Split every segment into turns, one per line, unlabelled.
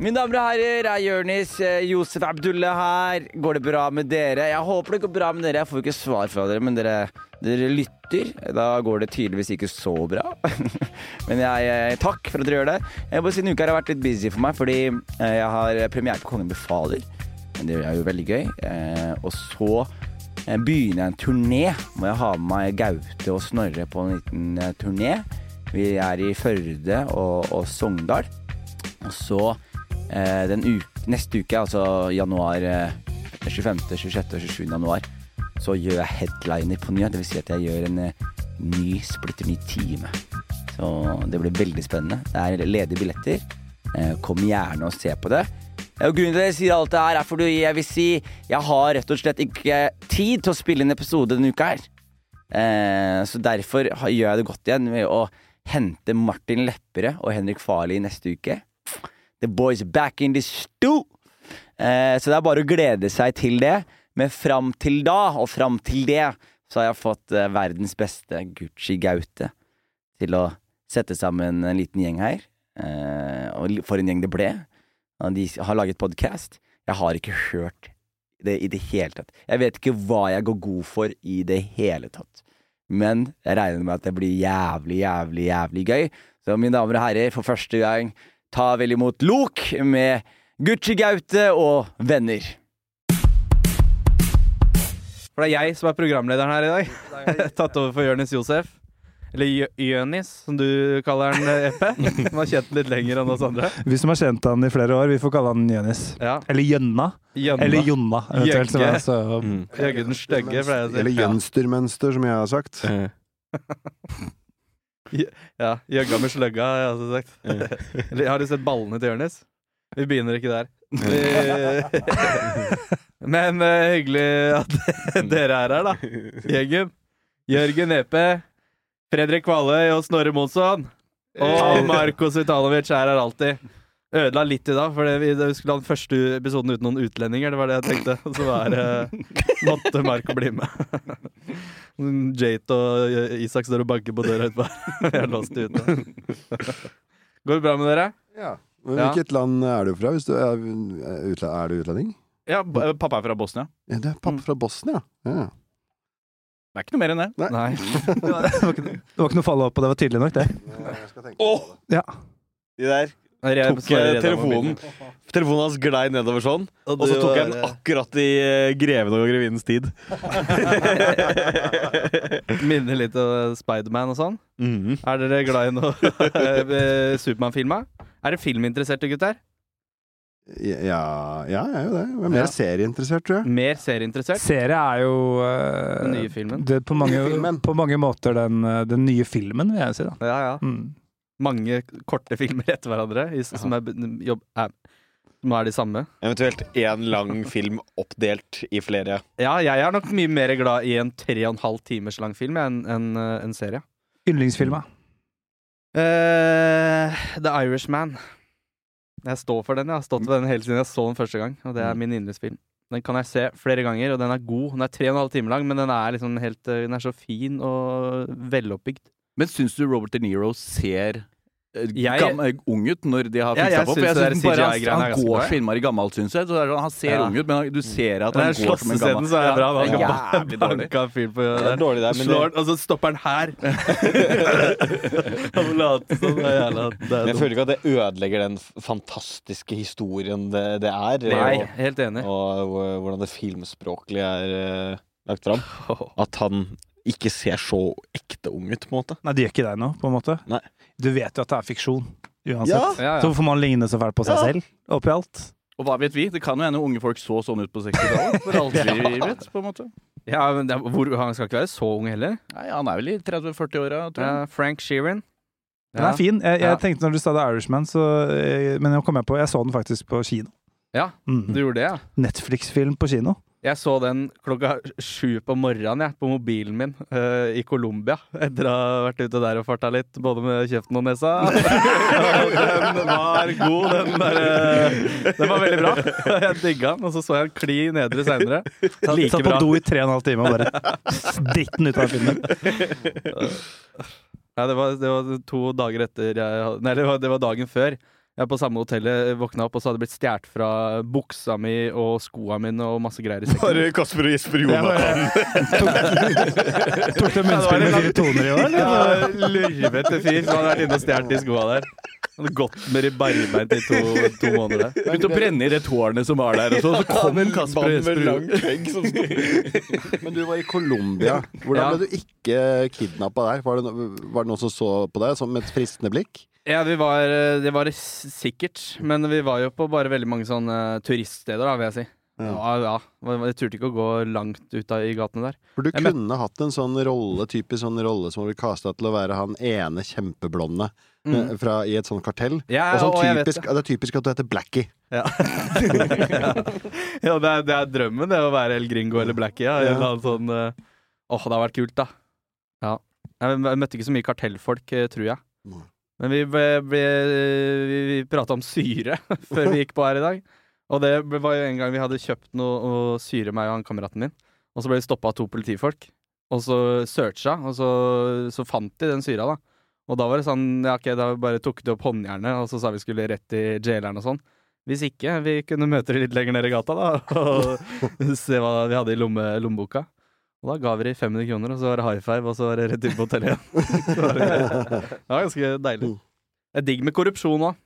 Mine damer og herrer, jeg er Jørnis. eh, Josef Abdullah her. Går det bra med dere? Jeg håper det går bra med dere. Jeg får ikke svar fra dere, men dere, dere lytter. Da går det tydeligvis ikke så bra. men jeg, eh, takk for at dere gjør det. Jeg bare Siden uka her har vært litt busy for meg, fordi eh, jeg har premiere på Kongen befaler. Men Det er jo veldig gøy. Eh, Og så eh, begynner jeg en turné hvor jeg har med meg Gaute og Snorre på en liten eh, turné. Vi er i Førde og, og Sogndal. Og så eh, den u- neste uke, altså januar eh, 25., 26. og 27. januar, så gjør jeg headliner på ny. Det vil si at jeg gjør en eh, ny, splitter ny time. Så det blir veldig spennende. Det er ledige billetter. Eh, kom gjerne og se på det. Eh, Og grunnen til at jeg sier alt det her, er fordi jeg vil si jeg har rett og slett ikke tid til å spille en episode denne uka her. Eh, så derfor har- gjør jeg det godt igjen ved å hente Martin Lepperød og Henrik Farley neste uke. The boys are back in the stew! Eh, så det er bare å glede seg til det. Men fram til da, og fram til det, så har jeg fått eh, verdens beste Gucci Gaute til å sette sammen en liten gjeng her. Eh, og li- for en gjeng det ble. Og De har laget podkast. Jeg har ikke hørt det i det hele tatt. Jeg vet ikke hva jeg går god for i det hele tatt. Men jeg regner med at det blir jævlig, jævlig, jævlig gøy. Så mine damer og herrer, for første gang, ta vel imot Lok med Gucci Gaute og venner.
For det er jeg som er programlederen her i dag. Tatt over for Jonis Josef. Eller Jø- Jønis, som du kaller han, eh, Eppe. Han har kjent den litt lenger enn oss andre.
Vi som har kjent han i flere år, vi får kalle han Jønis.
Ja.
Eller Jønna.
Jønna.
Eller Jonna, eventuelt. Som er,
Jøkke.
så,
Jøgge den stygge, pleier jeg å si.
Eller jønstermønster, som jeg har sagt.
Ja, Jøgga med sløgga, har jeg også sagt. Eller, har du sett ballene til Jonis? Vi begynner ikke der. Vi- Men eh, hyggelig at dere er her, da. Gjengen. Jørgen Epe, Fredrik Kvaløy og Snorre Monsson. Og Marko Svitanovic er her alltid. Ødela litt i dag, for det- vi vi skulle ha den første episoden uten noen utlendinger. Det var det jeg tenkte. Og Så var, det- måtte Marko bli med. Jate og eh, Isak står og banker på døra utenfor. Vi er låst ute. Går det bra med dere?
Ja. Men
Ja.
hvilket land er du fra? Hvis du er, utla- er du utlending?
Ja, b- eh, pappa er fra Bosnia.
Ja, du er pappa fra Bosnia. Ja.
Det er ikke noe mer enn det.
Nei.
det var ikke noe follow-up på det, var tydelig nok, det.
Åh!
Ja.
De der
Jeg
tok eh, telefonen Telefonen hans glei nedover sånn, og så tok jeg den akkurat i eh, greven og grevinnens tid.
Minner litt om Spiderman og sånn.
Mhm.
Er dere glad i noe Supermann-filma? Er dere filminteresserte, gutter?
Ja, ja, jeg er jo det. Jeg er mer
Ja.
serieinteressert, tror jeg.
Mer serieinteressert?
Serie er jo eh,
Den nye filmen.
Det, på, mange,
Nye filmen.
på mange måter den, eh, den nye filmen, vil jeg si. da
Ja, ja.
mm.
Mange korte filmer etter hverandre i, som er, b- jobb, er, som er de samme.
Eventuelt én lang film oppdelt i flere.
Ja, jeg er nok mye mer glad i en tre og en halv timers lang film jeg, enn enn, eh, en serie.
Yndlingsfilma.
Eh, The Irishman. Jeg står for den. Jeg har stått for den hele siden jeg så den første gang. Og det er min yndlingsfilm. Den kan jeg se flere ganger, og den er god. Den er tre og en halv time lang, men den er liksom helt eh, Den er så fin og veloppbygd.
Men syns du Robert De Niro ser eh,
Jeg-
gam- eh, ung ut når de har
Ja,
fiksa
jeg
ja, opp?
syns
Jeg
det der
syns bare han,
CGI-greiene er
han
ganske bra,
går
jeg.
så innmari gammel, syns jeg. Så det er sånn, han ser
Ja.
ung ut, men han- du ser at
Den
han
er
går som en gammel
slåssescenen som er bra. Da.
Ja,
Han
jævlig dårlig.
banka en fyr på
Det er
der.
dårlig der, men
Slår
det,
den, og så stopper den her! Han later som det er jævla det
men
er
jeg
dumt.
føler ikke at det ødelegger den f- fantastiske historien det, det er.
Nei,
og-
helt enig.
og eh, hvordan det filmspråklig er eh, lagt fram. At han ikke ser så ekte ung ut, på en måte.
Nei, det gjør ikke deg noe, på en måte.
Nei.
Du vet jo at det er fiksjon, uansett.
Ja.
Ja,
Så
ja.
får man ligne så fælt på seg
Ja.
selv, oppi alt.
Og hva vet vi? Det kan jo hende unge folk så sånn ut på 60-tallet. For alt vi vet, på en måte.
ja men det, er- hvor, han skal ikke være så ung heller.
Nei, han er vel i 30-40-åra, tror jeg.
Ja, Frank Sheeran.
Den er fin. Jeg, jeg
Ja.
tenkte når du sa The Irishman, så, eh, men nå kom jeg på Jeg så den faktisk på kino.
Ja,
Mm.
Du gjorde det, ja?
Netflix-film på kino.
Jeg så den klokka sju på morgenen jeg, på mobilen min eh, i Colombia. Etter å ha vært ute der og farta litt, både med kjeften og nesa. Og den var god, den der eh, Den var veldig bra. Jeg digga den, og så så jeg den kli nedre seinere. Like
Satt på
bra.
do i tre og en halv time og bare dritt den ut av filmen.
Nei, det var, det var to dager etter jeg, hadde- Nei, det var, det var dagen før. Jeg er på samme hotellet, våkna opp, og så hadde det blitt stjålet fra buksa mi og skoa mine og masse greier i sekken.
Bare Kasper og Jesper
Jeg bare- Tok, tok det munnspill med fire toner i år, eller?
Ja, Lurvete fyr som hadde vært inne og stjålet de skoa der. Han hadde gått med de barbeint i to, to måneder.
Begynte å brenne i det tårnet som var der, og så, så kom Kasper og Jesper. ut.
Men du var i Colombia. Hvordan
Ja.
ble du ikke kidnappa der? Var det, no var det noen som så på deg som med et fristende blikk?
Ja, vi var, det var s- sikkert, men vi var jo på bare veldig mange sånne turiststeder, da, vil jeg si.
Ja.
Ja, ja. Jeg turte ikke å gå langt ut av, i gatene der.
For du
Jeg men-
kunne hatt en sånn rolle, typisk sånn rolle som ble kasta til å være han ene kjempeblonde
Mm.
eh, fra, i et sånt kartell.
Ja,
og sånn
og jeg vet
typisk, det er typisk at du heter Blackie.
Ja, det er, det er drømmen, det, å være El Gringo eller Blackie. Ja. En Eller annen sånn eh, Åh, det har vært kult, da. Ja. Jeg jeg møtte ikke så mye kartellfolk, eh, tror jeg.
Nei.
Men vi, ble, ble, vi, vi prata om syre før vi gikk på her i dag. Og det ble- var jo en gang vi hadde kjøpt noe og syre, meg og han kameraten min. Og så ble vi stoppa av to politifolk. Og så searcha, og så, så fant de den syra, da. Og da var det sånn, ja ok, da bare tok de opp håndjernet, og så sa vi skulle rett i jaileren og sånn. Hvis ikke, vi kunne møte de litt lenger nede i gata, da, og se hva vi hadde i lomme, lommeboka. Og da ga vi de 500 kroner, og så var det high five, og så var det rett inn på hotellet igjen. Så var det, det var ganske deilig. Det er digg med korrupsjon òg.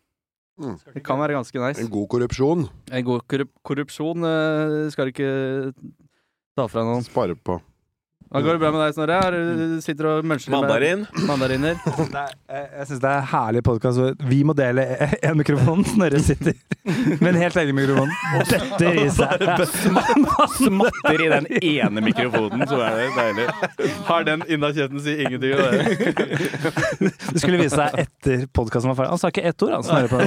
Mm.
Det kan være ganske nice.
En god korrupsjon.
En god korrup korrupsjon eh, skal du ikke ta fra noen.
Spare på.
Da går det bra med deg, Snorre? Er du- Sitter og muncher med
Mandarin.
mandariner?
Nei, jeg jeg syns det er en herlig podkast hvor vi må dele én mikrofon, Snorre sitter med en helt egen mikrofon. Dette i seg.
Smatter i den ene mikrofonen, så er det deilig.
Har den innakjøtten sier ingenting om det.
Det skulle vise seg etter podkasten var ferdig. Han sa ikke ett ord, han Snorre på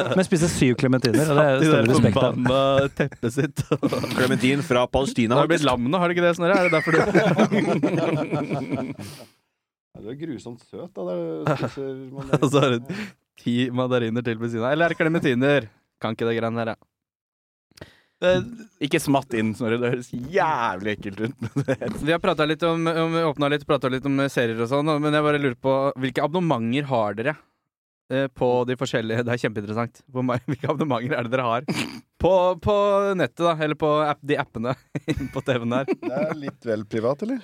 det. Men spiste syv klementiner, og det er
I
stor
det
respekt av.
forbanna teppet sitt.
Clementine fra
Det
Palestina.
har blitt lam nå, har det ikke det, Snorre? Er det derfor du
Ja, du er grusomt søt, da. Der spiser
Og så har du ti mandariner til ved siden av? Eller er det klementiner? Kan ikke det greiene der, ja.
Ikke smatt inn, Snorre. Det høres jævlig ekkelt ut.
Vi har prata litt om, om åpna litt, pratet litt om serier og sånn, men jeg bare lurer på hvilke abonnementer har dere? eh, På de forskjellige Det er kjempeinteressant. Hvor ma- hvilke abonnementer er det dere har? På, på nettet, da. Eller på app, de appene på TV-en der.
Det er litt vel privat, eller?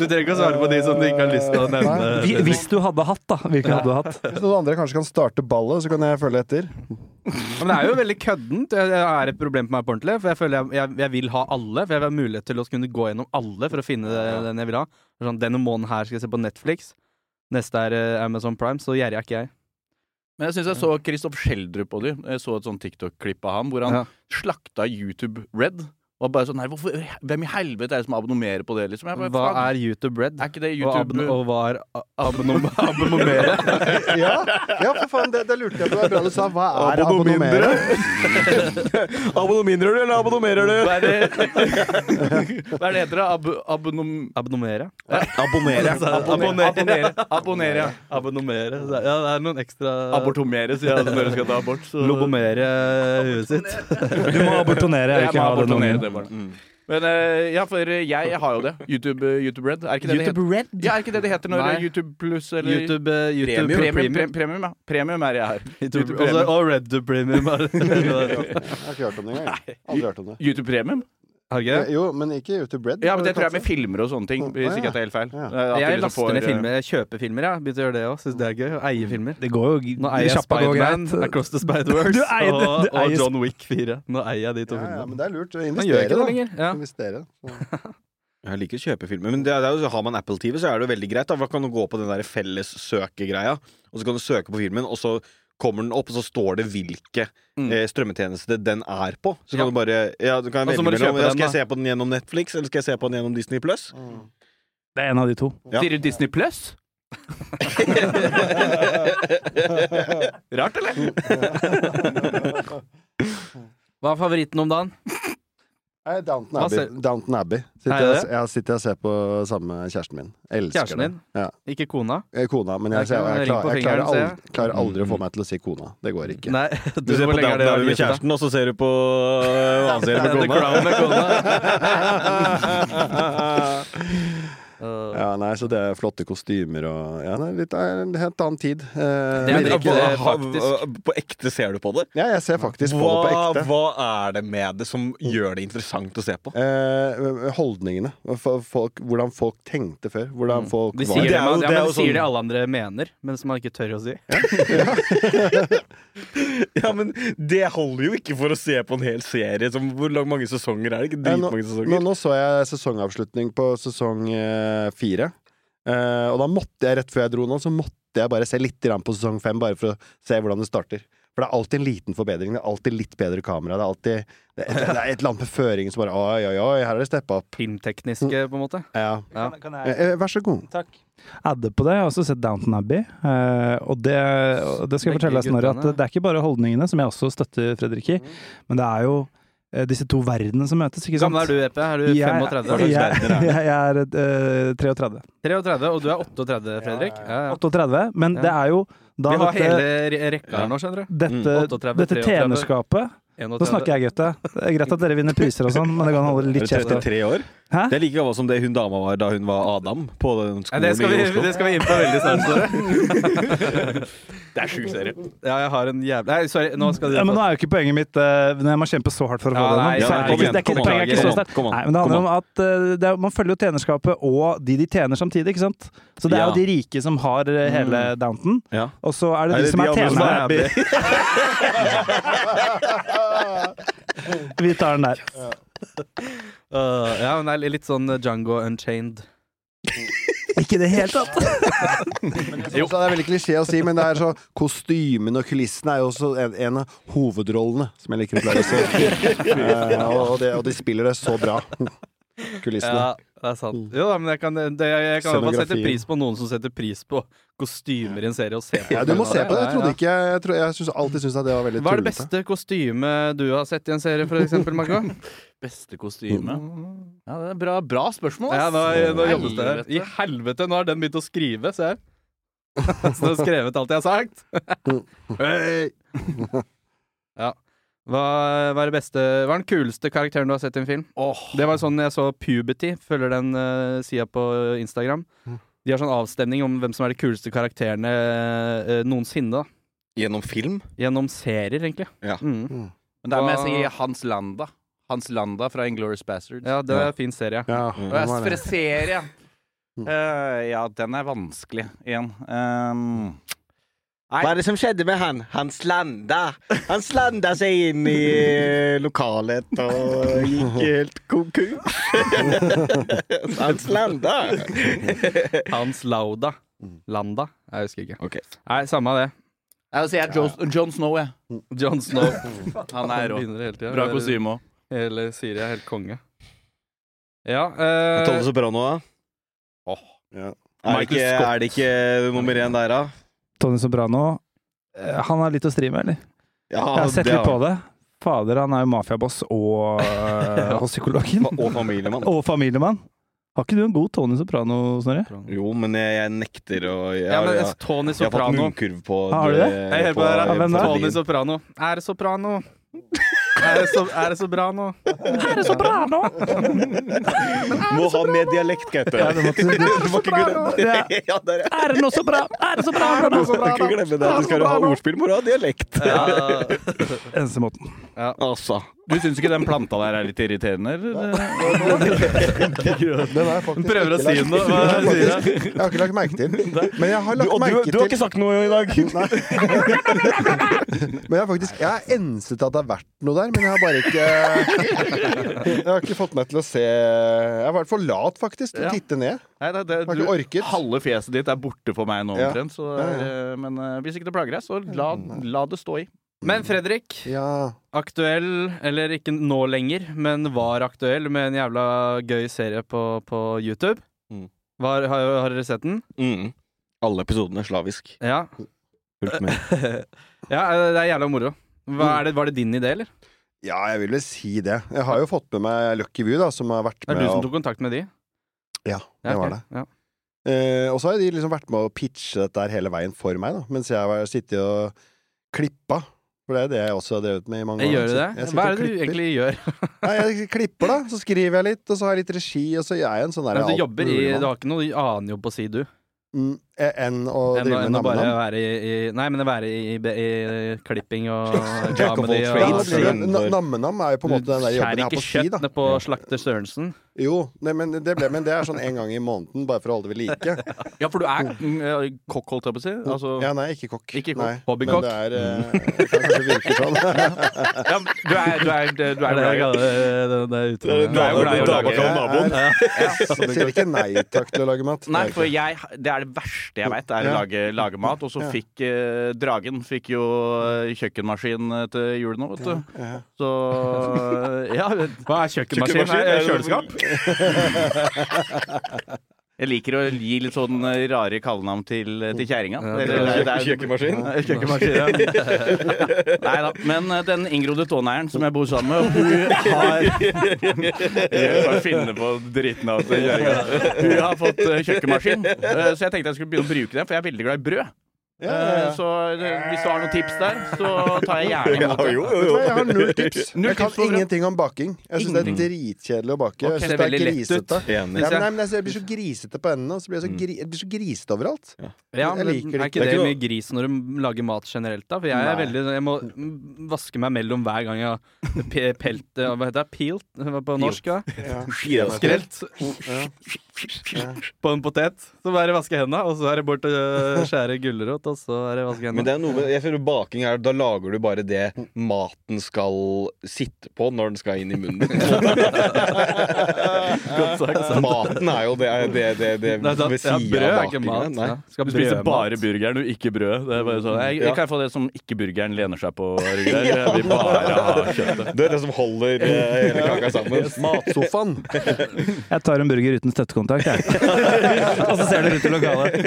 Du trenger ikke å svare på de som du ikke har lyst til å nevne.
Hvi- Hvis du hadde hatt, da. Hvilken hadde du hatt?
Hvis noen andre kanskje kan starte ballet, så kan jeg følge etter.
Men det er jo veldig køddent. Det er et problem på meg på ordentlig. For jeg føler jeg, jeg, jeg vil ha alle. For jeg vil ha mulighet til å kunne gå gjennom alle for å finne det- den jeg vil ha. Sånn, denne måneden her skal jeg se på Netflix. Neste er eh, Amazon Prime, så gjerrig er ikke jeg.
Men jeg syns jeg så Kristoff Schjelderup på de. Jeg så et sånn TikTok-klipp av ham hvor han
Ja.
slakta YouTube Red. Og bare sånn Nei, hvorfor, hvem i helvete er det som abonnerer på det, liksom? Jeg bare,
Hva
faen,
er YouTube Red?
er ikke det
Og, abon
YouTube
og hva er a- abonnom- abonnomere?
Ja, ja for faen, det, det lurte jeg på. Det er bra du sa. Hva er abonnomere?
Abonnerer du, eller abonnerer du?
Hva er det, Hva er det heter? det? Ab abonnom...
Abonnomere?
Abonnere.
Abonner-
Abonnere, ja.
Abonnomere. Så- Ja, det er noen ekstra
Abortomere, sier jeg når du skal ta abort. Så.
Lobomere huet eh, sitt.
Du må abortonere. Jeg vil
Jeg må
ikke ha den
abortonere
ungen.
det barnet.
Mm.
Men eh, ja, for eh, jeg har jo det. YouTube, eh, YouTube Red. Er ikke det det heter?
Red?
Ja, er ikke det det heter når
Nei.
eh, YouTube pluss eller
YouTube, eh, YouTube
Premium. Premium,
Premium.
premium, premium, ja. premium er jeg her.
YouTube,
YouTube
og så-
Premium.
og Red to Premium. er det.
Jeg har ikke hørt om det engang. jeg. Aldri hørt om det. Eh,
YouTube Premium?
Har du ikke det?
Jo, men ikke YouTube Bread.
Ja, men det tror jeg med filmer og sånne ting. Hvis ikke jeg tar helt feil.
Ja.
Eh, at de
Jeg
liksom
laster
sånn
får,
ned
eh,
filmer. Jeg kjøper filmer, jeg. Begynte å gjøre det òg. Syns det er gøy. Å eie filmer.
Det går jo
Nå eier jeg
kjappa går
Spiderman,
greit.
Across the Spider-Verse
Du eier det,
og,
du eier
og
Sp-
John Wick 4. Nå eier jeg de
Ja,
to
ja, men
filmene.
det er lurt.
Man
Investere,
gjør ikke det
da.
lenger. Ja.
Investere. Så.
Jeg liker å kjøpe filmer, men det er, det er jo, så har man Apple TV, så er det jo veldig greit. Da for da kan du gå på den der felles søkegreia, og så kan du søke på filmen, og så kommer den opp, og så står det hvilke
Mm.
eh, strømmetjeneste den er på. Så
Ja.
kan du bare ja, du kan
Og så
velge
må du
mellom
kjøpe
ja,
den,
Skal jeg
da.
se på den gjennom Netflix, eller skal jeg se på den gjennom Disney Plus?
mm.
Det er en av de to.
Ja.
Sier du Disney Plus? Rart, eller?
Hva er favoritten om dagen?
Nei, Downton
Hva
Abbey.
ser-
Downton Abbey.
Er
Sitter
det
jeg,
det?
jeg sitter og ser på sammen med kjæresten min. Elsker
Kjæresten
det.
din?
Ja.
Ikke kona?
Eh, Kona, men
Jeg
jeg, jeg,
kan
jeg,
ringe
klarer,
på
jeg klarer,
fingeren, ser
aldri, klarer aldri å få meg til å si kona. Det går ikke.
Nei.
Du ser på Downton Abbey med kjæresten, og så ser du på eh, hva annet ser du
The
på kona.
Crown med kona.
Ja, nei, så det er flotte kostymer og Ja, nei, litt, det er en helt annen tid. Eh,
Det er
men-
ikke det,
hva-
faktisk.
På ekte ser du på det?
ja, jeg ser faktisk på det
Hva,
på ekte.
hva er det med det som gjør det interessant å se på?
Eh, holdningene. F- Folk, hvordan folk tenkte før. Hvordan folk
Mm. De
var.
sier det,
Det er jo-
man, ja,
det er
men
jo
de sier
sånn-
det alle andre mener, men som man ikke tør å si.
Ja, men Det holder jo ikke for å se på en hel serie. Som, hvor lang- mange sesonger er det?
Eh,
Ikke
nå,
dritmange
nå,
sesonger.
nå så jeg sesongavslutning på sesong eh, fire. Eh, og da måtte jeg rett før jeg dro nå, så måtte jeg bare se litt grann på sesong fem, bare for å se hvordan det starter. For det er alltid en liten forbedring. Det er alltid litt bedre kamera. Det er alltid det er et, det er et eller annet med føringen som bare Oi, oi, oi, her har det steppa opp.
Filmtekniske, på en måte.
Ja.
Ja.
Kan, kan jeg
Eh, eh, vær så god.
adde på det? Jeg har også sett Downton Abbey. eh, og det, og det skal
Begge
jeg fortelle deg snarere at
guttene.
det er ikke bare holdningene, som jeg også støtter Fredrik i, men det er jo eh, disse to verdenene som møtes, ikke
Hvor
sant?
gammel er du, Epe? Er du
Jeg-
35?
Jeg,
verdener er det?
jeg, er eh, 33.
33, og du er 38, Fredrik? Ja, ja.
38, men
Ja.
det er jo da
Vi har
dette,
hele re- rekka her nå, skjønner du.
dette,
Mm. 38,
dette
33.
tjenerskapet Nå snakker jeg, Gaute. Det er greit at dere vinner priser og sånn, men det kan holde
Er
litt
du
kjeft. da.
33 år?
Hæ?
Det er like gammel som det hun dama var da hun var Adam på den
Nei,
skolen
det, skal vi,
i Oslo.
det skal vi inn på veldig snart, Snorre.
Det er sjukt serie.
Ja, jeg har en jævla Nei, sorry, nå skal du
Ja, men nå er jo ikke poenget mitt eh, Når jeg må kjempe så hardt for å få
Ja, nei,
det gjennom. så
ja,
er
kom
det ikke-
igjen,
det er ikke-
kom igjen,
poenget er ikke
kom
så
igjen,
sterkt.
kom igjen,
Nei, men det handler
kom
om at eh, det er, man følger jo tjenerskapet og de de tjener samtidig, ikke sant? Så det er jo
Ja.
de
Mm.
rike som har eh, hele Downton,
Ja.
og så er det de
Er det
som
de
er
andre som
tjenere.
er
Vi tar den der.
Øh, Ja, men det er litt sånn Django Unchained.
Ikke i det hele tatt!
Så det er veldig klisjé å si, men det er så kostymene og kulissene er jo også en, en av hovedrollene, som jeg liker å pleier å si. Eh, og, og, det, og de spiller det så bra. Kulissene.
Ja, det er sant. Jo da, men jeg kan, det, jeg kan i hvert fall sette pris på noen som setter pris på kostymer i en serie. Og se på
Ja, du må se på det. Jeg trodde
Ja, ja.
ikke Jeg, tro- jeg syns alltid syntes at det var veldig
Hva er det
tullete.
beste kostymet du har sett i en serie, for eksempel, Marco?
Beste kostyme? Ja, det er bra, bra spørsmål,
Ja,
ass.
nå, nå jobbes det her.
Helvete.
I helvete, nå har den begynt å skrive, ser jeg. Så den har skrevet alt jeg har sagt.
Hei!
Hva, hva er det beste Hva er den kuleste karakteren du har sett i en film? Det var sånn jeg så Puberty, følger den uh, sida på Instagram. De har sånn avstemning om hvem som er de kuleste karakterene eh, noensinne. da
Gjennom film?
Gjennom serier, egentlig.
Ja.
Mm.
Men det er med jeg sier Hans Landa. Hans Landa fra Inglourious Bastards.
ja det er en fin serie.
Ja,
Mm.
det var det.
Freserie. Eh, ja, den er vanskelig igjen. Ehm,
Hva er det som skjedde med han? Han slanda. Han slanda seg inn i eh, lokalet og gikk helt konkurs. Han slanda.
Hans Lauda. Landa? Jeg husker ikke.
Ok.
Nei, samme av det.
jeg vil si jeg er John, John Snow, jeg.
John Snow.
Han er rå.
Begynner hele tiden.
Bra kostyme òg.
Hele Syria er helt konge. Ja eh,
Tolle Soprano, da?
Ja.
Er det,
Michael
ikke,
Scott.
er det ikke nummer én der, da?
Tony Soprano, eh, han har litt å stri med, eller?
Ja,
Jeg har sett
det
litt på
han.
det. Fader, han er jo mafiaboss og, eh, og psykologen.
Fa- Og familiemann.
Og familiemann. Har ikke du en god Tony Soprano, Snorre?
Jo, men jeg, jeg nekter å jeg,
ja, men
jeg,
altså, Tony
jeg har fått
Soprano.
munnkurv på
Har du det?
Jeg hører på det her.
Ja, hvem da?
Tony Soprano. Er det Soprano? Er det, so er det Soprano?
Er det Soprano?
Må ha med dialekt, Gaute.
Ja, det måtte du.
Du må ikke glemme det. Ja, der, ja.
Er det noe så bra? Er det så bra? Er det noe
Du
så
må
bra?
ikke glemme det. Du skal ha ordspill, må du ha dialekt.
Eneste måten.
Altså.
Du syns ikke den planta der er litt irriterende, eller?
Den har jeg faktisk
Prøver å
ikke
si
lagt-
noe, hva
Den har jeg
sier
faktisk- Jeg har ikke lagt merke til. Men jeg har lagt merke til
sagt noe i dag.
Men jeg har faktisk Jeg har enset at det har vært noe der, men jeg har bare ikke Jeg har ikke fått meg til å se Jeg har vært for lat, faktisk, til å titte ned.
Nei, det, det,
Jeg har ikke orket.
halve fjeset ditt er borte for meg nå
Ja.
omtrent. Så, det er, eh, men eh, hvis ikke det plager deg, så la, la det stå i.
Men Fredrik,
Ja.
aktuell, eller ikke nå lenger, men var aktuell med en jævla gøy serie på, på YouTube.
Mm.
Var, har, har dere sett den?
Mm. Alle episodene er slavisk.
Ja.
Fulgt med.
ja, eh, det er jævla moro. Hva
Mm.
er det, var det din idé, eller?
ja, jeg vil vel si det. Jeg har jo fått med meg Lucky View, da, som har vært
Det
med
er du som
og-
tok kontakt med de?
Ja, det
Ja, ok.
var det.
Ja.
Eh, og så har de liksom vært med å pitche dette her hele veien for meg, da, mens jeg har sittet og klippa. For det er det jeg også har drevet med i mange
Jeg
år.
gjør
Så
det?
jeg sitter
Hva
og
er det du
klipper.
egentlig gjør?
Nei, jeg klipper, da. Så skriver jeg litt, og så har jeg litt regi, og så er jeg en sånn der
Du jobber i
altmuligmann.
Du har ikke noe annen jobb å si, du?
Mm, Enn å
Enn å
drive
enn
med
å bare
navnenavn.
være i, i Nei, men å være i, i, i, i klipping og
Jack of all
comedy
Ja,
og
da
trades,
blir det-
innenfor.
na- Nammenam er jo på en måte den der jobben jeg har på
ikke
si, da.
kjøttene på slakter Sørensen.
Jo, nei, men, det ble, men det er sånn en gang i måneden, bare for å holde det ved like.
Ja, for du er mm, eh, kokk, holdt jeg på å si. Altså,
Oh. Ja, nei, ikke kokk.
Ikke kokk.
Nei, Men
Hobbykokk.
det er eh, det kan kanskje virke sånn.
Ja, men du er Du er, du er, du er, glad i- det- det er utrolig. Du er jo glad i å lage
Jeg er- sier ikke nei takk til å lage mat.
Nei,
Det er
for
ikke-
jeg, det er det verste jeg veit, er å
Ja.
lage, lage mat. Og så
Ja.
fikk eh, dragen fikk jo eh, kjøkkenmaskin eh, til jul nå, vet du.
ja.
Så eh, ja.
Hva er kjøkkenmaskin?
Kjøkkenmaskin?
Er det kjøleskap?
Jeg liker å gi litt sånn eh, rare kallenavn til, eh, til kjerringa.
det-
Eller- eh, det er-
Kjøkkenmaskin?
Kjøkkenmaskin, ja.
Nei da. Men eh, den inngrodde tåneieren som jeg bor sammen med, hun har Jeg bare finne på drittnavn til kjerringa. Hun har fått eh, kjøkkenmaskin, eh, så jeg tenkte jeg skulle begynne å bruke den, for jeg er veldig glad i brød.
Ja, ja, ja.
Eh, Så eh, hvis du har noen tips der, så tar jeg gjerne imot det.
Vet du hva, Jeg har null tips.
Null
Jeg kan
tips for det.
ingenting om baking. Jeg syns det
Mm.
er dritkjedelig å bake.
Ok,
Jeg
det
synes
er
det er
veldig lett
grisete.
Enig.
Ja, men, nei, men jeg, jeg blir så grisete på hendene, og så blir jeg så, gri, jeg blir så grisete overalt.
Mm. Ja,
Jeg liker det
men er
ikke.
ikke
Det er
det
ikke
mye gris når du lager mat generelt, da? For jeg er
Nei.
veldig Jeg må mm, vaske meg mellom hver gang jeg har pe- pelt eh, Hva heter det? Peelt? Hva på norsk, da? Skrelt. På en potet. Så bare vaske hendene, og så er det bort til å skjære gulrot, og så er det vaske
Men
hendene.
det er noe med, jeg føler baking er Da lager du bare det maten skal sitte på når den skal inn i munnen.
Godt sagt. sant?
maten er jo det, det, det, det,
Nei, sant? Ja,
ved siden
brød
av
er ikke mat.
bakingen. Nei.
ja. Skal
Du spiser
brødmat.
bare burgeren og ikke brød. Det er bare sånn, jeg, jeg
Ja.
kan få det som ikke burgeren lener seg på. Rødgeir. Jeg vil bare ha kjøttet.
Det er det som holder eh, hele kaka sammen.
Matsofaen.
Jeg tar en burger uten støttekontakt, jeg. og så ser dere ut i lokalet.
Jeg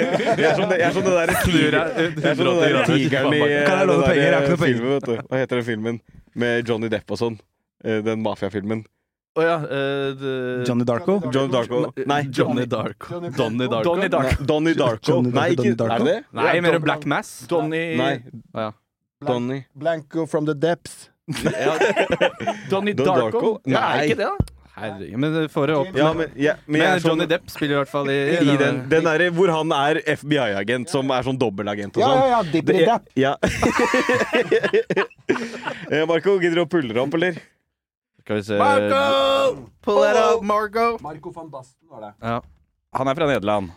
er som det, jeg er som det der
Snur
tigeren-
deg eh,
jeg er som den der tigeren i eh,
Kan jeg låne
den der
penger? Jeg har ikke noe penger.
filmen, vet du. Hva heter den filmen med Johnny Depp og sånn? Eh, Den mafiafilmen.
Å ja, eh, det-
Johnny Darko.
Johnny Darko.
Eh,
Nei,
eh, Johnny Darko. Donny Darko.
Donnie Darko.
Donnie Darko.
Johnny Darko,
Nei, ikke,
Donnie Darko.
er det det?
Nei,
Ja,
mer
Don-
Black Mass.
Donnie,
Nei.
Å, ja.
Donnie.
Blanco from the depths.
Donnie
Don
Darko?
Darko?
Ja, er
Nei.
ikke det, da?
Herregud. Men for å oppnå
Ja, men, ja, men
Men
jeg er sånn,
Johnny Depp spiller i hvert fall i,
I den, den derre hvor han er FBI-agent, som er sånn dobbeltagent og
Ja,
sånn.
ja, ja. Dippity
Det-
dap.
Ja. Eh, Marco, gidder du å pulle deg opp, eller?
Skal vi se
Pull that up, Marco!
Marco van Basten var det.
Han er fra Nederland.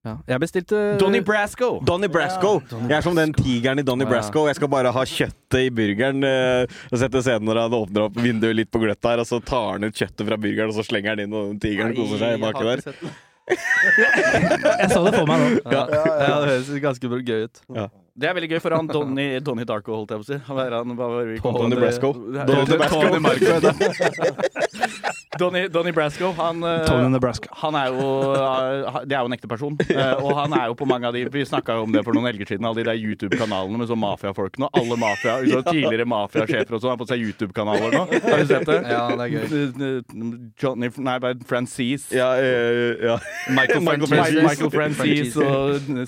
Ja. Jeg bestilte
Donnie Brasco.
Donnie Brasco. Jeg er som den tigeren i Donnie
Ja.
Brasco. Jeg skal bare ha kjøttet i burgeren. eh, Og sette scenen når han åpner opp vinduet litt på gløtt der, og så tar han ut kjøttet fra burgeren, og så slenger han inn, og den tigeren koser seg i baki der.
Jeg så det for meg nå.
Ja. ja, det høres ganske gøy ut.
Det er veldig gøy, for han Donnie, Donnie Darko, holdt jeg på å si. Han var, han var,
Donnie Brasco.
Donnie,
Donnie Brasco.
Donnie, Donnie Brasco. Han, eh,
Tony Nebraska.
han er jo eh, Det er jo en ekte person. Eh, Og han er jo på mange av de Vi snakka jo om det for noen helger siden, alle de der YouTube-kanalene med sånn mafiafolk nå. Alle mafia, så tidligere mafiasjefer og sånn har fått seg YouTube-kanaler nå. Har du sett det? Eh,
Ja, det er gøy.
Johnny Nei, bare Francis.
Ja, eh, ja.
Michael,
Michael
Francis.
Francis.
Michael Francis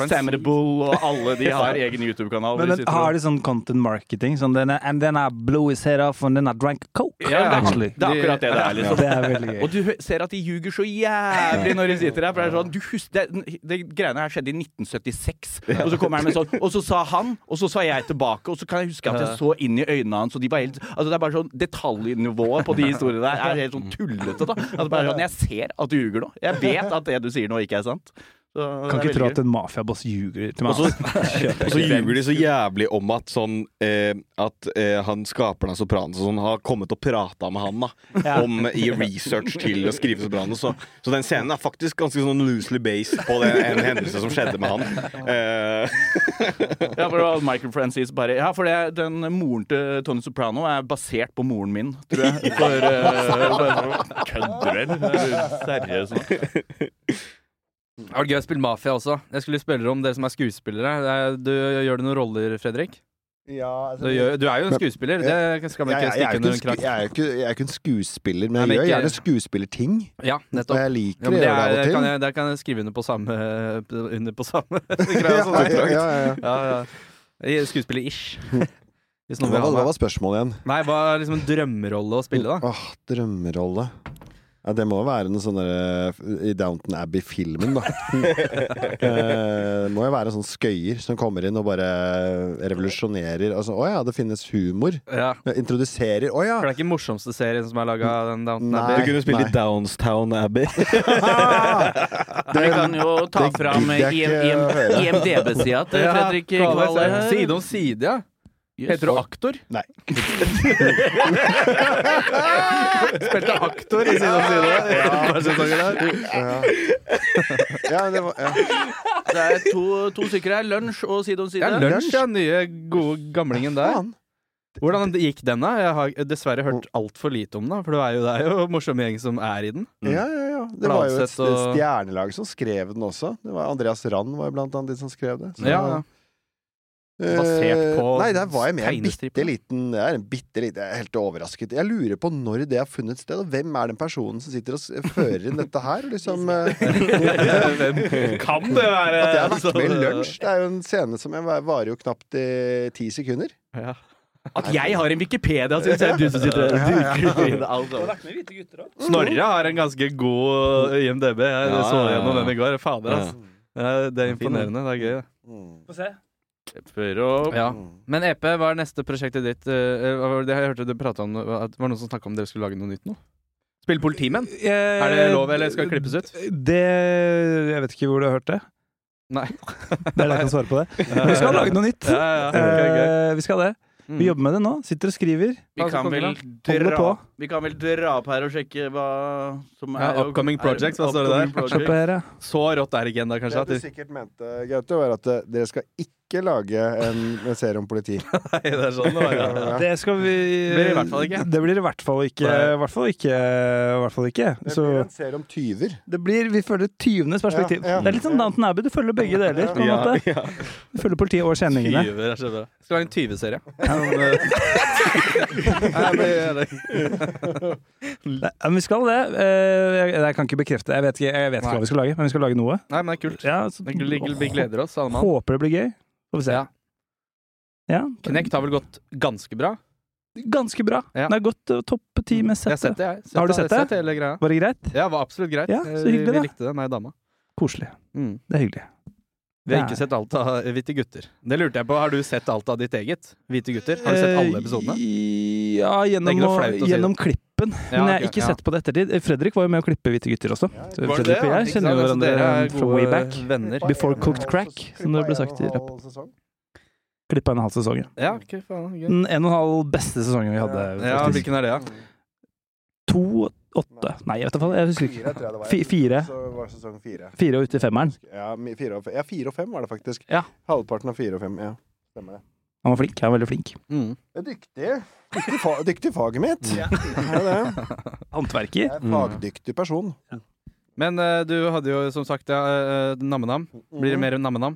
og Sam the Bull og alle de har egen YouTube-kanal. hvor
Men,
de
men
sitter og-
har de sånn content marketing? Sånn denne, and then I blew his head off, and then I drank coke.
Ja, det,
actually.
er, det er akkurat det det er, liksom.
Det er veldig gøy.
Og du hø- ser at de ljuger så jævlig når de sitter her. For det er sånn, du hus- det, det greiene her skjedde i 1976, og så kommer han med sånn Og så sa han, og så sa jeg tilbake, og så kan jeg huske at jeg så inn i øynene hans, og de var helt Altså det er bare sånn Detaljnivået på de historiene der er helt sånn tullete, da. At det bare er sånn, jeg ser at du ljuger nå. Jeg vet at det du sier nå, ikke er sant. Så,
Kan
det er
ikke tro
veldig
at en mafiaboss ljuger til meg.
Og så-
altså.
Og så ljuger de så jævlig om at sånn eh, At eh, han skaperen av Sopranos og sånn har kommet og prata med han da om i research til å skrive Sopranos. Så, så den scenen er faktisk ganske sånn loosely based på det, en hendelse som skjedde med han. Eh,
gøy. Ja, for det var Michael Francis bare Ja, for det, den moren til Tony Soprano er basert på moren min, tror jeg. For eh, bare- Kødder du, eller? Er du Seriøst nå?
Det var gøy å spille mafia også. Jeg skulle spørre om dere som er skuespillere. Det er- Du Gjør du noen roller, Fredrik?
Ja, altså,
Du, gjør, du er jo en skuespiller. Det skal man
jeg, jeg,
ikke
jeg, er
stikke
ikke
under
en
en
sku,
krakk.
jeg, er ikke, jeg er ikke en skuespiller, men
Nei,
jeg
men
gjør
ikke-
gjerne skuespillerting.
Ja,
Og
nettopp.
jeg liker
Ja, men det
å
er,
gjøre det
kan
av og til.
jeg, der kan jeg skrive under på samme Under på samme
sånn Ja, ja, ja, ja.
Ja, ja. Skuespiller-ish. Hvis
Hva,
noen vil ha
var- hva
meg.
var spørsmålet igjen?
Nei, hva er liksom en drømmerolle å spille, da?
Åh, drømmerolle. Ja, det må jo være noe sånn der, eh, i Downton Abbey-filmen, da. eh, må jo være en sånn skøyer som kommer inn og bare revolusjonerer. Altså, å ja, det finnes humor.
Ja.
Ja, Introduserer Å ja!
For det er ikke den morsomste serien som er laga av den Downton
Nei.
Abbey.
kunne spille
Nei.
i Downstown Abbey.
Vi kan jo ta
det
fram
gidder jeg ikke å høre.
IMDb-sida til eh, Fredrik Kvale. her.
Side om side, ja. Heter du aktor?
Nei.
Spilte aktor i Side om side. Et par sesonger der.
sånn Ja, ja det var ja.
Det er to, to stykker her. Lunsj og Side om
Det
side.
er lunsj, ja. Nye, gode gamlingen der.
Faen.
Hvordan gikk den, da? Jeg har dessverre hørt altfor lite om den. da, For det er jo, det er jo en morsom gjeng som er i den.
Ja, ja, ja. Det var jo et
Bladseth Mm. og-
stjernelag som skrev den også. Det var Andreas Rand var jo blant annet de som skrev det. Så-
Ja, ja. Basert
Eh,
på
Nei, der var jeg med en
tegnestriper.
bitte liten Jeg er en bitte liten, jeg er helt overrasket. Jeg lurer på når det har funnet sted, og hvem er den personen som sitter og s- fører inn dette her? Liksom, eh,
Kan det være
at jeg har vært med i Lunsj! Det er jo en scene som jeg var- varer jo knapt i ti sekunder.
At jeg har en Wikipedia, syns jeg du som sitter og duker inn alt sammen.
Mm. Snorre har en ganske god IMDb. Jeg
Ja,
så
ja, ja.
gjennom den i går. Fader, altså. Ja, det er imponerende. Det er gøy. det. Ja. Mm. Men EP, hva er neste prosjektet ditt? Eh, hva var det jeg hørte du prate om at det var noen som snakka om dere skulle lage noe nytt nå? Spille politimenn? Er det lov, eller skal det klippes ut?
Det Jeg vet ikke hvor du har hørt det.
Nei.
Det er det jeg kan svare på det. Men vi skal lage noe nytt.
Ja, ja, ja. Gøy, gøy.
Eh, vi skal det.
Mm.
Vi jobber med det nå. Sitter og skriver.
Vi kan, vel
Holder
dra,
på.
vi kan vel dra opp her og sjekke hva som er
Ja, upcoming projects, hva står det
upcoming
der?
projects.
Se på her, ja.
Så rått er det ikke ennå, kanskje?
Det
At
du
det,
sikkert mente, Gaute, var at eh, dere skal ikke lage en, en serie om politi.
nei, det er sånn det var, ja.
Ja.
Det skal vi
Blir i hvert fall ikke.
Det blir i hvert fall ikke.
Nei.
I hvert fall ikke. i hvert fall ikke.
Det
Så
blir en serie om tyver.
det blir, vi følger tyvenes perspektiv.
Ja, ja.
Det er litt sånn Downton Abbey. Du følger begge deler. på en måte.
ja.
Du følger politiet og kjenningene.
Tyver er så bra. Skal lage en tyveserie. eh, Nei, men- eh,
Nei, men vi skal det. Eh, Jeg, jeg kan ikke bekrefte Jeg vet ikke, jeg vet ikke
Nei.
hva vi skal lage, men vi skal lage noe.
Nei, men det er kult.
Ja, så,
Det er kult. Vi gleder oss, alle mann.
Håper det blir gøy. Får vi se.
Ja.
Ja.
Knekt har vel gått ganske bra?
Ganske bra.
Ja.
Det er godt eh, topp ti med
Jeg har sett
settet.
det, jeg.
Har du sett det?
Sett hele greia.
Var det greit?
Ja, det var absolutt greit. Eh,
Ja, så hyggelig,
vi, vi
da.
likte det, meg og dama.
Koselig.
Mm.
Det er hyggelig.
Vi har
Nei.
ikke sett alt av Hvite gutter. Det lurte jeg på. Har du sett alt av ditt eget? Hvite gutter? Har du sett alle episodene?
Eh,
Det
Ja,
er ikke
gjennom,
noe
å-
flaut å si det.
gjennom klippen.
Ja,
men jeg
ok,
har ikke
ja.
sett på det ettertid. Fredrik var jo med å klippe Hvite gutter også. Så
Var det
Fredrik
det,
og
ja?
jeg
Ikke sant?
kjenner jo
Så dere er eh,
hverandre from way
gode
back. Mm.
Venner.
Before cooked crack, som det ble sagt i rappen. Klippa en halv sesong, ja.
Ja, ok, faen, gøy.
Den en og en halv beste sesongen vi hadde.
ja,
Mm, faktisk.
hvilken er det, da?
To, åtte Nei, jeg vet ikke. Jeg husker
Fire,
ikke.
tror jeg det var.
Fi- fire.
Så var det sesong fire.
Fire og ut i femmeren.
Ja, mi- fire og, f- ja, fire og fem var det faktisk.
Ja.
Halvparten av fire og fem. Ja, stemmer det.
Han var flink. Han var veldig flink.
Mm.
Det er dyktig. Dyktig, fa dyktig i faget mitt. Ja, det er
Mm.
det.
Håndverker.
Jeg er en fagdyktig person.
Men eh, du hadde jo som sagt ja, eh, Nammenam. Blir det mer Nammenam?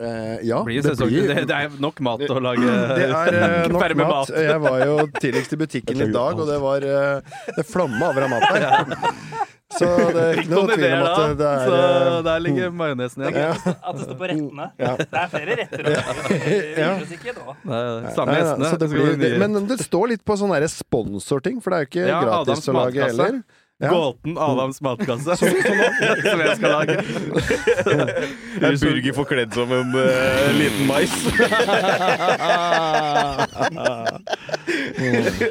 Eh, ja,
Blir det, sesong- det, det er nok mat å lage.
Det er eh, nok
Ferdig med
mat. Jeg var jo tidligst i butikken i dag, og det var eh, Det flomma over av mat der. Så det er ikke noe
Noen
tvil
ideer
om
da?
at det er
Så
eh,
der ligger majonesen igjen.
ja,
At det står på rettene.
Ja.
Det er flere retter òg.
Det er Samme
Nei, nei, så
gjestene.
det
Det skal
blir,
bli nye.
men det står litt på sånne der sponsorting, for det er jo ikke
Ja, Adams
gratis å lage
matkasse.
heller. Ja. Mm.
Gåten Adams matkasse. Som jeg skal lage.
En burger forkledd som en eh, liten mais.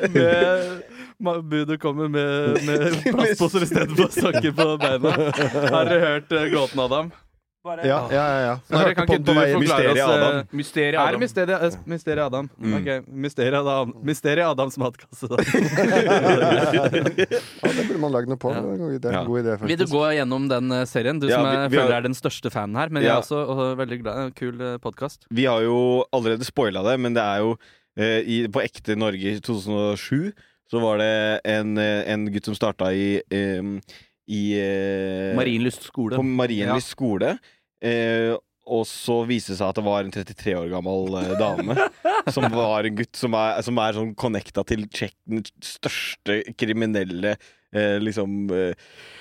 Med- ma- Budet kommer med, med plastposer istedenfor sokker på beina. Har dere hørt eh, gåten Adam?
Ja, ja, ja. ja.
Snorre,
Jeg hørte
kan
på den
ikke du
på vei-
forklare
Mysteriet
oss eh, Er det Mysteriet,
Adam.
Mysteriet Adam.
eh, mysteriet Adam?
Mm.
Ok, Mysteriet Adam. Mysteriet Adams matkasse, da.
Ja, det burde man lagd noe på. Det er en god idé,
Ja.
god idé
Vil du
faktisk.
gå gjennom den eh, serien? Du
Ja,
som
vi-
jeg
vi har-
føler er den største fanen her. Men jeg
Ja.
er også og, veldig glad. eh, Kul podkast.
Vi har jo allerede spoila det, men det er jo eh, i, På ekte Norge i 2007 så var det en, eh, en gutt som starta i eh, I eh,
Marienlyst skole.
på Marienlyst skole. Eh, og så viste det seg at det var en 33 år gammel eh, dame som var en gutt som er, som er sånn connecta til Tsjekk- den største kriminelle eh, liksom eh,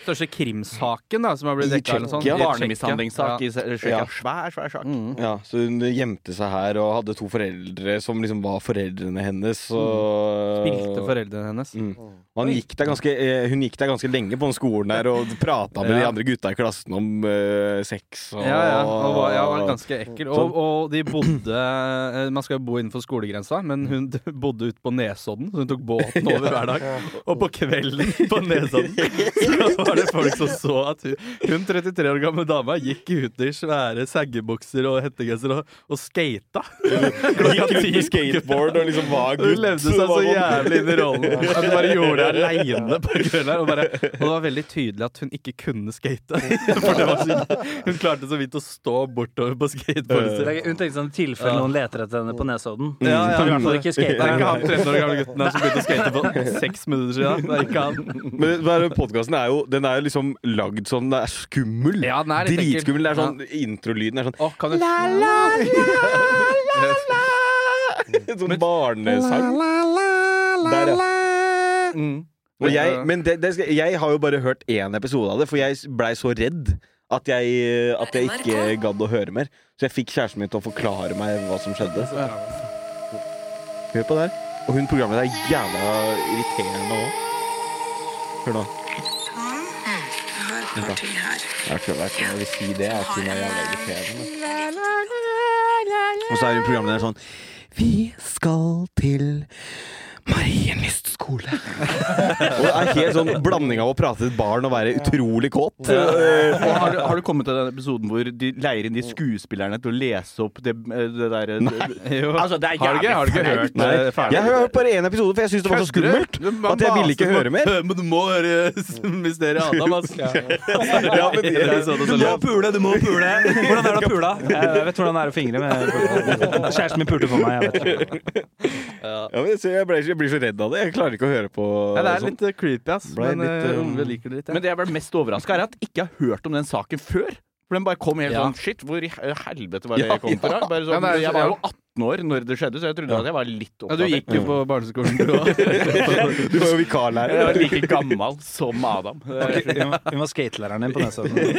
Største krimsaken da, som har blitt
I
dekka. eller noe sånt.
Tsjekkia.
I
Barnemishandlingssak
Tsjekkia.
i Tsjekkia.
Ja.
Svær, svær sak.
Mm.
Ja, så hun gjemte seg her og hadde to foreldre som liksom var foreldrene hennes. Og,
Ja. Mm. Spilte foreldrene hennes.
Mm. Og han gikk der ganske, eh, hun gikk der ganske lenge på den skolen der og prata med de
Ja.
andre gutta i klassen om eh, sex og
Ja, ja. Og var, ja, var ganske ekkel. Og, og de bodde eh, Man skal jo bo innenfor skolegrensa, men hun d- bodde ute på Nesodden, så hun tok båten over hver dag. Og på kvelden på Nesodden så var det folk som så at hun, hun 33 år gamle dama gikk ute i svære saggebukser og hettegenser og, og skata.
Gikk rundt med skateboard og liksom var gutt.
Hun levde seg så
var sånn-
jævlig inn i rollen at hun bare gjorde det aleine på kvelden. her, Og, bare, og det var veldig tydelig at hun ikke kunne skate. For det var så, hun klarte så vidt å stå bortover på skateboardet sitt.
Hun tenkte sånn i tilfelle noen leter etter henne på Nesodden.
Ja, ja,
Kan
ja.
i hvert fall ikke
Det er ikke
skate.
han 13 år gamle gutten der som begynte å skate på seks minutter siden. Det er ikke han.
Men den podkasten er jo Den er jo liksom lagd sånn Den er skummel.
Ja, den er litt ekkel.
Dritskummel. Det er sånn Introlyden er sånn
Å, kan du
En sånn barnesang. Der, ja. Mm. Og jeg, men det, det skal, jeg har jo bare hørt én episode av det, for jeg blei så redd at jeg, at jeg ikke gadd å høre mer. Så jeg fikk kjæresten min til å forklare meg hva som skjedde. Hør på det her. Og hun programmet er jævla irriterende òg. Hør nå.
Hør til her.
Jeg tror jeg ikke jeg vil si det. At hun er jævla irriterende. Og så er det programmet der sånn Vi skal til Marienlyst skole. og det er helt sånn blanding av å prate til et barn og være utrolig kåt.
Og har, du- har du kommet til den episoden hvor de leier inn de skuespillerne til å lese opp det, eh, det derre Altså, det er
Har du ikke, har du ikke
jævlig
hørt
Nei,
eh,
jeg har hørt bare én episode, for jeg syntes det var så skummelt at jeg ville ikke høre mer.
Men du må høre Mysteriet Adam, ass.
Ja, men det er sånn og sånn.
pule, du må pule. Hvordan er det å pule? Jeg vet hvordan det er å fingre med pule. Kjæresten min pulte for meg. Jeg vet. det.
Ja, men så jeg, ble, jeg blir så redd av det. Jeg klarer ikke å høre på
Ja, det er
sånt.
litt eh, creepy, ass.
Sånn. Ble
Men
litt,
eh,
eh,
Ove liker det litt. Ja.
Men det jeg ble mest overraska, er at jeg ikke har hørt om den saken før. For den bare kom helt
Ja.
sånn Shit, hvor i helvete var det
Ja,
jeg kom fra? Bare
Ja,
sånn,
det er så-
jeg var jo 18 år når det skjedde, så jeg trodde at jeg var litt
Ja, du
oppdatert.
gikk jo på barneskolen, du òg.
Du var jo vikarlærer.
Jeg var like gammel som Adam.
Hun var skatelæreren din på Nesodden.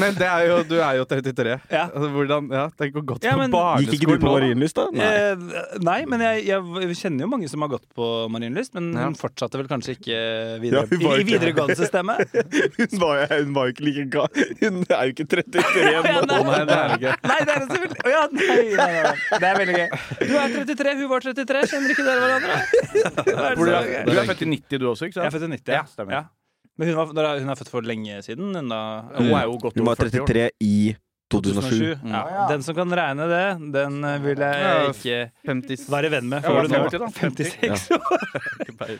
Men det er jo, du er jo 33. Altså, hvordan, ja, tenk å gå til
Ja, men-
barneskolen
Gikk ikke du på
nå, da.
Marienlyst, da? Nei.
Eh, nei, men jeg, jeg kjenner jo mange som har gått på Marienlyst, men
Ja.
hun fortsatte vel kanskje ikke
Ja,
videre
hun var
i,
ikke-
i videregående-systemet.
Hun var, jo- hun var jo ikke like ga... Hun er jo ikke 33 nå.
Å, nei, det er det ikke.
Nei, det er det selvfølgelig! Å Ja, nei, nei, nei, nei. Det er veldig gøy. Du er 33, hun var 33. Kjenner ikke dere hverandre? Det er
Du er,
så gøy.
du er født i 90 du også, ikke
Jeg er
sant?
født i 90. Ja, stemmer. Men hun, var, da er- hun er født for lenge siden. Hun, da,
Hun er jo godt
Hun var
over 40 år.
33 i 2007.
Ja. Den som kan regne det, den eh, vil jeg ikke
50
være venn med.
Ja, var det
før du
50 da?
når 56 år.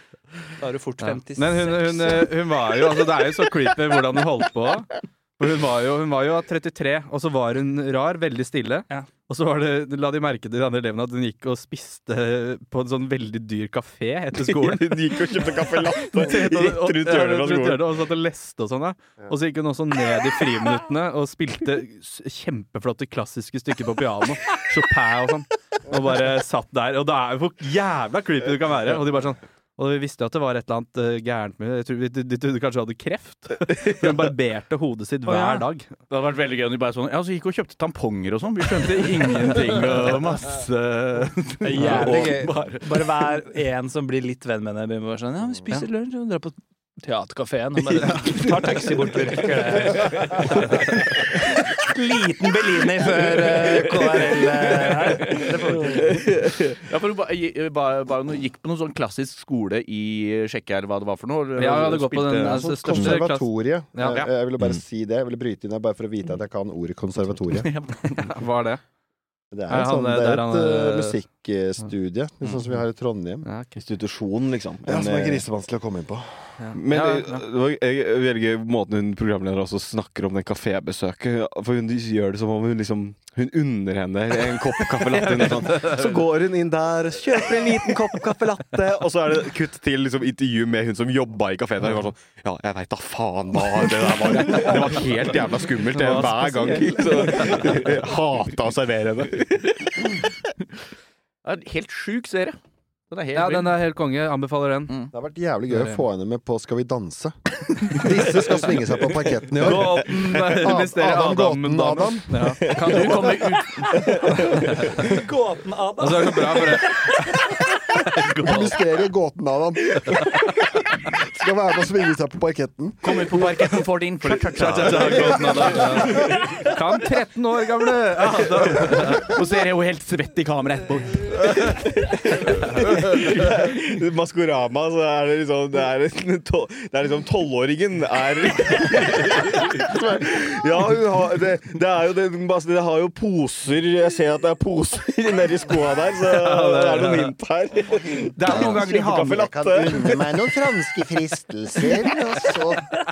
Da er du fort
Ja.
56.
Men hun, hun, eh, hun var jo altså, Det er jo så creepy hvordan hun holdt på. For hun var jo, hun var jo 33, og så var hun rar, veldig stille.
Ja.
Og så var det, la de merke til de andre elevene at hun gikk og spiste på en sånn veldig dyr kafé etter skolen.
Hun gikk og kjøpte caffè latte
Rett
rett rundt hjørnet fra skolen.
Og satt og leste og sånn. da. Og så gikk hun også ned i friminuttene og spilte s- kjempeflotte klassiske stykker på piano. Chopin og sånn. Og bare satt der. Og det er jo hvor jævla creepy du kan være. Og de bare sånn og vi visste jo at det var et eller annet eh, gærent med Jeg tror, vi- De de trodde kanskje hun hadde kreft. For hun barberte hodet sitt hver dag.
Det hadde vært veldig gøy om de bare sånn Ja, så gikk og kjøpte tamponger og sånn. Vi skjønte ingenting og masse
Det er jævlig gøy. Bare vær en som blir litt venn med henne. begynner bare Sånn, ja, vi spiser lunsj og drar på teaterkafeen. Og bare tar taxi bort. Virker det. Liten Bellini før eh, KRL eh, her. Det får vi til.
Ja, for hun ba, gi- ba, ba, hun gikk på noen sånn klassisk skole i Tsjekkia, eller hva det var for noe?
Ja, hun hadde gått på
Spilte-
den, altså,
Sånn
største klass-
Konservatoriet.
Ja.
Eh, Jeg ville bare
Mm.
si det. Jeg ville bryte inn her bare for å vite at jeg kan ordet konservatoriet.
Var det?
Det er,
Ja,
en
han,
sånn, det er
der
et
han, Mm.
eh, musikkstudie, litt sånn som vi har i Trondheim.
Ja, ok.
Institusjon, liksom.
Ja, som er
eh,
grisevanskelig å komme inn på.
Men
Ja, ja.
eh, det var eh, veldig gøy måten hun programleder også snakker om den kafébesøket For hun gjør det som om hun liksom Hun unner henne en kopp caffè latte. eller noe sånt. Så går hun inn der, kjøper en liten kopp caffè latte, og så er det kutt til liksom, intervju med hun som jobba i kafeen. Hun var sånn Ja, jeg veit da faen hva det der var. Det var helt jævla skummelt det, hver gang. Så eh, jeg hata å servere henne.
Ja, Helt sjuk serie.
Den er helt
Ja,
vill.
den er helt konge. Anbefaler den.
Det har vært jævlig gøy å få henne med på Skal vi danse. Disse skal svinge seg på parketten i år.
Gåten hvis dere
Adam, Gåten,
Adam.
Adam.
Kan du komme ut
Gåten Adam.
Og så er det så bra for det.
Mysteriet Gåten, Adam. Skal være med og svinge seg på parketten.
Kom ut på parketten, får din
Ja, Gåten Adam. Ja. Kan 13 år gamle Adam.
Og så er jeg jo helt svett i kameraet etterpå.
I Maskorama så er det liksom Det er, en tol- det er liksom tolvåringen er Ja, hun har, det, det er jo det, altså, det har jo poser Jeg ser at det er poser nedi skoa der, så det er noen hint her.
Det er noen ganger de har med
Kaffe latte.
unne meg noen franske fristelser, og så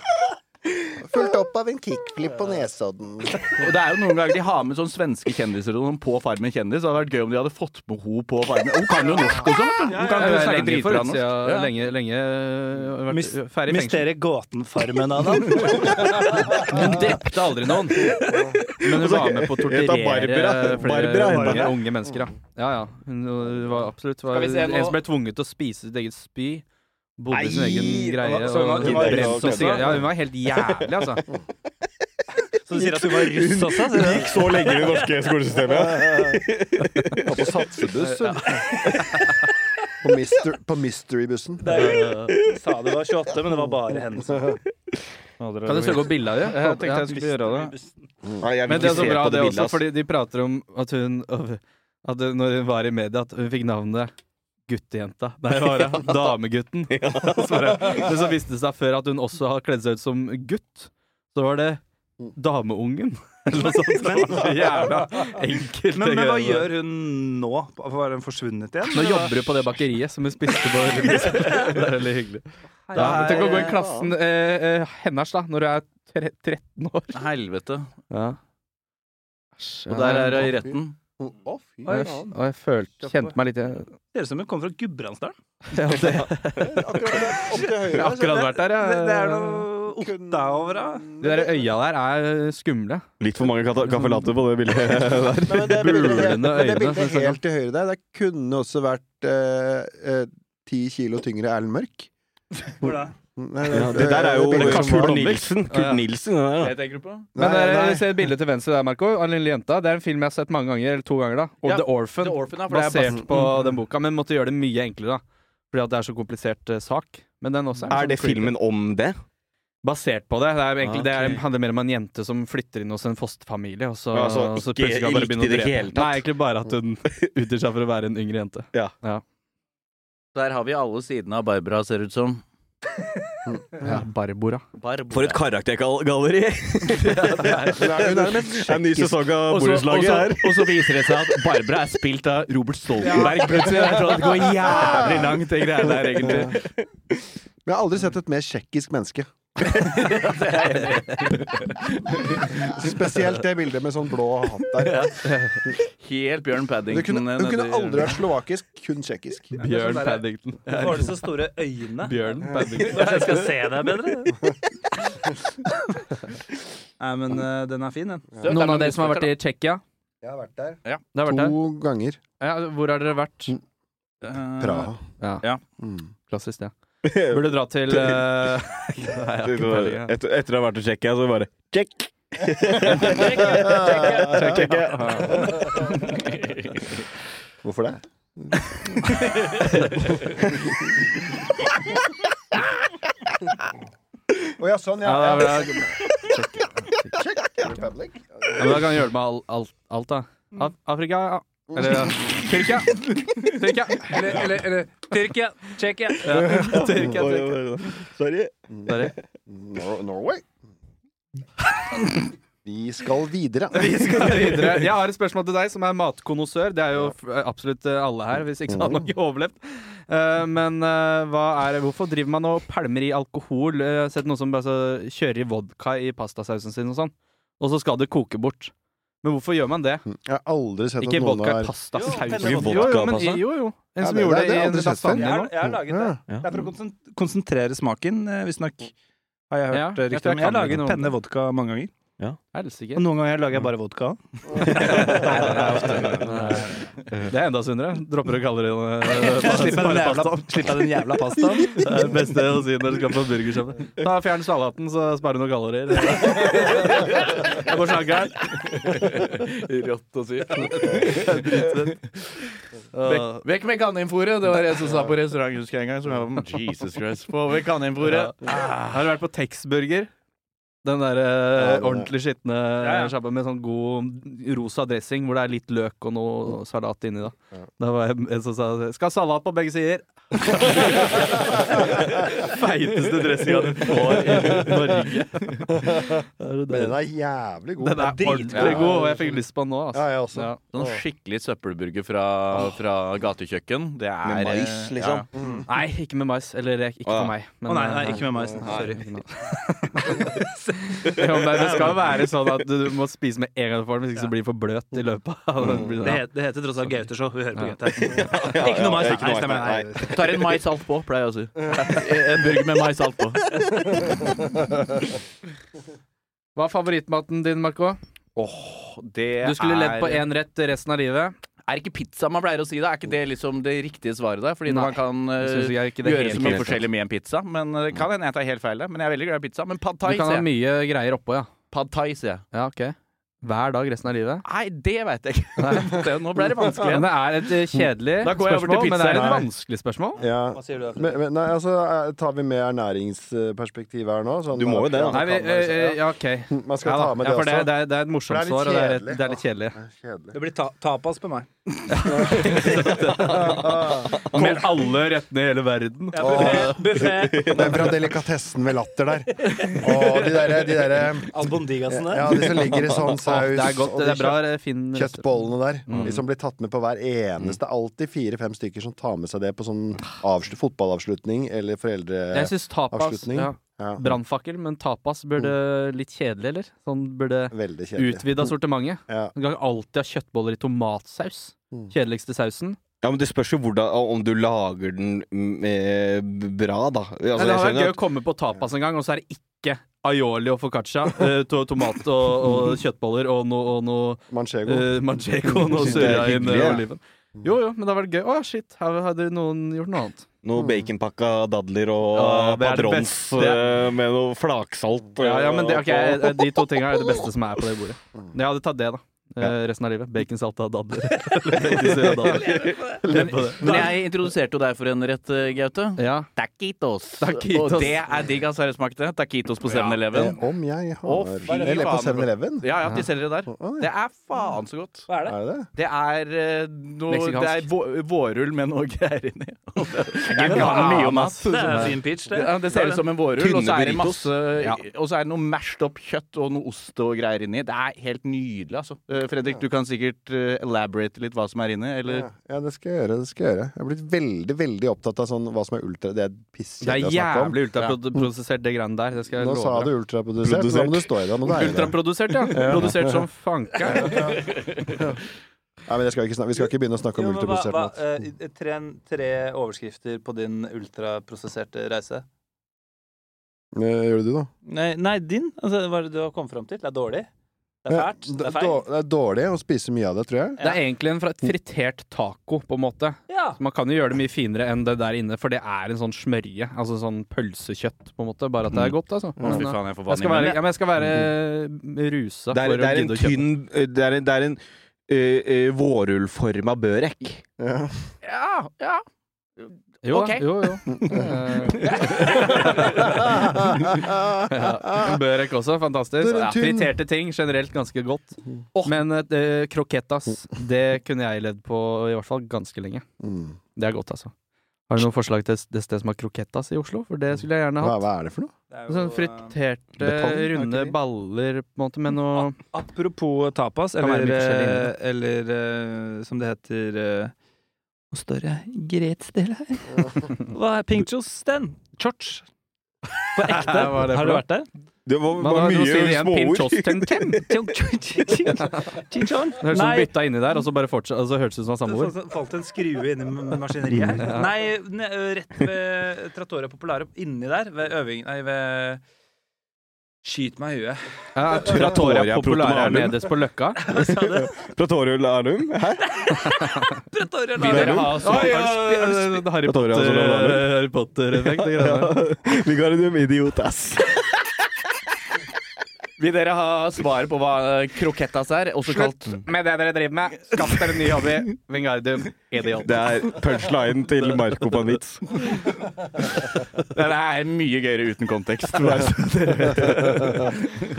Fulgt opp av en kickflip på Nesodden.
Og det er jo noen ganger de har med sånne svenske kjendiser og sånn på Farmen kjendis. Det hadde vært gøy om de hadde fått med henne på Farmen. Hun kan jo norsk og sånt. Hun kan jo snakke
Lenge
dritbra
forutsida.
norsk.
Lenge, lenge øh, vært
Mys-
ferdig i fengsel.
Mysteriet Gåten-farmen, Adam.
Hun drepte aldri noen. Men hun var med på å
Jeg
torturere
tar Barbara.
flere
Barbara heter
unge,
det.
unge mennesker. Da. Ja, ja. Hun øh, var absolutt var,
Skal vi se nå?
En som ble tvunget til å spise sitt eget spy. Bodde i sin
Nei!
egen greie.
Så hun var-
og
hun var
brente
russ
opp
også?
sigaret. Ja, hun var helt jævlig, altså.
Så du sier at du var russ også? sier
Hun
du?
gikk så lenge i det norske skolesystemet.
Og på satsebuss. hun. På, myster, på mysterybussen.
Det er jo- Sa du var 28, men det var bare henne.
Kan du søke opp bilde av det? Jeg tenkte jeg skulle gjøre det.
Nei,
Men
jeg vil
det
ikke
er så
se
bra,
på
det
bildet,
også,
ass.
fordi de prater om at hun at det- Når hun var i media, at hun fikk navnet Guttejenta. Nei, var det Damegutten. Så bare- Men så viste det seg før at hun også har kledd seg ut som gutt. Så var det Dameungen. Eller noe sånt. Det var så jævla enkelt.
Men,
det
men hva
greiene der.
gjør hun nå? Var hun forsvunnet igjen?
Nå jobber du på det bakeriet som hun spiste på. Det er veldig hyggelig. Ja, tenk å gå i klassen eh, eh, hennes da, når du er tre 13 år.
Helvete.
Ja.
Og der er hun i retten.
Å, fy
Og jeg,
faen.
og jeg følte, kjente meg litt eh, igjen.
Ser ut som hun kommer fra Gudbrandsdalen.
Ja, det, jeg
Akkurat der, opp til høyre.
har akkurat vært der,
Det, det er
ja.
noe
Eh.
Otta over henne.
De der øya der er eh, skumle.
Litt for mange kata- kaffe latte på det bildet der.
Nei, men det bildet-
Bulende
men det
øyne,
bildet
som vi
sånn.
snakker om.
helt til høyre der, det kunne også vært eh, ti kilo tyngre Erlend Mørk. Mm,
Hvor da?
Nei, eh,
Ja, det der er jo
bildet som var-
Kurt Nilsen.
Ja, ja.
Kurt Nilsen, det der, da.
Men
Nei,
der,
nei.
se bildet til venstre der, Marco. Han lille jenta. Det er en film jeg har sett mange ganger. Eller to ganger, da. Og
Ja,
The Orphan.
Orphan
Ble basert på den boka, men måtte gjøre det mye enklere. da Fordi at det er så komplisert eh, sak. Men den også er,
Er
sånn
det
creepy.
filmen om det?
Basert på det. Det, er egentlig, det er,
Ok.
handler mer om en jente som flytter inn hos en fosterfamilie. Og så,
Ja, altså,
og så
ikke
plutselig kan hun bare
riktig
begynne å
i det
drepe.
hele tatt.
Nei, egentlig bare at hun utgir seg for å være en yngre jente.
Der har vi alle sidene av Barbara, ser det ut som.
Barbora.
Barbara.
For et karaktergalleri!
Hun er med
En ny sesong av Borettslaget her.
og så viser det seg at Barbara er spilt av Robert Stoltenberg. Plutselig Jeg tror Det går jævlig langt, det greiene der, egentlig.
Men Jeg har aldri sett et mer tsjekkisk menneske. Spesielt det bildet med sånn blå hatt der.
Helt Bjørn
Hun
Paddington.
kunne, hun kunne aldri vært slovakisk, kun tsjekkisk.
Bjørn Paddington.
Hvorfor har du så store øyne?
Bjørn Paddington.
Kanskje sånn jeg skal se deg bedre? Nei, men eh, den er fin, den.
Noen av dere som har vært i Tsjekkia?
Jeg har vært der
Det har vært der.
to ganger.
Ja, hvor har dere vært?
Praha.
Ja.
Ja.
Mm.
Klassisk, det. Burde dra til eh, Nei, jeg har ikke peiling, jeg.
Etter, etter å ha vært og sjekket, så bare Check!
Tsjekkia.
Hvorfor det? Å ja, sånn,
Ja, da
ja.
vil jeg- ja, men da kan du hjelpe meg all, alt, alt, da.
Mm.
Af Afrika, ja. Eller ja. Tyrkia. Tyrkia.
Eller, eller, eller Tyrkia, Tsjekkia.
Tyrkia, Tyrkia.
Sorry.
Sorry.
Nor Norway. Vi skal videre.
Vi skal videre. Jeg har et spørsmål til deg som er matkonnoissør. Det er jo f- absolutt eh, alle her, hvis ikke så hadde man ikke overlevd. Eh, men eh, hva er, hvorfor driver man og pælmer i alkohol? Eh, Jeg har sett noen som bare så, kjører i vodka i pastasausen sin og sånn, og så skal det koke bort. Men hvorfor gjør man det?
Jeg har aldri sett
Ikke
at noen
vodka
har
i pastasaus.
Jo,
Jo, jo, men,
vodka-pasta.
jo, jo. En
Ja,
som
det- det-
gjorde det
det har
i
jeg
en
aldri sett før.
lasagne
Jeg
nå.
Jeg har laget det.
Ja.
Det er for å konsen- konsentrere smaken, eh, visstnok. Har jeg hørt
Ja,
eh,
jeg
riktig
tror jeg
om.
kan
Jeg
det
lager
noe.
penne vodka mange ganger.
Helsike.
Og noen ganger lager jeg bare vodka.
Det er enda sunnere. Dropper å kalle det
Jeg slipper den jævla,
pastaen.
slipper den jævla pastaen.
Det er det beste å si når du skal på burgersjappe. Ta Fjern salaten, så sparer du noen kalorier. Jeg går snakker her.
Rått og sykt. Vekk, vekk med kaninfôret. Det var jeg som sa på restaurant husker jeg en gang. Som jeg var, "Mm, Jesus Christ, Få vekk kaninfôret.
Har du vært på Texburger? Den der eh, ordentlig skitne sjappa med sånn god rosa dressing hvor det er litt løk og noe salat inni. Da Da var jeg en som sa 'skal ha salat på begge sider'. Feiteste dressinga du får i Norge.
Men den er jævlig god.
Den er ordentlig god, og jeg fikk lyst på den nå.
Ja,
Altså.
jeg også.
Ja.
Sånn skikkelig søppelburger fra, fra gatekjøkken. Det er
Med mais,
eh,
liksom.
ja.
Nei, ikke med mais. Eller ikke
Å, ja.
for meg.
Å
Men,
nei, nei,
eh,
ikke med maisen. Sorry.
ja, men det skal jo være sånn at du må spise med en gang du får den, hvis ikke så blir den for bløt i løpet. av-
Det, het, det heter tross alt Gauteshow. Vi hører på
Ja.
Gaute. Ikke noe mais. Nei, stemmer. Nei.
Tar en maisalt på, pleier jeg å si. En burger med maisalt på.
Hva er favorittmaten din, Marco?
Det
Du skulle levd på
er-
én rett resten av livet.
Er ikke pizza man pleier å si det? Er ikke det liksom det riktige svaret der? Fordi
Nei.
man kan eh,
Jeg synes jeg ikke det er
gjøre
helt
så mye
riktig.
forskjellig med en pizza. Men eh, det kan hende jeg tar helt feil der. Men jeg er veldig glad i pizza. Men pad
Du
thai,
kan ha
sier jeg.
mye greier oppå, ja.
Pad thai, sier jeg.
Ja, ok Hver dag resten av livet.
Nei, det veit jeg ikke. Det- Nå ble det vanskelig.
Men det er et eh, kjedelig
Da går jeg over til
spørsmål, men det er et
pizzaen.
vanskelig spørsmål.
Ja.
Hva sier du da?
Men, men nei, altså, eh, tar vi med ernæringsperspektivet her nå? Sånn,
Du må jo det, da.
Nei, vi, eh, eh, ja, OK.
Man skal
Ja, da.
ta med
ja,
det
for det,
også.
det, er, det er et morsomt
For det er litt
svar, og det er, litt-
kjedelig.
det er litt kjedelig.
Det er kjedelig.
Det blir ta tapas på meg.
Med alle rettene i hele verden.
Buffé.
Den fra delikatessen med latter der. Og de derre de der,
Albondigasen der.
Ja, de som ligger i sånn saus.
Det er godt.
og de
Det er bra. Mm. eh, Fin
Kjøttbollene der. De som blir tatt med på hver eneste. Alltid fire-fem stykker som tar med seg det på sånn avslut, fotballavslutning eller
Jeg
foreldre...
syns tapas
Eh, Avslutning.
ja.
Ja,
Brannfakkel, men tapas burde litt kjedelig, eller? Sånn burde
veldig kjedelig.
utvida sortimentet.
Ja.
Du kan alltid ha kjøttboller i tomatsaus.
Mm.
Kjedeligste sausen.
Ja, men Det spørs jo hvordan, om du lager den mm, eh, b- bra, da.
Nei,
Altså,
det
jeg
hadde vært
skjønner
gøy å komme på tapas en gang, og så er det ikke aioli og foccaccia. eh, to tomat og, og kjøttboller og noe no,
Manchego.
uh, manchego og noe
Synes det er
surra inn eh,
hyggelig, ja.
oliven. Jo, jo, men det hadde vært gøy. Å shit, her hadde noen gjort noe annet.
at noe baconpakka dadler og
Ja, det er det
padrons
beste.
eh, med noe flaksalt.
Ja, ja, men det,
eh,
ok, eh, De to tinga er det beste som er på det bordet. Jeg hadde tatt det, da. eh, resten av livet. Baconsalta dadler. Eller baconsurra dadler. Lev på det.
Men jeg introduserte jo deg for en rett, eh, Gaute.
Ja.
Taquitos.
Taquitos.
Og det er digg, altså. Har dere smakt det? Taquitos på 7-Eleven.
Eh, Om jeg har
Å, fy
Eller på
faen.
7-Eleven?
Ja, ja, de selger det der.
Å, ja.
Det er faen så godt.
Hva er det?
Er det det?
Det er eh, noe
Meksikansk.
Det er vå- vårrull med noe greier inni. Jeg
kan mye om Sånn
ass.
Det er fin pitch, det.
Ja, det ser ut som en vårrull,
Tynne
eh, og så er det
burritos.
masse Og så er det noe mashed up kjøtt og noe ost og greier inni. Det er helt nydelig, altså. Eh, Fredrik, du kan sikkert eh, elaborate litt hva som er inni, eller
Ja, ja, det skal jeg gjøre. det skal Jeg gjøre Jeg har blitt veldig veldig opptatt av sånn, hva som er ultra. Det er
Det er
pisskjedelig å snakke om.
jævlig ultraprosessert, det greiene der. Det skal jeg
Nå sa
love
du
deg.
ultraprodusert, så da må du stå i det. Nå er jeg i det.
Ultraprodusert, ja. Produsert som fanka.
Nei, men jeg skal ikke snakke, vi skal ikke begynne å snakke om
Jo, men hva-
ultraprodusert mat.
hva, eh, tre, tre overskrifter på din ultraprosesserte reise.
Eh, Gjør det du, da?
Nei, nei din? Altså, hva er det du har kommet fram til? Det er dårlig? Det er
Ja,
fælt?
d-
Det er
dår-
feil?
Det er dårlig å spise mye av det, tror jeg.
Det er egentlig en fra et fritert taco, på en måte.
Ja.
Man kan jo gjøre det mye finere enn det der inne, for det er en sånn smørje. Altså sånn pølsekjøtt, på en måte. Bare at det er godt, altså.
Å,
Men,
Fy
Mm.
eh,
faen, jeg får
jeg
vann i
skal være,
munnen.
ja, men jeg skal være rusa
Det er,
for
det
å
er en
gidde å kjøpe.
tynn eh, Det er en, det er en eh, eh, vårrullforma børek.
Ja.
Ja, ja.
Jo,
Ok.
jo, jo. Eh, ja. Børek også, fantastisk.
Det er en
Ja,
tynn-
friterte ting, generelt ganske godt. Men eh, krokettas, det kunne jeg levd på i hvert fall ganske lenge.
Mm.
Det er godt, altså. Har du noen forslag til det sted som har krokettas i Oslo? For det skulle jeg gjerne
Hva,
hatt.
hva er det for noe?
Det er jo,
Sånn
eh,
friterte,
Betong, er ikke
runde
det?
baller på en måte, med noe
Apropos tapas,
Kan være
eller,
mye forskjellig inni
eh, eller eh, som det heter eh, Nå står det gretsdel her. Hva er pinchos-sten? Chorch. På ekte.
Hva var det for
har du
noe?
vært der?
Det var,
Man har noe å si det igjen. Pinchos-tem-tem.
Chinchon?
Høres ut som bytta inni der, og så bare fortsatt, altså, hørtes ut som han var samboer.
Det falt en skrue inni maskineriet her. Nei, ne, ø, rett ved Trattoria Populare, inni der, ved øving... Nei, ved
Skyt meg i huet.
Ja, Pratoria populære er nederst på Løkka.
Platorul Arnum? Hæ?
Vil dere ha sånn
Oi, oi, oi,
Er det sp- er det Harry
Pretoria, altså, Lolland.
Potter- Harry Potter-effekt? de greiene der?
Ligardum idiot, ass.
Vil dere ha svaret på hva eh, krokettas er? Også kalt
med det dere driver med. Skaff dere en ny hobby. Vingardium idiot.
Det er punchlinen Eh, til Marco på en vits.
Den er mye gøyere uten kontekst. bare så dere vet det.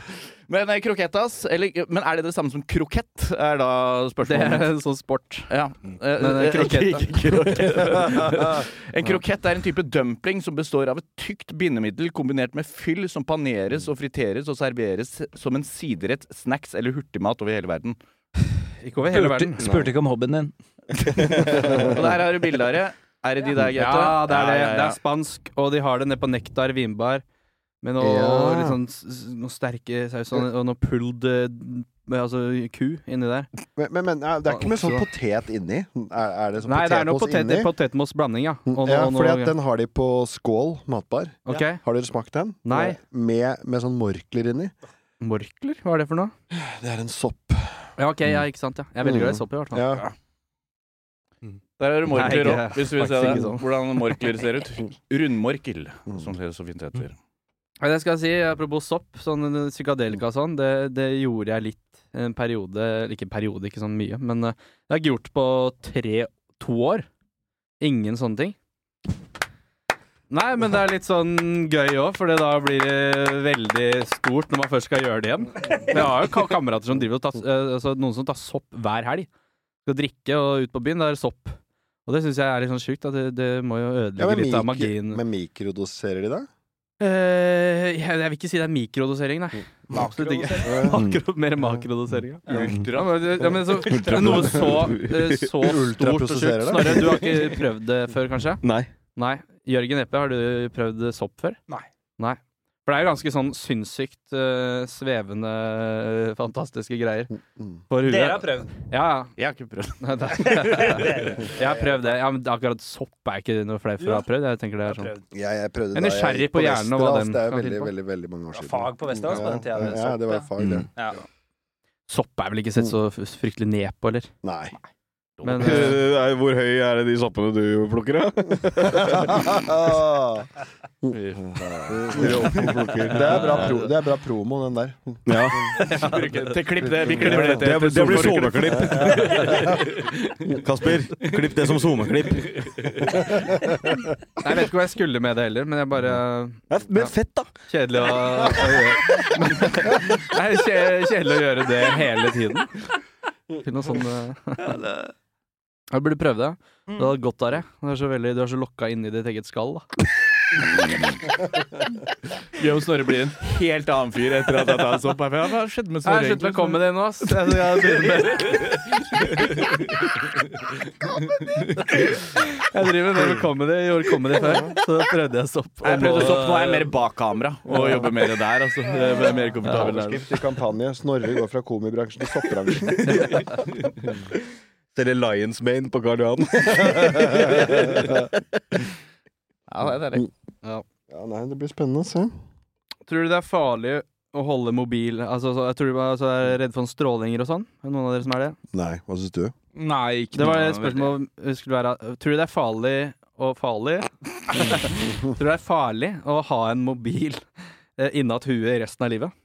Men eh, krokettas, eller Men er det det samme som krokett? Er da
Det
spørsmålet.
er
mitt.
en sånn sport.
Ja. Eh,
Men, eh,
eh,
krokett,
ikke- krokett. En krokett er en type dumpling som består av et tykt bindemiddel kombinert med fyll som paneres og friteres og serveres som en siderett, snacks eller hurtigmat over hele verden.
Ikke over hele verden.
Spurte ikke om hobbyen din.
Og der har du bildet av det. Er det de der, Gaute?
Ja, det er det.
Ja, ja,
Det
ja.
er spansk, og de har det nede på Nektar vinbar. Med noe,
Ja.
litt sånn, s- s- noe sterke saus og og noe pulled eh, med, altså, ku inni der.
Men, men, men ja, det er ikke med sånn potet inni? Er, er det sånn
Nei, det er noe
potetmos
potet,
inni?
potetmosblanding, Altså ja. Og,
ja,
og noe-
fordi at den har de på Skål matbar.
Ok.
Har dere smakt den? Eh,
Nei.
Med, med sånn morkler inni.
Morkler? Hva er det for noe? Mm.
Det er en sopp.
Ja, ok, ja, ikke sant. Ja. Jeg er veldig glad i sopp, i hvert fall.
Ja.
Der er det morkler
Nei,
òg,
ikke-
hvis du vil se
faktisk
det.
ikke sånn.
hvordan morkler ser ut. Rundmorkel, som det så fint heter.
Ja, Det skal jeg si, apropos sopp, sånn eh, psykadelika og sånn, det, det gjorde jeg litt en periode, eller ikke en periode, ikke sånn mye, men eh, det har jeg ikke gjort på tre, to år. Ingen sånne ting. Nei, men det er litt sånn gøy òg, for det da blir det veldig stort når man først skal gjøre det igjen. Men Jeg har jo ka- kamerater som driver og tar, eh, altså noen som tar sopp hver helg. Skal drikke og ut på byen, da er det sopp. Og det syns jeg er litt sånn sjukt, at det, det må jo
Ja,
ødelegge
men,
litt av
mikro-
magien.
men mikrodoserer de det?
Eh, jeg, jeg vil ikke si det er mikrodosering, nei. Absolutt ikke. Akro, mer makrodosering. Ja. Ja, men, ja, men så, noe så, eh, så stort og
Ultraprosesserer
sjukt.
det.
Snorre, du har ikke prøvd det før, kanskje?
Nei.
Nei. Jørgen Eppe, har du prøvd sopp før?
Nei.
Nei. For det er jo ganske sånn sinnssykt eh, svevende, eh, fantastiske greier
Mm.
for huet.
prøvd.
Ja, ja.
Jeg har ikke prøvd.
Nei, det er- Jeg har prøvd det. Ja, men akkurat sopp er ikke noe flere for å ha prøvd. Jeg tenker det er sånn.
Jeg, jeg prøvde
Jeg er
da
nysgjerrig
gikk
på hjernen og hva
Westerdals.
den
Det er
kan
veldig,
tilby.
veldig, veldig mange år siden.
Fag på Vesterdals på
altså,
den altså. tida, det er
Ja,
sopp,
det
ja.
var fag, det.
Ja.
Sopp er vel ikke sett så f- fryktelig ned på, eller?
Nei.
Men, eh,
Nei, Hvor høy er det de soppene du plukker, da?
Det er bra, pro det er bra promo, den der.
Ja.
Til klipp det. Vi klipper det
Det,
til.
det blir sommerklipp. Kasper, klipp det som sommerklipp.
Nei, Jeg vet ikke hva jeg skulle med det heller, men jeg bare
Ja, Men fett, da!
Kjedelig å, å gjøre Nei, kje, kjedelig å gjøre det hele tiden. Til noe sånn eh, Jeg burde prøve det.
Mm.
Du hadde godt av det. Du er så, veldig, du er så lokka inn i ditt eget skall. Da.
Jørgen Snorre blir en helt annen fyr etter at jeg tar sopp. Jeg bare, Hva skjedde med Snorre?
Jeg slutter med comedy nå, ass. Jeg skal begynne med Jeg driver med med comedy. Jeg gjorde comedy før, så da prøvde jeg sopp.
Jeg prøvde sopp, nå er jeg mer bak kamera og jobber mer der. Altså. Jeg er mer komfortabel der.
Overskrift i kampanje. Snorre går fra komibransjen til soppbransjen.
Selger Lions Mane på Karl Johan.
Ja, nei, det blir spennende å se.
Tror du det er farlig å holde mobil Altså, så, jeg tror du altså, er redd for strålinger og sånn? Er det Noen av dere som er det?
Nei, hva syns du?
Nei, ikke
Det var et spørsmål skulle være Tror du det er farlig og farlig? tror du det er farlig å ha en mobil eh, innat huet resten av livet?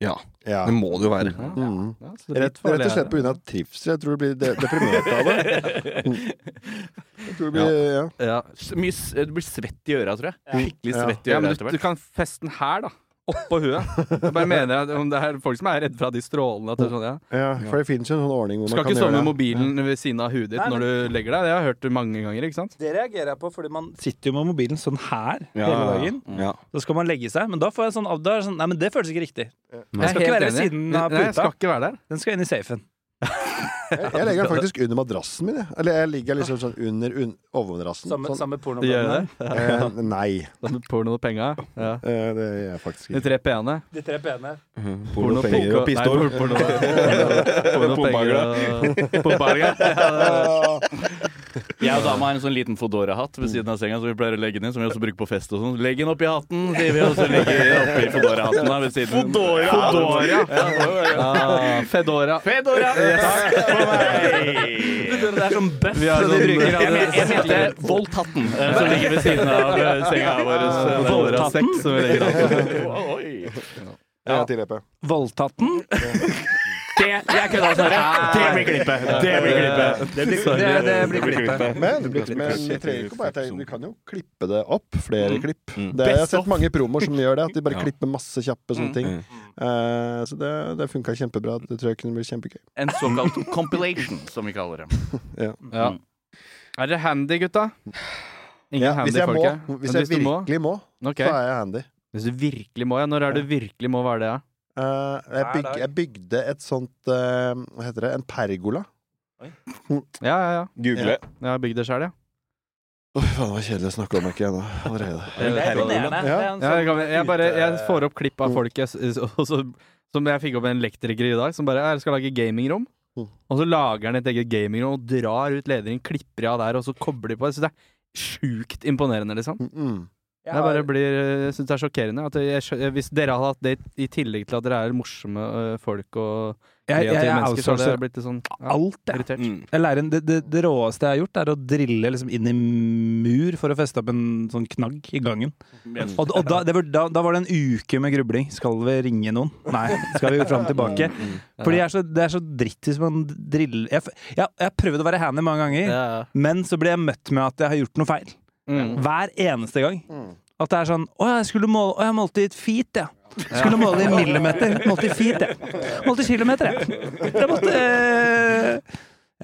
Ja.
Det må det jo være.
Mm.
Ja, så det er
Rett,
litt farlig,
rett og slett
er det.
pga. trivsel. Jeg tror du blir de deprimert av det. Jeg tror du blir, ja.
ja.
Mye, s- du blir svett i øra, tror jeg. Skikkelig
Ja.
svett i
ja,
øra
men
etter
du, du
hvert.
kan feste den her, da. Oppå huet. Jeg bare mener at om det er folk som er redd for at de strålene at det er sånn, ja.
ja, for det finnes jo en sånn ordning hvor
Skal
man kan
ikke sove
gjøre
med
det.
mobilen ved siden av huet ditt
Nei,
når du legger deg. Det har jeg hørt mange ganger, ikke sant?
Det reagerer jeg på, fordi man sitter jo med mobilen sånn her hele dagen.
Mm.
Ja.
Så skal man legge seg, men da får jeg sånn da er det sånn, Nei, men det føles ikke riktig.
Jeg er
skal ikke
helt
være ved
enig.
siden av
Nei, jeg skal
puta.
ikke være der.
Den skal inn i safen.
Jeg, jeg legger den faktisk under madrassen min. jeg. Eller jeg ligger liksom sånn under un overmadrassen.
Samme,
Sånn.
samme
Gjør
pornobladene.
det?
Eh, nei,
Da med porno og penga? Ja.
eh, det gjør jeg faktisk
De
ikke.
tre p-ene?
De tre p-ene.
Porno, penger og pistol.
Nei, porno, porno, porno, penger og Pompagla. Ja, det er-
Jeg og dama har en sånn liten Fodora-hatt ved siden av senga som vi pleier å legge ned, som vi også bruker på fest og sånn. Legg den oppi hatten, sier vi, og så legger vi den oppi Fodora-hatten da, ved siden. Fodora! Fodora.
Ah, Fedora.
Fedora! Takk for meg!
Det er som bøff.
Vi har
som de
sånn-
bruker
Jeg,
alle-
men, jeg mente Volt-hatten, eh, som ligger ved siden av eh, senga vår.
Eh, Fedora 6 som vi legger opp.
Ja. Til EP.
Voldtatten?
Det jeg altså. Ah. kødda, Snorre. Det blir klippet. Det blir klippet. Det blir
Det, det blir klippet.
Men, men vi trenger ikke å bare tegne. Vi kan jo klippe det opp. Flere klipp.
Mm.
Det, jeg har
Best
sett
of.
mange promoer som gjør det. At de bare
Ja.
klipper masse kjappe sånne ting.
Mm.
Eh, så det, det funka kjempebra. Det tror jeg kunne bli kjempegøy.
En såkalt compilation, som vi kaller det.
Ja. Er dere handy, gutta? Ingen
Ja,
handy
hvis jeg
folk,
må,
ja.
hvis
Men
jeg
du må,
virkelig må,
ok.
så er jeg handy.
Hvis du virkelig må, ja. Når er du virkelig må, hva er det, ja?
Eh, jeg,
Hver
byg,
dag.
jeg bygde et sånt eh, Hva heter det? En pergola.
Ja, ja, ja.
Google.
Jeg har bygd det sjøl, ja.
Åh, faen, det var kjedelig å snakke om ikke ennå. Allerede.
Det er imponerende. Det er en
Jeg,
sånn
kan- jeg, bare, jeg
ute-
får opp klipp
Mm.
av folk jeg, s- og så- som jeg fikk opp en elektriker i dag, som bare er, skal lage gamingrom.
Mm.
Og så lager han et eget gamingrom og drar ut ledningen, klipper av der, og så kobler de på. Jeg synes det er sjukt imponerende, liksom.
Mm.
Jeg
Jeg bare
har-
blir, jeg synes det er sjokkerende. At jeg, skjø- eh, hvis dere hadde hatt det i tillegg til at dere er morsomme øh, folk og
Jeg,
kreative
jeg, jeg
mennesker, så hadde
outsourcer
jeg blitt litt sånn ja,
alt, jeg.
irritert.
Mm.
Jeg lærer en, det, det, det råeste jeg har gjort, er å drille liksom inn i mur for å feste opp en sånn knagg i gangen. Og, og da, det var, da, da var det en uke med grubling. Skal vi ringe noen? Nei. Skal vi fram og tilbake? Fordi jeg er så, det er så dritt hvis man driller Jeg f- jeg jeg har prøvd å være handy mange ganger,
Ja, ja.
men så blir jeg møtt med at jeg har gjort noe feil. Hver eneste gang. At det er sånn Å, jeg skulle måle Å, jeg målte i et feet, ja. Skulle måle i millimeter. Målte i feet, jeg. Målte i kilometer, jeg. Jeg måtte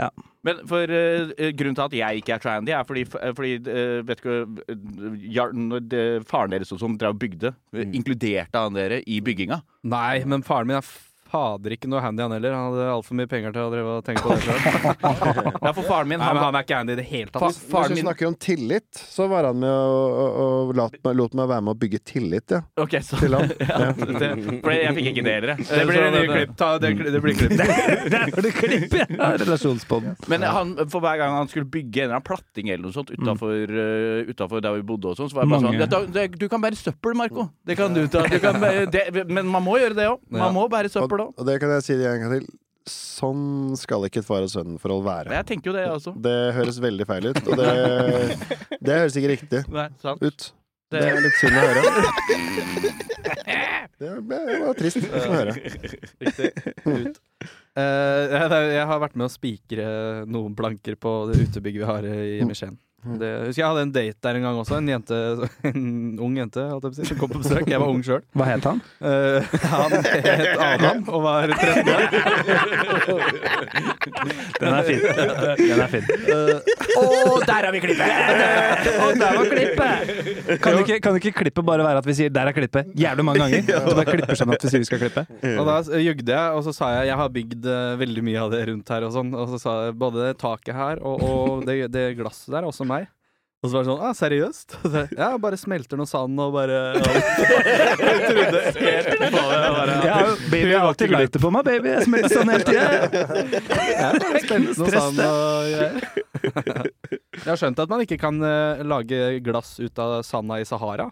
eh,
Men for eh, eh, grunnen til at jeg ikke er så handy, er fordi, eh, fordi eh, vet ikke, eh, jar- når det- faren deres og sånn drev og bygde, mm. inkluderte han dere i bygginga.
Nei, men faren min er fader ikke noe handy, han heller. Han hadde altfor mye penger til å drive og tenke på det selv.
Ja, for faren min,
Nei,
han,
men han er ikke handy i det hele tatt.
fa,
liksom.
Hvis
faren
vi
min
snakker om tillit, så var han med og, og, og lot, meg, lot meg være med å bygge tillit, ja.
Ok, så
Til han.
ja, det, For jeg fikk ikke det heller. jeg.
Det blir
Så Mm.
en ny
det-
klipp. Ta, det, det blir klipp.
Der var det klipp, ja! Relasjonspodden.
Men han, for hver gang han skulle bygge en eller annen platting eller noe sånt utafor, der vi bodde, og sånn, så var jeg bare
Mange.
sånn «Dette- det, Du kan bære søppel, Marco. Det kan du ta. Du kan bære, det, men man må gjøre det òg. Man må bære
Og,
søppel òg.
og det kan jeg si en gang til. Sånn skal ikke et far og sønn-forhold være.
Jeg tenker jo det, altså. jeg også.
Det høres veldig feil ut, og det, det høres ikke riktig
Nei, sant.
ut. Det
Det,
er litt synd å høre. Det ble- det var trist å høre.
Eh, jeg, det er- jeg har vært med å spikre noen planker på det utebygget vi har eh, hjemme i Skien. Det, jeg husker jeg hadde en date der en gang også. En, jente, en ung jente holdt jeg på å si, som kom på besøk. Jeg var ung sjøl.
Hva het han?
han het Adam og var 13 år.
Den er fin. Den er fin. Eh,
Og der var klippet!
Kan ikke, kan ikke klippet bare være at vi sier 'der er klippet' jævlig mange ganger? Og det bare klipper seg med at vi sier vi skal klippe?
Og da eh, jugde jeg, og så sa jeg jeg har bygd eh, veldig mye av det rundt her og sånn. Og så sa jeg både taket her og, og det, det glasset der, er også meg. Og så var det sånn ah, seriøst? Og så, ja, bare smelter noe sand og bare
Jeg har jo- baby jeg har alltid lighter på meg, baby. Jeg smelter sånn hele tida.
Spennende noe sand og greier. Jeg har skjønt at man ikke kan eh, lage glass ut av sanda i Sahara,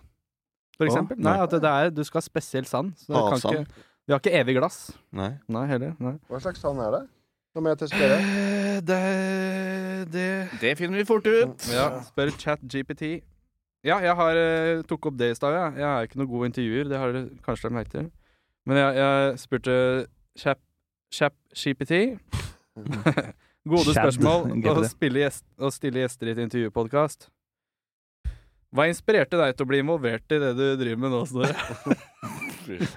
for
Å,
eksempel.
nei.
Nei, at det er, du skal ha spesiell sand. Så du kan
Havsand.
ikke, vi har ikke evig glass.
Nei.
Nei, heller. Nei.
Hva slags sand er det? Nå må jeg testere.
Det, det
det finner vi fort ut.
Ja, spør ChatGPT. Ja, jeg har, eh, tok opp det i stad, jeg. Jeg er ikke noen god intervjuer, det har dere kanskje lagt merke til. Men jeg, jeg spurte Chap, Chap GPT. Gode
Chad
spørsmål å,
GPT.
spille gjest, å stille gjester i et intervjupodkast. Hva inspirerte deg til å bli involvert i det du driver med nå, Snorre?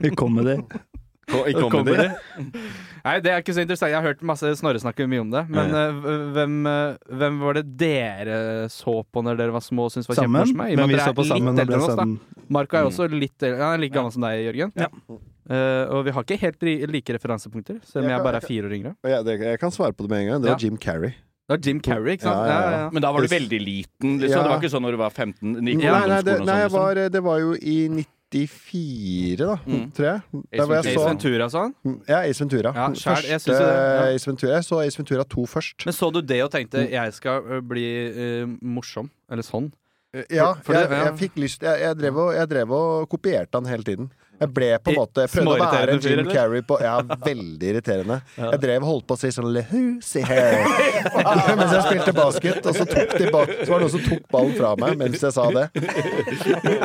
Vi kom med det.
I comedy?
Nei, det er ikke så interessant. Jeg har hørt masse Snorre snakke mye om det. Men eh, v- hvem, eh, hvem var det dere så på når dere var små og syntes var
Sammen.
kjempemorsomt?
Men vi så på sammen og
og
ble
da.
sammen. Mm.
Marco er jo også litt eldre. Han er like gammel som deg, Jørgen.
Ja.
Eh, og vi har ikke helt ri- like referansepunkter, selv om
Jeg
jeg
kan-
bare
jeg
er
kan-
fire år yngre.
Og Jeg, det, jeg kan svare på det med en gang. Det
Ja.
var Jim Carrey.
Det var Jim Carrey, ikke
Ja,
sant?
ja, ja.
Men da var du veldig liten, liksom.
Ja.
Det var ikke sånn når du var 15?
Nei, nei,
Gikk på
det,
ungdomsskolen og
nei
sånn,
jeg var, det var jo i 90 94, da,
Mm.
tror jeg. Der hvor jeg
Ace
så
Ventura og sånn?
Mm.
Ja, Ace Ventura.
Ja, skjær,
Første
jeg synes jo det, ja.
Ace Ventura. Jeg så Ace Ventura 2 først.
Men så du det og tenkte jeg skal ø, bli ø, morsom? Eller sånn?
ja,
for
jeg,
det- ja.
jeg fikk lyst Jeg, jeg, drev og, jeg drev og kopierte han hele tiden. Jeg ble på en
I-
måte Jeg prøvde å være
småirriterende fyr,
Jim
eller?
Carrey på Ja, veldig irriterende. Jeg drev og holdt på å si sånn Le hoosie hair mens jeg spilte basket, og så, tok de ba så var det noen som tok ballen fra meg mens jeg sa det.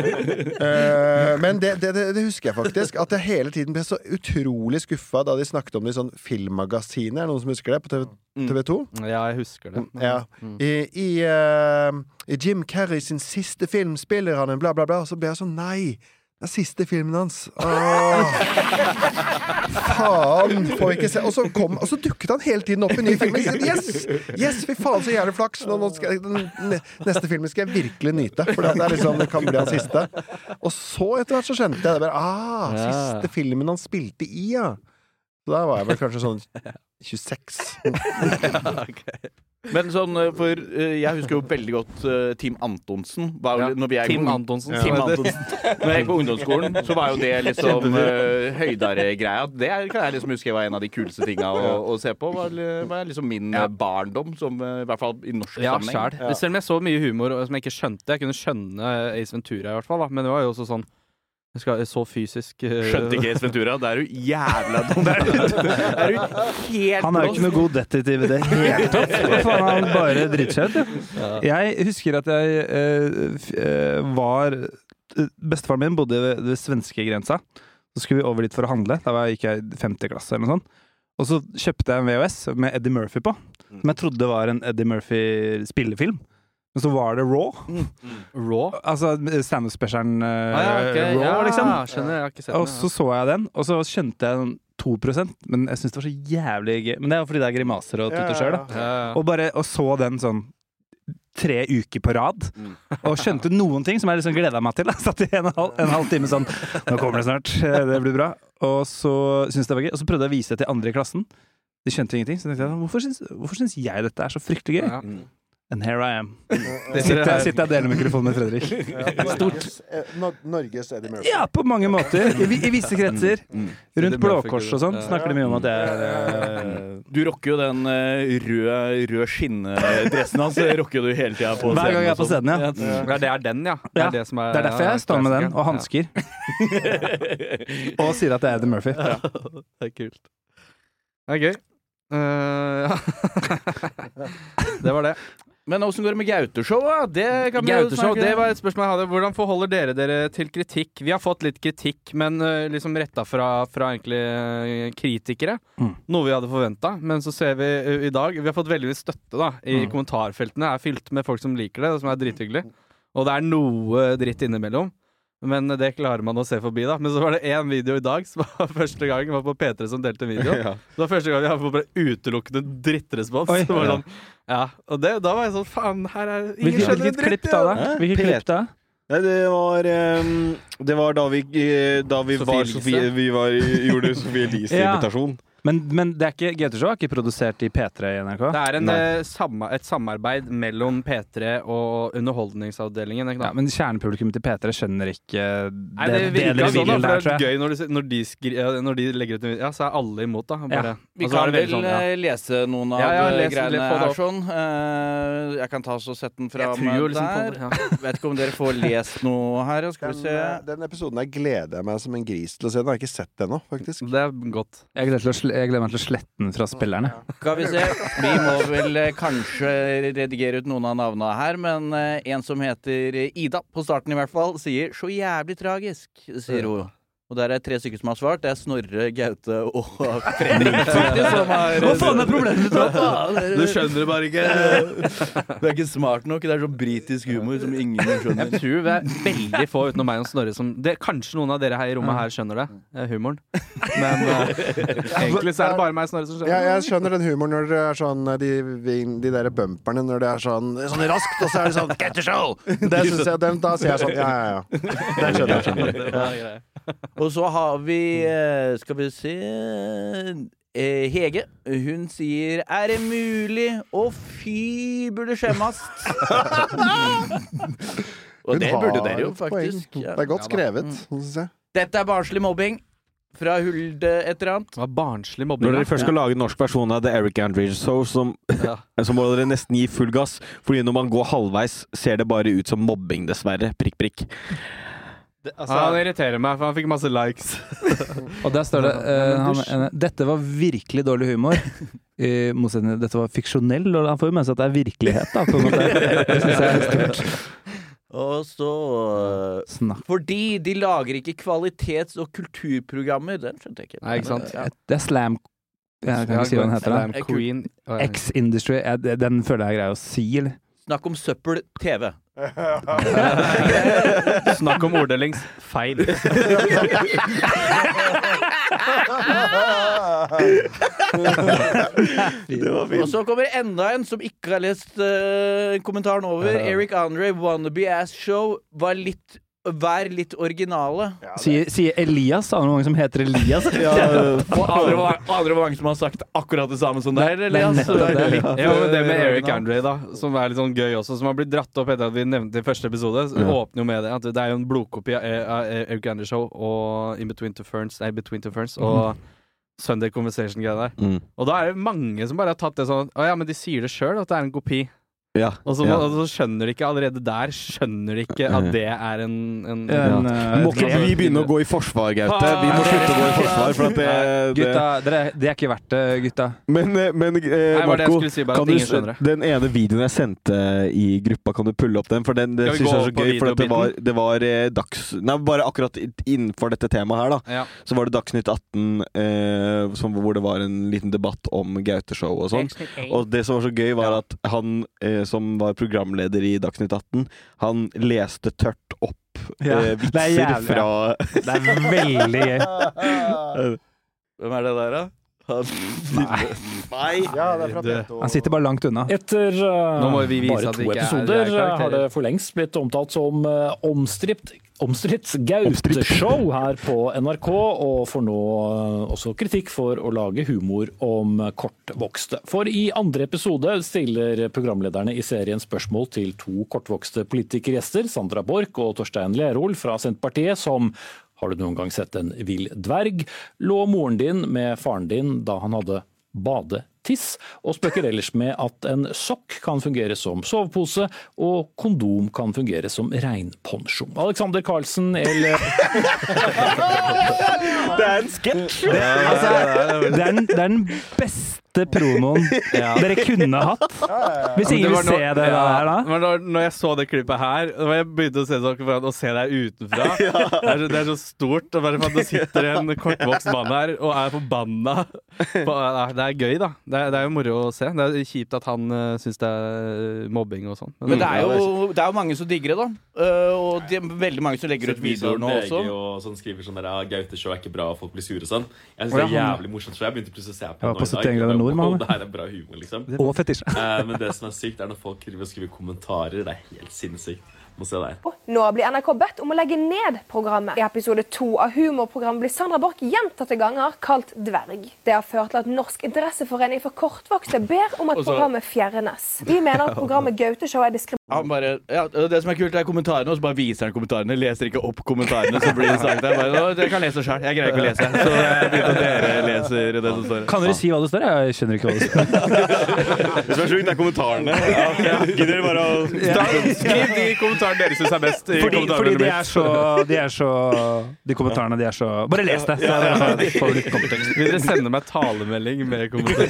Eh, men det, det, det, det husker jeg faktisk. At jeg hele tiden ble så utrolig skuffa da de snakket om det i sånn Filmmagasinet, er det noen som husker det? På TV,
Mm.
TV 2?
Ja, jeg husker det.
Liksom. Ja. I, i, eh, I Jim Carrey sin siste film spiller han en bla, bla, bla, og så ble jeg sånn Nei! Det er siste filmen hans. Åh. Faen! Får vi ikke se. Og så, kom, og så dukket han hele tiden opp i nye filmer. Jeg tenkte, Yes! yes, Fy faen, så jævlig flaks! Nå, nå skal jeg, den ne- neste filmen skal jeg virkelig nyte, for det, er liksom, det kan bli hans siste. Og så etter hvert så skjønte jeg det. Bare, ah, Siste filmen han spilte i, ja. Så da var jeg vel kanskje sånn 26.
Men sånn, eh, for eh, jeg husker jo veldig godt eh, Team Antonsen. Var, jo- når vi er
Tim Antonsen.
Tim Antonsen. Når jeg gikk på ungdomsskolen, så var jo det liksom uh, høydere-greia. Det er- kan jeg liksom huske var en av de kuleste tinga å, å se på. Var, var liksom min eh, barndom, som eh, i hvert fall i norsk
Ja,
sammenheng.
sjæl. Selv om jeg så mye humor og- som jeg ikke skjønte. Jeg kunne skjønne Ace Ventura, i hvert fall. da Men det var jo også sånn jeg skal, Så fysisk eh, ø,
Skjønte ikke Ace Ventura. Det er du jævla dum. Det er du, det er du helt
Han er jo ikke noe god detektiv i det hele tatt. Hva faen, han bare driter seg ut, jo. Jeg husker at jeg eh, f- eh, var eh, Bestefaren min bodde ved, ved svenskegrensa. Så skulle vi over dit for å handle. Da var jeg, gikk jeg i 50. klasse eller noe sånt. Og så kjøpte jeg en VHS med Eddie Murphy på,
Mm.
som jeg trodde var en Eddie Murphy-spillefilm. Men så var det Raw.
raw.
Altså standup-spesialen eh,
Mm. Ah, ja, ok.
Raw,
ja,
liksom.
Skjønner, jeg har ikke sett
Og
den,
så så jeg den, og så skjønte jeg den 2 men jeg syns det var så jævlig gøy. Men det er jo fordi det er grimaser og tutter sjøl, da.
ja. Ja, ja.
Og bare og så den sånn tre uker på rad,
Mm.
og skjønte noen ting som jeg liksom gleda meg til. da. Satt i en, halv, en halv time sånn Nå kommer det snart, eh, det blir bra. Og så syntes jeg det var gøy. Og så prøvde jeg å vise det til andre i klassen. De skjønte ingenting. Så tenkte jeg hvorfor syns, hvorfor syns jeg dette er så fryktelig gøy?
Ja.
And here I am.
Det-
Sitter jeg sitter jeg og deler mikrofonen med Fredrik.
Norges, eh, Nor- Norges Eddie Murphy.
Ja, på mange måter. I, vi- i visse kretser. Rundt
Det bør
Blå Kors og sånn
fungere.
snakker de mye om at eh, jeg er
Du rocker jo den eh, røde, røde skinndressen hans. eh, rocker du hele tida på
Hver gang jeg er på
også.
scenen, ja.
Ja, det er den, ja. Det
Ja,
er, det som er,
Det er derfor jeg står med den, og
klassikeren.
hansker. og sier at det er Eddie Murphy.
Det er kult. Det er gøy. Eh, ja. det var det.
Men åssen går det med Gauteshow, da? Det kan vi jo
Gauteshow,
snakke-
det var et spørsmål jeg hadde. Hvordan forholder dere dere til kritikk? Vi har fått litt kritikk, men eh, liksom retta fra, fra egentlig eh, kritikere.
Mm.
Noe vi hadde forventa. Men så ser vi eh, i dag Vi har fått veldig mye støtte da i
Mm.
kommentarfeltene. Er fylt med folk som liker det, og som er drithyggelig. Og det er noe dritt innimellom. Men eh, det klarer man å se forbi, da. Men så var det én video i dag som var første gang var på P3 som delte en video. Det var første gang jeg fikk bare utelukkende drittrespons.
Oi.
det var sånn, ja. Og det, da var jeg sånn Faen, her er ingen
Hvilket,
skjønner en
hvilket
dritt,
klipp da? da?
Hæ?
Hvilket
P1.
klipp da?
Nei, det var ehm, Det var da vi, eh, da vi
Sophie
var
Elise.
Sofie, Vi var, gjorde Sofie
Ja.
Elise-invitasjon.
Men, men det er ikke, GT Show er ikke produsert i P3 i NRK?
Det er en,
Nei.
eh, sama, et samarbeid mellom P3 og Underholdningsavdelingen. Ikke,
Ja,
da?
men kjernepublikummet til P3 skjønner ikke
Nei, det
det, det
virker
dere
sånn, da, for
vil der,
det
tror jeg.
er gøy når, du, ser- når, de skri, ja, når de legger ut en video. Ja, så er alle imot, da. Bare.
Ja.
Vi
Og så er
kan
det
vel
veldig sånn, ja.
eh, lese noen av
Ja, ja,
eh,
les- le-
greiene
få det
her
opp.
sånn. Eh, jeg kan ta så sette den fra
Jeg tror
meg
jo liksom på
der.
det. Ja.
Vet ikke om dere får lest noe her. Skal
Den,
vi se.
eh, den episoden der gleder jeg meg som en gris til å se. Den har jeg ikke sett ennå, faktisk.
Det er godt.
Jeg gleder, til å, sle- jeg gleder meg til å slette den fra spillerne.
Skal vi se. Vi må vel eh, kanskje redigere ut noen av navnene her, men eh, en som heter Ida, på starten i hvert fall, sier 'så jævlig tragisk', sier hun. Og der er tre stykker som har svart. Det er Snorre, Gaute og Fredrik. faktisk, som har-
Hva faen er problemet ditt? da?
Du skjønner det bare ikke. Det er ikke smart nok. Det er sånn britisk humor som ingen skjønner.
Jeg tror det er veldig få utenom meg og Snorre som det, Kanskje noen av dere her i rommet her skjønner det, eh, humoren. Men eh, egentlig så er det bare meg og Snorre som skjønner det.
Ja, jeg skjønner den humoren når det er sånn eh, De, vin- de der bumperne når det er sånn Sånn raskt, og så er det sånn Get the show! Det synes jeg, den, da sier jeg sånn Ja, ja, ja. Den skjønner jeg. skjønner jeg.
Og så har vi eh, Skal vi se eh, Hege. Hun sier 'er det mulig'? Å, fy, burde skjemmes.
Og det
har
burde dere jo,
et poeng.
faktisk. Ja.
Det er godt skrevet, syns jeg.
Dette er barnslig mobbing fra Hulde et eller annet.
Det var barnslig
Når
mobbing.
dere først skal lage en norsk versjon av The Eric Andrews Show, som, så må dere nesten gi full gass. Fordi når man går halvveis, ser det bare ut som mobbing, dessverre. Prikk, prikk.
han irriterer meg, for han fikk masse likes.
Og der står det eh, han, eh, Dette var virkelig dårlig humor. I motsetning til dette var fiksjonell. og Han får jo med seg at det er virkelighet, da. på en måte. Det synes jeg er stort.
Og så øh,
Snakk.
Fordi de lager ikke kvalitets- og kulturprogrammer. Den skjønte jeg ikke.
Nei, ikke sant?
Ja.
Det er slam... Jeg kan ikke si hva den heter. da.
Slam Queen.
X-Industry. eh, det- Den føler jeg er grei å si, eller?
Snakk om søppel TV.
Snakk om orddelings feil.
Og så kommer enda en som ikke har lest øh, kommentaren over. Eric Andre, Wannabe Ass Show, var litt Vær litt originale.
Sier, sier Elias? Aner du hvor mange som heter Elias?
Og andre var, andre var mange som har sagt akkurat det samme som deg,
det er
Elias.
nettopp
Det er
det.
litt,
Ja, men det med
øh,
Eric
originalt.
Andre, da, som er litt sånn gøy også, som har blitt dratt opp etter at vi nevnte det i første episode, så åpner jo med det. At det er jo en blodkopi av eh, av Eric Andre Show og In Between Two Ferns, nei, Between Two Ferns
Mhm.
og Sunday Conversation-greia der.
Mm.
Og da er det mange som bare har tatt det sånn Å ja, men de sier det sjøl at det er en kopi.
Ja.
Og så,
ja.
og så skjønner de ikke allerede der skjønner de ikke at det er en, en
En, eh,
Må ikke vi begynne å gå i forsvar, Gaute. Vi må slutte å gå i forsvar. For at det, det.
Gutta, dere, det er ikke verdt det, gutta.
Men, eh, men eh,
Nei, var det jeg
Marco,
skulle si, bare
kan
at
du,
ingen skjønner det.
den ene videoen jeg sendte eh, i gruppa, kan du pulle opp den? For den det
Skal vi
syns jeg
gå
er så
på
gøy. For at det var,
videobiten?
det var eh, dags... Nei, bare akkurat i- innenfor dette temaet her, da.
Ja.
Så var det Dagsnytt 18, eh, som, hvor det var en liten debatt om Gaute-show og sånn. Og det som var så gøy, var at han eh, som var programleder i Dagsnytt 18, han leste tørt opp
Ja, det
eh,
er
vitser
jævlig,
fra
Det er veldig gøy.
Hvem er det der, da?
Ja, det er fra P2.
Han sitter bare langt unna.
Etter eh,
Nå må vi vise
bare
at
to
vi ikke er-
episoder
det er karakterer.
eh, har det for lengst blitt omtalt som eh, omstript omstridt Gaute-show her på NRK, og får nå eh, også kritikk for å lage humor om eh, kortvokste. For i andre episode stiller programlederne i serien spørsmål til to kortvokste politikergjester, Sandra Borch og Torstein Lerol fra Senterpartiet, som har du noen gang sett en vill dverg? Lå moren din med faren din da han hadde badetiss, og spøker ellers med at en sokk kan fungere som sovepose, og kondom kan fungere som regnponsjo. Alexander Carlsen eller
Altså, Det er, den, det er den beste promoen dere kunne hatt. Hvis ingen vil se det der, da.
Men når, når jeg så det klippet her, og jeg begynte å se det foran, og se deg utenfra det, er så, det er så stort. Og bare for at det sitter en kortvokst mann her og er forbanna. På, nei, det er gøy, da. Det er, det er jo moro å se. Det er kjipt at han uh, syns det er mobbing og sånn.
Men det er,
Mm.
jo, det er jo mange som digger det, da. Eh, og det er veldig mange som legger ut videoer nå også.
Og sånn skriver sånn der, «Ah, Gaute show er ikke bra, folk blir sure og sånn. Jeg synes det er jævlig morsomt show. Jeg begynte plutselig å se på
var
det
på
nå i
71 grader
og
nord,
bare,
mann.
«Å, Det her er bra humor, liksom.
Og fetisj.
Eh, Men det som er sykt, er når folk driver og skriver kommentarer. Det er helt sinnssykt. Må se der.
Nå blir NRK bedt om å legge ned programmet. I episode to av humorprogrammet blir Sandra Borch gjentatte ganger kalt dverg. Det har ført til at Norsk interesseforening for kortvokste ber om at programmet fjernes. Vi mener at programmet Gauteshow er diskriminert.
Han bare, ja, det som er kult, er kommentarene, og så bare viser han kommentarene. Leser ikke opp kommentarene som blir sagt der. Bare, «Å, dere kan lese sjøl. Jeg greier ikke å lese. Så jeg begynte at dere leser det som står.
Kan dere si hva det står? Jeg skjønner ikke hva det står.
Det som er sjukt, er kommentarene. Gidder dere bare å
Skriv de kommentarene dere syns er best. I
Fordi, fordi
kommentarene
de er så De er så De kommentarene, de er så Bare les det! Så dere får litt kontekst.
Vil dere sende meg talemelding med kommentarer?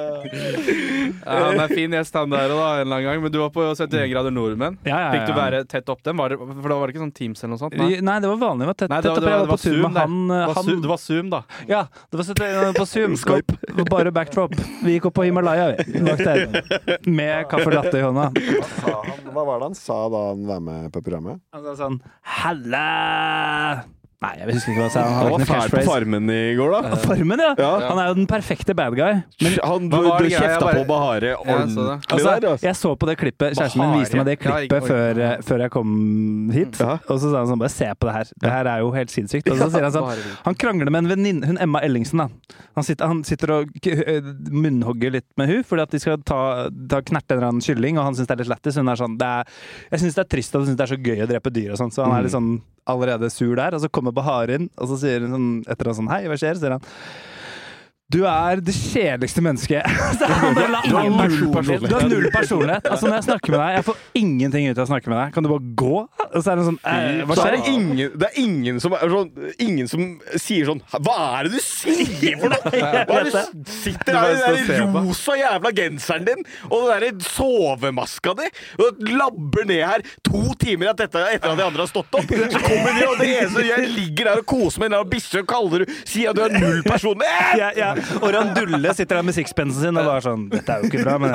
ja, han er fin gjest, han der òg, en eller annen gang. Men du var på 71 grader nordmenn.
Ja, ja, ja.
Fikk du være tett opp dem? Var det, for da var det ikke sånn Teams eller noe sånt? Nei.
Nei, det var vanlig. Det var tett,
Nei, det
tett
var,
opp.
det
Jeg
var,
var på Zoom med han,
da. Det
eh,
var
han
Zoom, det var Zoom, da.
Ja, det var 71 på Zoom. Skype. Bare backdrop. Vi gikk opp på Himalaya, vi. Bak der. Med kaffe latte i hånda.
Sa han- Hva var det han sa da han var med på programmet?
Han sa sånn Halla! Altså, Nei, jeg husker ikke hva jeg sa. Han
Han
har
var
ikke noe
fæl på
catchphrase.
Farmen i går, da.
Farmen, ja.
Ja.
Han er jo den perfekte bad guy. Men
han
Hva var det greia? Jeg
kjefta
bare-
på Bahare
jeg så
ordentlig
det.
der.
altså,
Altså.
jeg så på det klippet Kjæresten min viste meg det
Ja, ikke-
klippet før, eh, før jeg kom hit. Og så sa han sånn Bare se på det her. Det her er jo helt sinnssykt. Og så sier han sånn Han krangler med en venninne, hun Emma Ellingsen, da. Han sitter, han sitter og k- øh, munnhogger litt med hun fordi at de skal ta, ta knerte en eller annen kylling, og han syns det er litt lættis. Hun er sånn det er, Jeg syns det er trist, og hun syns det er så gøy å drepe dyr og sånn, så
Mm.
han er litt sånn allerede sur der. Og så kommer Bahar inn, og så sier hun sånn etter han sånn Hei, hva skjer? Så sier han du er det kjedeligste mennesket. Så han bare la ingen personlighet. Du har null personlighet. Altså Når jeg snakker med deg, jeg får ingenting ut av å snakke med deg. Kan du bare gå? Og så er det sånn eh, Hva
Så er
skjer?
det, ingen, det er ingen som, er sånn, ingen som sier sånn Hva er det du sier for noe?! Hva er det du sitter her i den der rosa jævla genseren din og den der sovemaska di og labber ned her to timer etter, etter at de andre har stått opp? Så kommer de, og det eneste jeg ligger der og koser meg med en bikkje og kaller du Sier at du har null Eh! personlighet!
Ja, ja. Og Randulle sitter der med sixpensen sin og bare sånn Dette er jo ikke bra, men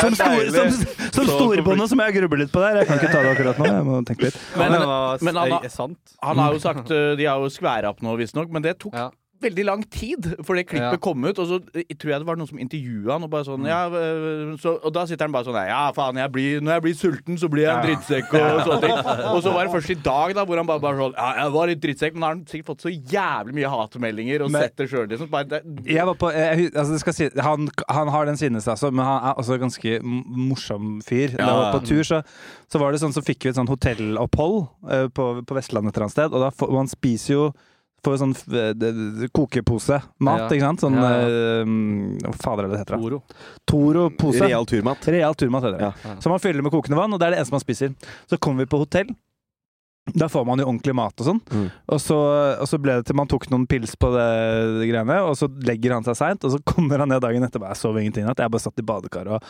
Som, store, som, som storebonde som jeg grubler litt på der. Jeg kan ikke ta det akkurat nå. Jeg må tenke litt.
Men,
det var
men han har-
er sant.
Han har jo
Mm.
sagt eh, De har jo skværa opp nå, visstnok, men det tok
Ja.
veldig lang tid for det klippet
Ja.
kom ut. Og så eh, tror jeg det var noen som intervjua han, og bare
Mm.
sånn ja, eh, så, Og da sitter han bare sånn nei, Ja, faen, jeg blir, når jeg blir sulten, så blir jeg en drittsekk og sånne ting. Og så var det først i dag, da, hvor han bare, bare sånn Ja, jeg var litt drittsekk, men da har han sikkert fått så jævlig mye hatmeldinger og
Men-
sett det sjøl, liksom. Bare, det,
Jeg var på, jeg, hu- altså det skal si, han, han har den siden seg, altså, men han er også en ganske m- morsom fyr. Da jeg var på tur, så, så var det sånn, så fikk vi et sånn hotellopphold eh, på, på Vestlandet et eller annet sted. Og da får, man spiser jo Får jo sånn f- d- d- kokepose mat,
Ja.
ikke sant? Sånn
Ja, ja.
eh, Hva fader er det det heter? Toro. Toro-pose.
Real turmat.
Real turmat heter det.
Ja.
Så man fyller med kokende vann, og det er det eneste man spiser. Så kommer vi på hotell. Da får man jo ordentlig mat og sånn.
Mm.
Og, så, og så ble det til man tok noen pils på det, det greiene, og så legger han seg seint, og så kommer han ned dagen etterpå. Jeg sov ingenting i natt. Jeg bare satt i badekaret og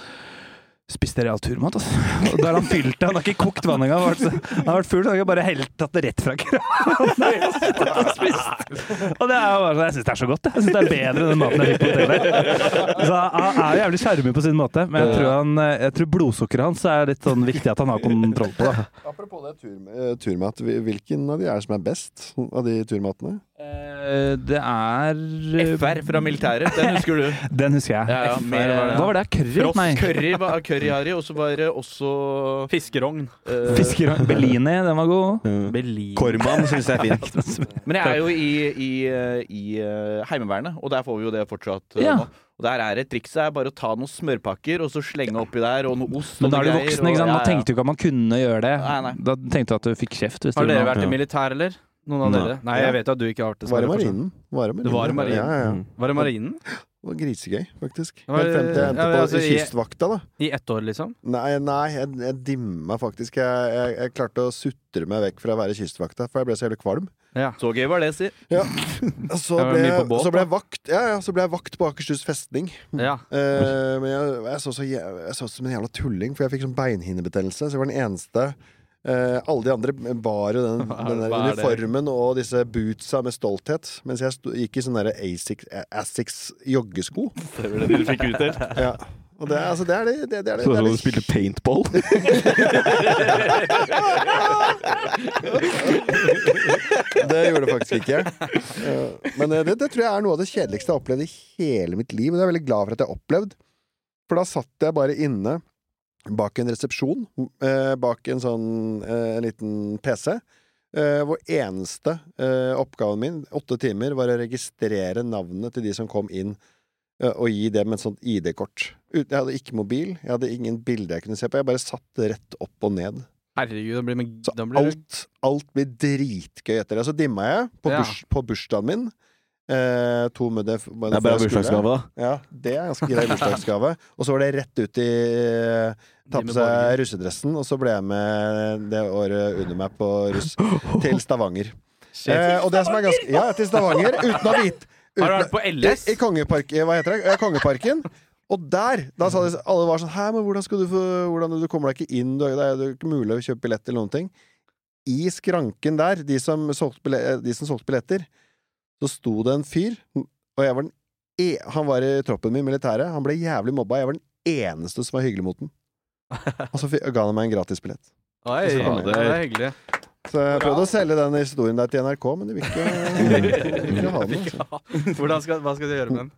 spiste real turmat. Altså. Og da har han fylt det. Han har ikke kokt vann engang. Han har vært så- Han har vært full, så han har bare helt tatt det rett fra kranen. og spist. Og det er jo bare sånn Jeg syns det er så godt, jeg. Jeg synes det er bedre enn den maten jeg fikk på hotellet. Så han er jo jævlig sjarmig på sin måte, men jeg tror, han, jeg tror blodsukkeret hans er litt sånn viktig at han har kontroll på. Da.
Apropos det, tur, eh, turmat. Hvil- Hvilken av de er som er best av de turmatene?
Eh, Det er eh,
FR fra militæret, den husker du.
Den husker jeg.
Ja, ja, mer var det.
Hva var det? Curry?
Frost,
Nei.
curry, var- curry Harry, og så var det også
Fiskerogn.
eh,
Fisker Bellini, den var god.
Mm. Korman syns jeg er fint.
Men jeg er jo i, i, eh, i eh, Heimevernet, og der får vi jo det fortsatt eh,
Ja.
nå. Og der er et triks det er bare å ta noen smørpakker og så slenge oppi der, og noe ost.
Men
og
da er du
noe greier,
voksen, ikke sant? Da
og- ja, ja.
tenkte du ikke at man kunne gjøre det.
Nei, nei.
Da tenkte du at du fikk kjeft. Hvis
Har
du
dere
var-
vært i militær, eller? Noen av
Nei.
dere? Nei, jeg vet jo at du ikke har vært
Var
det.
i
Snorre, fortsatt.
marinen. Var i marinen.
Det var i marinen.
Ja, ja, ja.
Mm.
Var det marinen?
Det var grisegøy, faktisk.
var-
Helt frem til jeg endte
ja, men
på
altså, jeg-
kystvakta, da.
I ett år, liksom?
Nei, nei jeg, jeg dimma faktisk. Jeg, jeg, jeg klarte å sutre meg vekk fra å være kystvakta, for jeg ble så jævlig kvalm.
Så gøy var det, si.
Så
Det var
ble,
mye på båt,
så ble jeg vakt ja, ja, så ble jeg vakt på Akershus festning.
Ja.
Eh, men jeg, jeg, så så, jæv- jeg så ut som en jævla tulling, for jeg fikk sånn beinhinnebetennelse. Så jeg var den eneste. Eh, alle de andre bar jo den, den der
hva er det?
uniformen og disse bootsa med stolthet, mens jeg sto, gikk i sånne der Asics, Asics joggesko. Ja. Og det, er- altså, det er det, det, det, er det,
Sånn som
det, er
du
det
spilte paintball.
Det gjorde det faktisk ikke. Eh, Men eh, det, det tror jeg er noe av det kjedeligste jeg har opplevd i hele mitt liv. Og det er jeg veldig glad for at jeg har opplevd. For da satt jeg bare inne bak en resepsjon, eh, bak en sånn eh, en liten PC, eh, hvor eneste eh, oppgaven min, åtte timer, var å registrere navnet til de som kom inn, eh, og gi dem et sånt ID-kort. Ut- Jeg hadde ikke mobil, jeg hadde ingen bilder jeg kunne se på, jeg bare satt rett opp og ned.
Herregud, da blir det
Så
da blir det-
alt, alt blir dritgøy etter det. Så dimma jeg på,
Ja.
burs, på bursdagen min. Eh, to mødre f-
Det er bra bursdagsgave, da.
Ja, det er ganske grei bursdagsgave. Og så var det rett ut i eh, Ta på
Dimmer
seg
Borger.
russedressen, og så ble jeg med det året under meg på russ til Stavanger. Eh, og det som er ganske Ja, til Stavanger, uten å vite uten,
Har du vært på LS?
i, i Kongepark, Hva heter det? Ja, Kongeparken. Og der! Da sa de, alle var sånn Hæ, men hvordan skal du få hvordan, Du kommer deg ikke inn, du, det er jo ikke mulig å kjøpe billett eller noen ting. I skranken der, de som solgte, bille- eh, de som solgte billetter, så sto det en fyr, og jeg var den e Han var i troppen min i militæret, han ble jævlig mobba, jeg var den eneste som var hyggelig mot den. Og så fi- ga han meg en gratisbillett.
Oi,
Så kom
ja, det er hyggelig.
Så jeg prøvde å selge den historien der til NRK, men de vil ikke, de vil ikke ha den. altså.
Hvordan skal, hva skal du gjøre med den?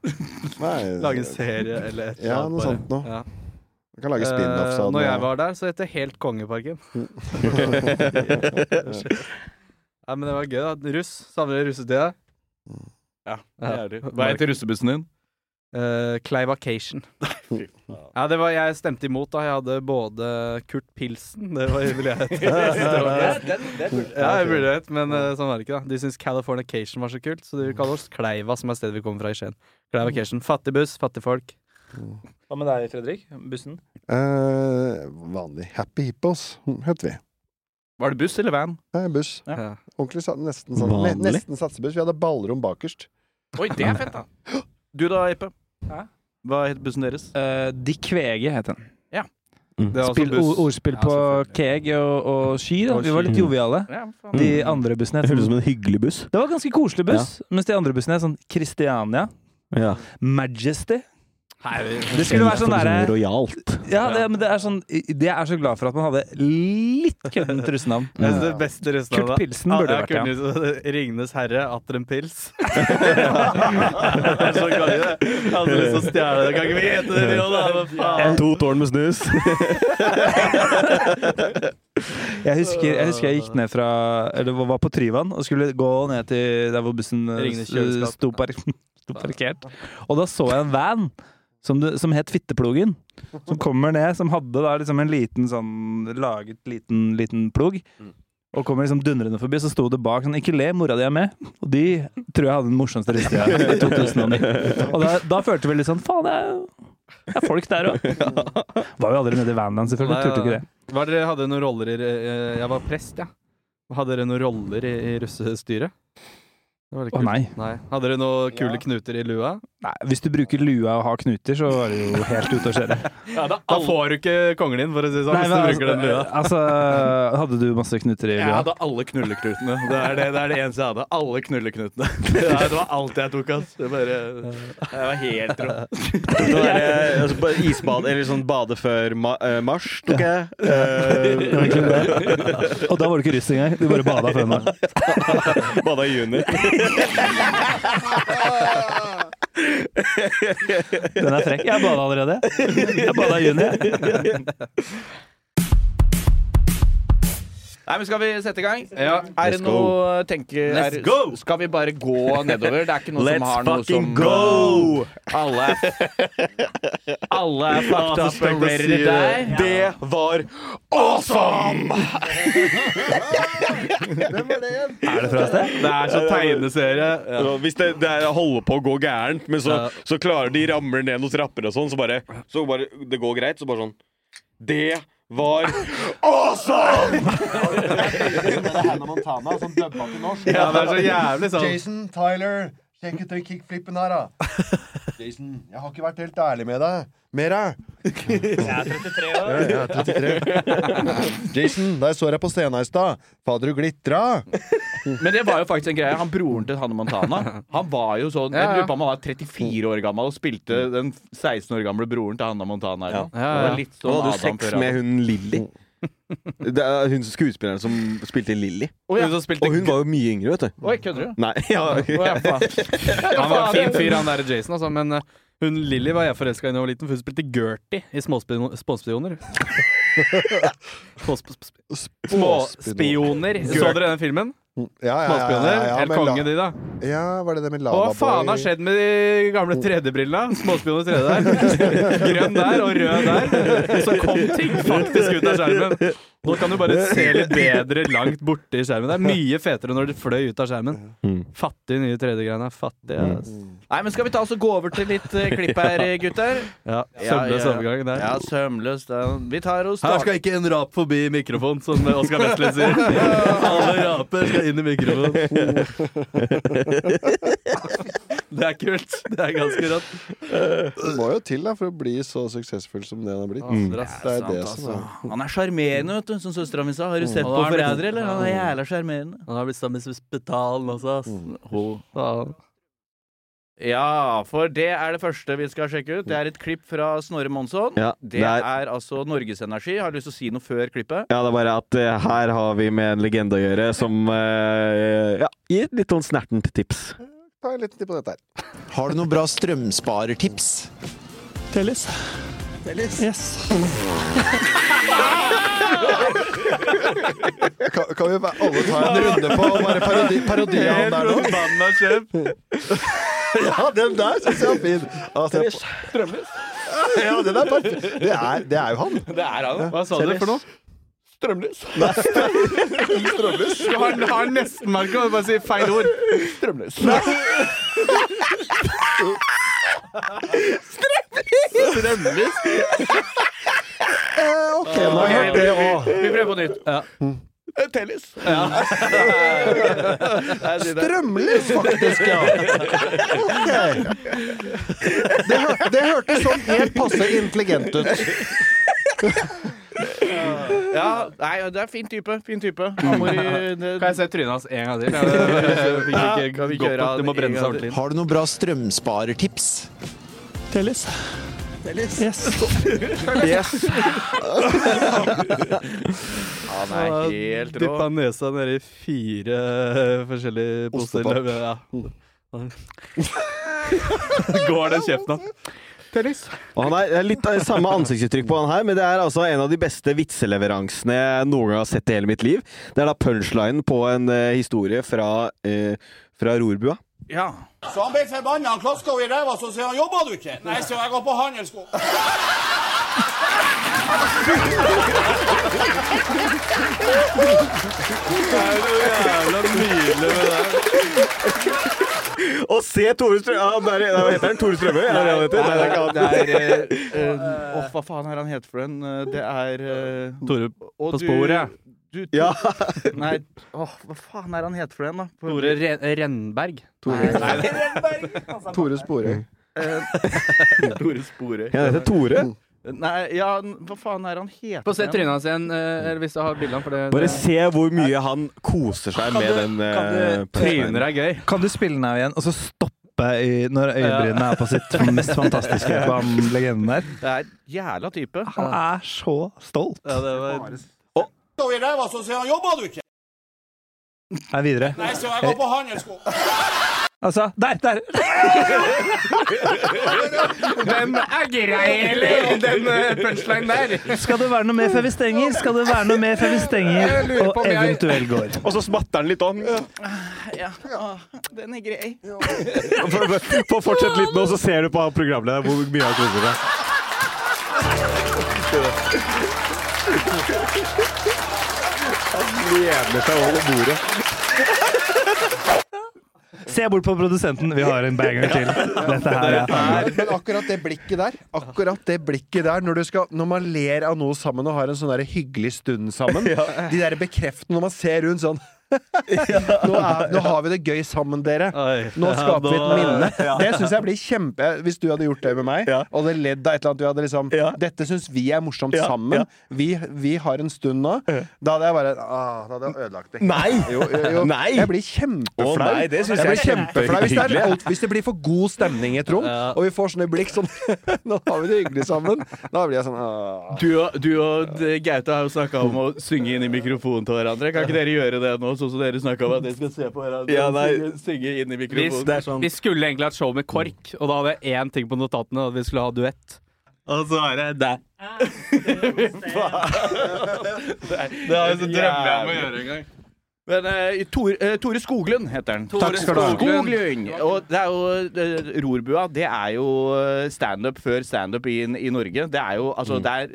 Lage en
Nei,
serie eller et
ja,
eller annet
noe
bare.
sånt noe.
Ja.
Jeg kan lage spin-offs
Eh,
av
Når jeg
den.
var der, så het det Helt kongeparken. Nei, men det var gøy, da. Russ. Savner du russetida?
Ja, det
Ja.
er det. Hva heter russebussen din?
Uh, Clayvacation. Ja, det var, jeg stemte imot da. Jeg hadde både Kurt Pilsen Det var ville jeg hete. Det var gøy. Ja, jeg burde hett, men eh, sånn var det ikke. da De syntes Californication var så kult, så de vil kalle oss Kleiva, som er stedet vi kommer fra i Skien. Clayvacation. Fattig buss, fattig folk.
Hva med deg, Fredrik? Bussen?
Eh, vanlig. Happy Hippos het vi.
Var det buss eller van?
Nei, buss.
Ja.
Ordentlig sa- nesten, sånn, ne-
Vanlig?
nesten satsebuss. Vi hadde ballrom bakerst.
Oi, det er fett, da. Du da, Jeppe?
Hæ?
Hva het bussen deres?
Eh,
De Kvege het den.
Mm.
Det er også
Spill,
buss.
ord, ordspill på keg og, og ski. Da.
Og
Vi var litt
ski.
joviale.
Ja, faen.
De andre bussene sånn-
Det føles som en hyggelig buss.
Det var ganske koselig buss, mens de andre bussene er sånn Christiania,
Ja.
Majesty Det skulle være sånn derre
Rojalt.
Ja, det, men det er sånn Det er så glad for at man hadde litt køddent russenavn.
Jeg synes det beste resten
Kurt Pilsen burde vært, ja.
ja. Ringnes herre, atter en pils. det er så gøy, det. Jeg hadde lyst til å stjele det. Kan ikke vi hete det, nå, da? Hva faen?
To tårn med snus.
Jeg husker, jeg husker jeg gikk ned fra Eller var på Tryvann og skulle gå ned til der hvor bussen eh,
Ringnes kjøleskap.
sto, par sto parkert. Og da så jeg en van som, det, som het Fitteplogen. Som kommer ned, som hadde da liksom en liten sånn laget liten, liten plog. Og kommer liksom dundrende forbi, så sto det bak sånn Ikke le, mora di er med. Og de tror jeg hadde den morsomste rista i 2009. Og da, da følte vi litt sånn Faen, det er jo det er folk der òg. Var jo aldri nede i Vanland, selvfølgelig.
Nei,
Turte jo ikke det.
Hva dere hadde noen roller i eh, Jeg var prest, ja. Hadde dere noen roller i, i russestyret? Det var litt
Å,
kult.
nei.
Hadde dere noen kule knuter i lua?
Nei, Hvis du bruker lua og har knuter, så er det jo helt ute å kjøre.
Da får du ikke kongen din, for å si det sånn.
Nei,
hvis du
men altså,
bruker den lua.
altså, hadde du masse knuter i
Jeg
lua?
hadde alle knulleknutene. Det er det, det er det eneste jeg hadde. Alle knulleknutene. Det er- det var alt jeg tok, ass. Det bare, jeg var helt rå.
Det var, eh, altså, bare isbad, eller sånn bade før ma eh, mars, tok jeg. Eh,
Og da var du ikke russ engang. Du bare bada før meg.
bada Eh, i juni.
Den er frekk. Jeg bada allerede. Jeg bada i juni.
Nei, men Skal vi sette i gang? er
Let's
det noe tenker, er,
Let's go!
Skal vi bare gå nedover? Det er ikke noen som har noe som Alle er, alle er fucked up and ready to die.
Det var awesome!
Det er så tegneserie.
Så Hvis det, det er- holder på å gå gærent, men så, så klarer de ramler ned noen trapper og sånn, så bare, så bare Det går greit, så bare sånn Det var awesome!
Hannah Montana, som dubba til norsk.
Ja, det er så jævlig sånn.
Jason, Tyler, sjekk ut den kickflippen her, da. Jason, jeg har ikke vært helt ærlig med deg. Mera. Jeg er 33 år. Jason, da jeg så deg på scenen i stad, fader, du glitra.
Men det var jo faktisk en greie. Han broren til Hanne Montana, han var jo sånn Jeg lurer på om han var 34 år gammel og spilte den 16 år gamle broren til Hanne Montana. eller noe. Det var litt sånn
Han hadde jo
Adam
sex
før
med hun Lilly. Det er hun skuespilleren som spilte Lilly.
Hun som spilte
Og hun var jo mye yngre, vet du.
Oi, kødder du?
Nei, ja.
Ja, faen.
Han var en fin fyr, han der Jason, altså. Men eh, hun Lilly var jeg forelska i da jeg var liten, for hun spilte Gertie i Småspion- Småspioner. Småsp- sp- Småspioner. Så dere den filmen?
Ja, ja, ja, ja,
Småspioner.
ja,
Helt
men la-
konge, de, da.
ja, var det det med
Hva
Lavaboy?
faen har skjedd med de gamle 3D-brillene? Småspioner 3D der. Grønn der og rød der. Så kom ting faktisk ut av skjermen. Nå kan du bare se litt bedre langt borte i skjermen. Det er mye fetere når det fløy ut av skjermen. Fattig nye 3D-greiene. Fattig. ass.
Nei, men skal vi ta oss og gå over til litt eh, klipp her, gutter?
Ja,
Ja,
Sømløs
ja, ja.
overgang der.
Ja, sømløst. ja. Vi tar og
Her
starter
skal ikke en rap forbi mikrofonen, som Oskar Westlind sier. Alle raper skal inn i mikrofonen. Det er kult. Det er ganske rått.
Det må jo til da, for å bli så suksessfull som det han har
Mm.
blitt. Det er det som
altså.
er
Han er sjarmerende, vet du, som søstera mi sa. Har du sett på Forrædere, eller? Han er jævla sjarmerende.
Mm, Han har blitt sammen med spetalen også, ass.
Ho.
Faen.
Ja, for det er det første vi skal sjekke ut. Det er et klipp fra Snorre Monsson.
Ja,
det,
det
er...
er-
altså Norges Energi. Har du lyst til å si noe før klippet?
Ja, det er bare at eh, her har vi med en legende å gjøre som eh, ja, gir et litt sånn snertent tips.
Ta en liten titt på dette her.
Har du noen bra strømsparertips? Tellis.
Kan, kan vi bare alle ta en runde på og bare parodi, parodi han der nå? Ja, den der syns jeg var fin. Altså, jeg- ja, den er perfekt. Det er, det er jo han.
Det er han.
Hva sa du for noe?
Strømløs.
Strømløs.
Du har, har nestenmarka, bare si feil ord. Strømløs. Strømløs!
Eh, ok, nå har jeg hørt det òg.
Vi prøver på nytt. Tennis.
Strømløs, faktisk, ja. Ok. Det, hør, det hørtes sånn helt passe intelligent ut.
Ja, nei, det er fin type. Fin type. Amor i det,
Kan jeg se trynet hans en gang til? Jeg fikk ikke
Kan vi ikke
godt
gjøre
nok,
det
det må
en
brenne seg
gang til?
ordentlig.
Har du noen bra strømsparertips? Tellis.
han er helt rå.
Dyppa nesa nedi fire eh, forskjellige poster.
Ostepapp.
Ja. Går den kjeften hans?
Og han er, det er litt av samme ansiktsuttrykk på han her, men det er altså en av de beste vitseleveransene jeg noen gang har sett i hele mitt liv. Det er da punchlinen på en eh, historie fra, eh, fra rorbua.
Ja.
Så han ble forbanna. Han klaska henne i ræva, så sier han 'jobba du ikke'? Nei, så jeg går på handelssko.
Og se Tore Strømøy! Ja, han der- hva heter han? Tore Strømøy? Er det det han heter? Nei, det er ikke han.
Det er eh, eh, Åh, hva faen er han het for en? Eh, Det er eh,
Tore
og
på
du-
sporet.
Du,
Ja.
Nei, åh, hva faen er han het for en, da? På-
Tore Rennberg.
Tore Spore.
Tore Sporet.
Ja, det heter Tore.
Nei, ja, n- hva faen er han heter?
Få se
igjen?
trynet hans igjen, eh, eller hvis du har bildet av ham. for det-
Bare
det-
se hvor mye han koser seg med den eh, punchlinen.
Tryner er gøy.
Kan du spille den av igjen, og så stoppe i, når øyenbrynene er på sitt mest fantastiske på han legenden der?
Det er jævla type.
Han er så stolt.
Klaska henne i ræva, så sier han 'jobba du ikke'?
Nei, videre.
Nei, så jeg går på handelssko.
Altså, der! Der!
Den er grei, eller? Den eh, punchline der.
Skal det være noe mer før vi stenger? Skal det være noe mer før vi stenger? Og eventuelt går.
Og så smatter han litt om.
Den er grei.
Få fortsette litt nå, så ser du på programlederen hvor mye han koser seg. Han lener seg over bordet.
Se bort på produsenten. Vi har en banger til. Dette her er
Men, men akkurat det blikket der, akkurat det blikket der når, du skal, når man ler av noe sammen og har en sånn der hyggelig stund sammen De der bekreftende når man ser rundt sånn nå, er, nå har vi det gøy sammen, dere. Nå skaper vi et minne. Det syns jeg blir kjempe Hvis du hadde gjort det med meg, og hadde ledd av et eller annet vi hadde liksom, Dette syns vi er morsomt sammen. Vi, vi har en stund nå. Da hadde jeg bare ah, Da hadde jeg ødelagt det.
Nei!
Jo, jo, jo.
Nei!
Jeg blir kjempeflau.
Å, nei, det synes
jeg blir
jeg er
kjempeflau hvis det, er
kjempehyggelig.
alt, hvis det blir for god stemning i et rom, og vi får sånne blikk sånn Nå har vi det hyggelig sammen. Da blir jeg sånn «Åh».
Du og, du og eh, Gaute har jo snakka om å synge inn i mikrofonen til hverandre. Kan ikke dere gjøre det nå, sånn som dere snakka om at dere skal se på hverandre?
Ja,
og
nei.
synge, synge inn i
Hvis,
mikrofonen.
det er sånn
vi skulle egentlig hatt show med KORK, og da hadde jeg én ting på notatene, at vi skulle ha duett. Og så er det der. Det har jeg så drømmer jeg om å gjøre en gang.
Men eh, Tor, eh, Tore Skoglund heter han.
Tore Skoglund.
Skoglund. Og det er jo eh, Rorbua, det er jo eh, standup før standup i, i Norge. Det er jo
Mm.
altså det er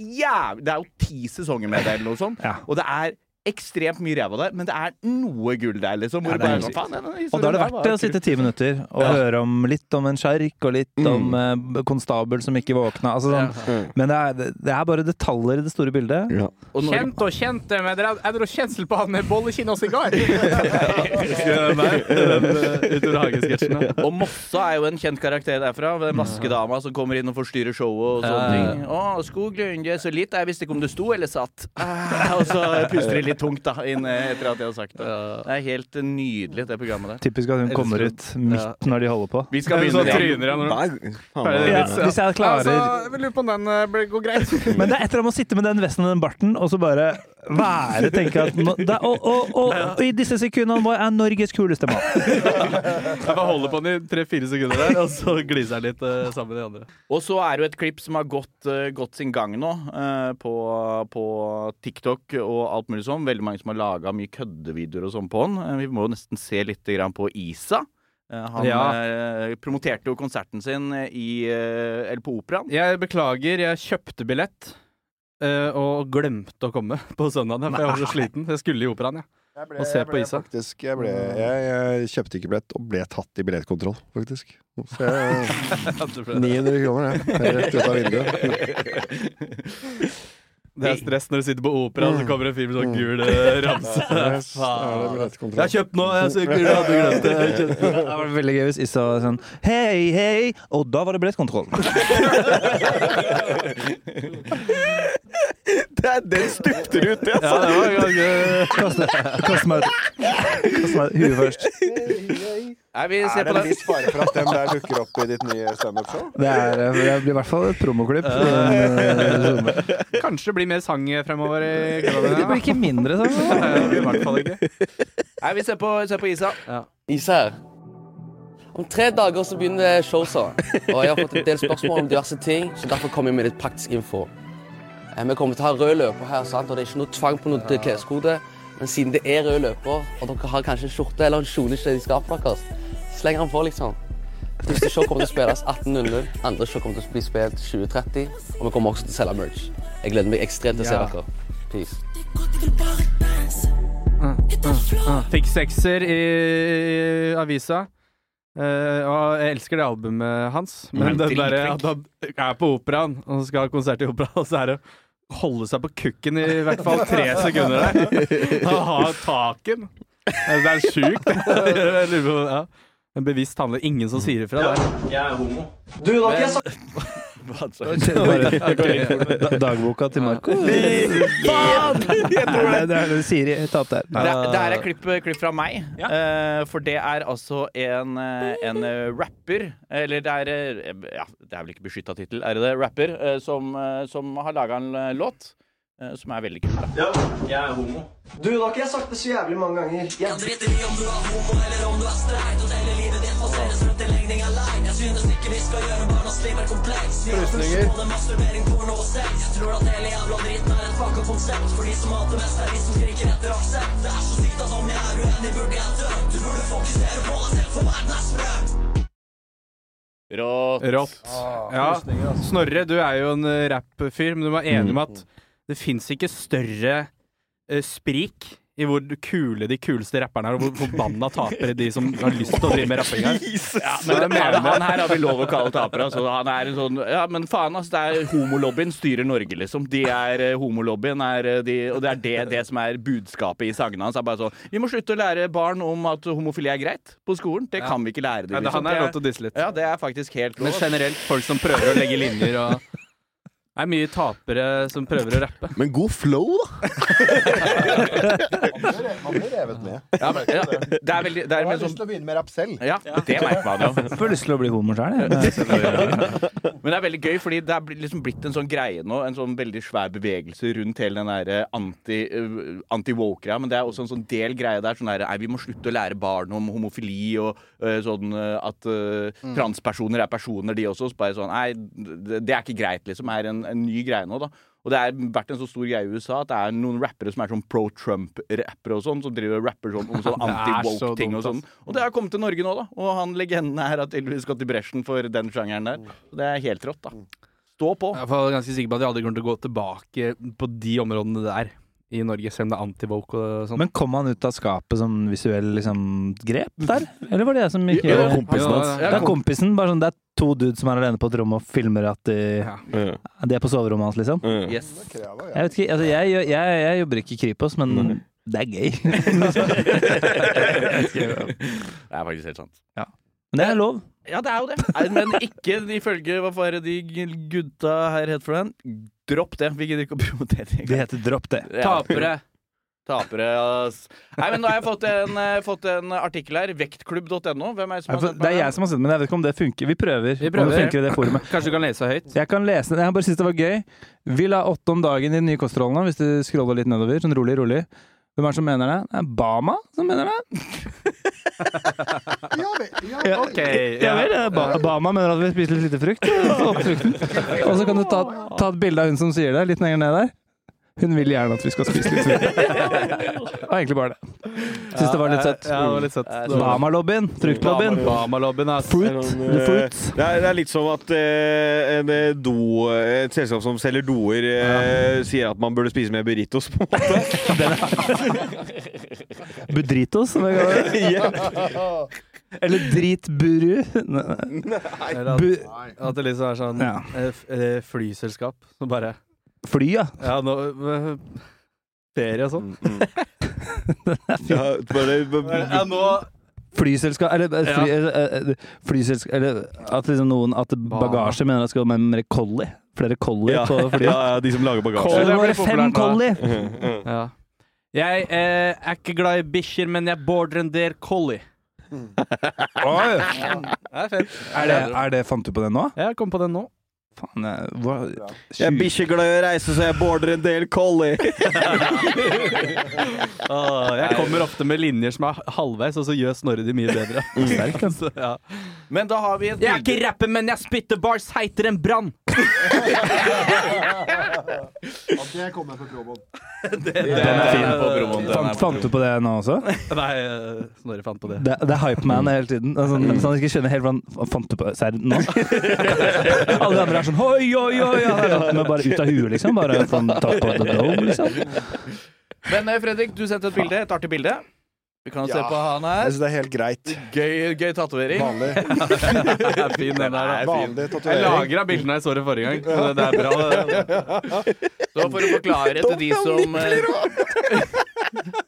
jæv... Det er jo ti sesonger med det, eller noe sånt. Og det er ekstremt mye ræva der, men det er noe gull der, liksom. Hvor
Ja,
det bare er
det er
sånn, faen, den
Og da er det
historien der
verdt det
var
å sitte ti minutter og høre om litt om en sjark og litt om eh, konstabel som ikke våkna. Altså
Mm.
sånn. Men det er, det er bare detaljer i det store bildet.
kul. Og Norge-
Kjent og kjente, men dere er dere kjensel på han med bollekinn og sigar?
Og Mossa er jo en kjent karakter derfra. Den vaskedama som kommer inn og forstyrrer showet og sånne ting. Å, Skoglund, det er så lite jeg visste ikke om du sto eller satt. Ah, Og så puster de veldig tungt da, inn eh, etter at jeg har sagt det. Det er helt eh, nydelig, det programmet der.
Typisk at hun
Jeg
kommer
elsker
ut midt når de holder på.
Vi skal begynne
Ja, Hvis jeg klarer
jeg lurer på om den eh, blir- går greit.
Men det er et eller annet med å sitte med den vesten og den barten, og så bare være tenke at nå, det, er- og, og, og, og i disse sekundene vår er Norges kuleste mann.
Jeg bare holder på den i tre-fire sekunder der, og så gliser jeg litt eh, sammen med de andre.
Og så er det jo et klipp som har gått, eh, gått sin gang nå eh, på, på TikTok og alt mulig sånn. Veldig mange som har laga mye køddevideoer og sånn på han. Eh, vi må jo nesten se litt grann på Isa. Eh, han
Ja.
eh, promoterte jo konserten sin i, eh, eller på Operaen.
Jeg beklager, jeg kjøpte billett eh, og glemte å komme på søndagen, for jeg var så sliten. Jeg skulle i operaen, jeg. og se
jeg
på Isa.
Faktisk, jeg, ble, jeg, jeg kjøpte ikke billett, og ble tatt i billettkontroll, faktisk. Så jeg,
Ja, du ble det.
900 kroner, det. Rett ut av vinduet.
Det er stress når du sitter på opera, og så kommer en fyr med sånn gul eh, ramse. Faen. Jeg har kjøpt nå, jeg så gul hadde glemt det. Jeg
Det
kjøpte.
var veldig gøy hvis Issa var sånn Hei, hei! Og da var det billettkontroll.
Det er den stupte du uti, altså!
Kast kast meg ut. Kast meg ut. Huet først.
Nei, vi
Er
ser
det
på
en
den.
viss fare for at den der dukker opp i ditt nye standup-show?
Det, er, eh, det blir i hvert fall et promoklipp. Det
Kanskje det blir mer sang fremover i
eh, blir ikke mindre sånn.
I hvert fall ikke.
Nei, vi ser på, ser på Isa.
Isa her. Om tre dager så begynner showsa, og jeg har fått en del spørsmål om diverse ting, så derfor kommer jeg med litt praktisk info. Eh, Vi kommer til å ha rød løper her, sant? og det er ikke noe tvang på noe til kleskode, men siden det er rød løper, og dere har kanskje en skjorte eller en kjole ikke det de skapet deres, så slenger han på, liksom. Første show kommer til å spilles 18.00, andre show kommer til å bli spilt 20.30, og vi kommer også til å selge merch. Jeg gleder meg ekstremt til å se
Ja.
dere. Peace.
Fikk sekser i, Ah. i avisa. Eh, og jeg elsker det albumet hans, men
Mm.
den derre
Dritflink.
at han er på operaen og skal ha konsert i operaen, og så er det å holde seg på kukken i hvert fall tre sekunder der. Han har taken. Altså, det er sjukt. Jeg lurer på- ja. En bevisst handler ingen som sier ifra der.
Jeg er homo.
Du, dere er så...
Da- Dagboka til Marco. Nei, det er det Siri ta opp der.
Det, er- det her er klipp, klipp fra meg, eh, for det er altså en, eh, en eh, rapper Eller det er eh, Ja, det er vel ikke beskytta tittel, er det det? Rapper eh, som, eh, som har laga en eh, låt eh, som er veldig kul. da.
Ja, jeg er homo.
Du, da har ikke jeg sagt det så jævlig mange ganger. Jeg driter i om du er homo eller om du er streit, og hele livet ditt baseres rundt en legning av lein. Jeg synes ikke vi skal gjøre barnas liv er kompleks. Vi har
Frysninger.
funksjon, masturbering, porno og sex. Jeg tror at hele jævla dritten er et fucka konsept. For de som hater mest, er de som skriker etter aksept. Det er så sykt at om jeg er uenig, burde jeg dø. Du burde fokusere på deg selv, for verden er sprø.
Rått.
Rått. Ah, altså. Ja. Snorre, du er jo en eh, rappfyr, men du var enig med at det fins ikke større eh, sprik i hvor kule de kuleste rapperne er, og hvor forbanna tapere de som har lyst til å drive med rapping er.
Ja, men det mener han her har vi lov å kalle tapere. Altså, han er en sånn Ja, men faen, altså. Det er homolobbyen styrer Norge, liksom. De er eh, homolobbyen, er eh, de Og det er det, det som er budskapet i sangene hans. er bare sånn Vi må slutte å lære barn om at homofili er greit på skolen. Det kan vi ikke lære dem.
Nei, det- han er
Det
lov til å disse litt.
Ja, det er faktisk helt lov.
Men generelt folk som prøver å legge linjer og Det er mye tapere som prøver å rappe.
Men god flow, da!
Han blir revet med.
Ja, men, ja, det er veldig Det
Jeg
er
har
mer sånn
lyst til å begynne med rapp selv.
Ja, det merker man jo.
Får lyst til å bli homo sjøl, jeg.
Men det er veldig gøy, fordi det er bli- liksom blitt en sånn greie nå. En sånn veldig svær bevegelse rundt hele den derre anti, eh, anti-woke-greia. Men det er også en sånn del greie der. Sånn derre, nei, vi må slutte å lære barn om homofili og eh, sånn eh, at eh,
Mm.
transpersoner er personer, de også. Så bare sånn Nei, det, det er ikke greit, liksom. Er en, en ny greie nå, da. Og det har vært en så stor greie i USA at det er noen rappere som er sånn pro Trump-rappere og sånn, som driver og rapper sånn om sånn
Det er så
anti-woke-ting
dumt,
og sånn.
ass.
Og det har kommet til Norge nå, da. Og han legenden her har tydeligvis gått i bresjen for den sjangeren der. Så det er helt rått, da. Stå på.
Jeg er i hvert fall ganske sikker på at jeg aldri kommer til å gå tilbake på de områdene der i Norge, selv om det er antivoke og sånn.
Men kom han ut av skapet som visuell liksom, grep der? Eller var det jeg som ikke
Ja, det var kompisen hans.
Ja, Det er kompisen. Bare sånn, det er to dudes som er alene på et rom og filmer at de, de er på soverommet hans, liksom.
Yes.
Jeg vet ikke, altså jeg, gjør- jeg, jeg jobber ikke i Kripos, men det er gøy.
Det er faktisk helt sant.
Men det er lov.
Ja, det er jo det. Nei, men ikke ifølge hva var det de gutta her het for den? Dropp det. Vi gidder ikke å promotere det.
Det heter dropp det.
Ja.
Tapere!
Tapere, ass. Nei, men nå har jeg fått en, eh, fått en artikkel her. Vektklubb.no. Hvem er det som
Nei,
har
for
sendt
Det
meg
er jeg
den?
som har sendt den, men jeg vet ikke om det funker. Vi prøver.
Vi prøver.
Om det funker i det forumet.
Kanskje du kan lese høyt?
Jeg kan lese den. Jeg bare synes det var gøy. Vil ha åtte om dagen i de nye kostholdene, hvis du scroller litt nedover. Sånn rolig, rolig. Hvem er det som mener det? Det er Bama som mener det.
Ja, ok.
Ja vel, det er ba Bama mener at vi spiser litt lite frukt. Så åt frukten. Og så kan du ta, ta et bilde av hun som sier det, litt lenger ned der. Hun vil gjerne at vi skal spise litt frukt. Det var egentlig bare det. Syns det var litt søtt.
Ja, det var litt søtt.
Bama-lobbyen. Fruktlobbyen.
Bama-lobbyen, ass.
Fruit. The fruit.
Det er, det er litt som at eh, en eh, do, et selskap som selger doer, eh, sier at man burde spise mer burritos, på en måte.
Budritos, som jeg kaller det.
Ja.
Eller dritburu. Nei.
Eller at,
Bu-
at det liksom er sånn
Ja.
eh, f- eh, flyselskap som bare
Fly, ja.
Ja, nå eh, Ferie og sånn.
Ja, bare-
Ja, nå-
Flyselskap Eller, eh, fly, eh, eh, flyselskap, eller at liksom noen At bagasje mener at det skal være mer collie. Flere collie
Ja.
på flyet.
Ja, ja, de som lager bagasje.
Collie,
Det
nå er
blir
det fem
populært nå.
collie!
Ja. Jeg eh, er ikke glad i bikkjer, men jeg border en del collie.
Oi!
Det er fett.
Er det, er det, fant du på den nå?
Jeg kom på den nå.
Faen, jeg, hva,
Jeg er bikkjeglad i å reise, så jeg border en del collie.
Åh, jeg kommer ofte med linjer som er halvveis, og så gjør Snorre de mye bedre.
Sterk,
Så, ja.
Men da har vi et
Jeg er ikke rapper, men jeg spytter bars heitere enn brann!
At det kommer på promoen.
Den er fin.
på promoen, den er
Fant,
på
fant du på det nå også?
Nei, eh, Snorre fant på det.
Det, det er hypeman hele tiden. Altså, så han ikke skjønner helt hvordan hva Fant du på Serr, nå? Alle de andre er sånn hoi, oi, oi! ja, ja, ja, Men bare ut av huet, liksom. Bare sånn top of the dome, liksom.
Men eh, Fredrik, du sendte et bilde. Et artig bilde. Vi kan jo se
Ja.
på han her.
Jeg synes det er helt greit.
Gøy, gøy tatovering.
Vanlig.
fin den der, da.
Vanlig
Jeg
tatovering.
lagra bildene jeg så det forrige gang. så Det er bra. det.
Så for å forklare til de som eh,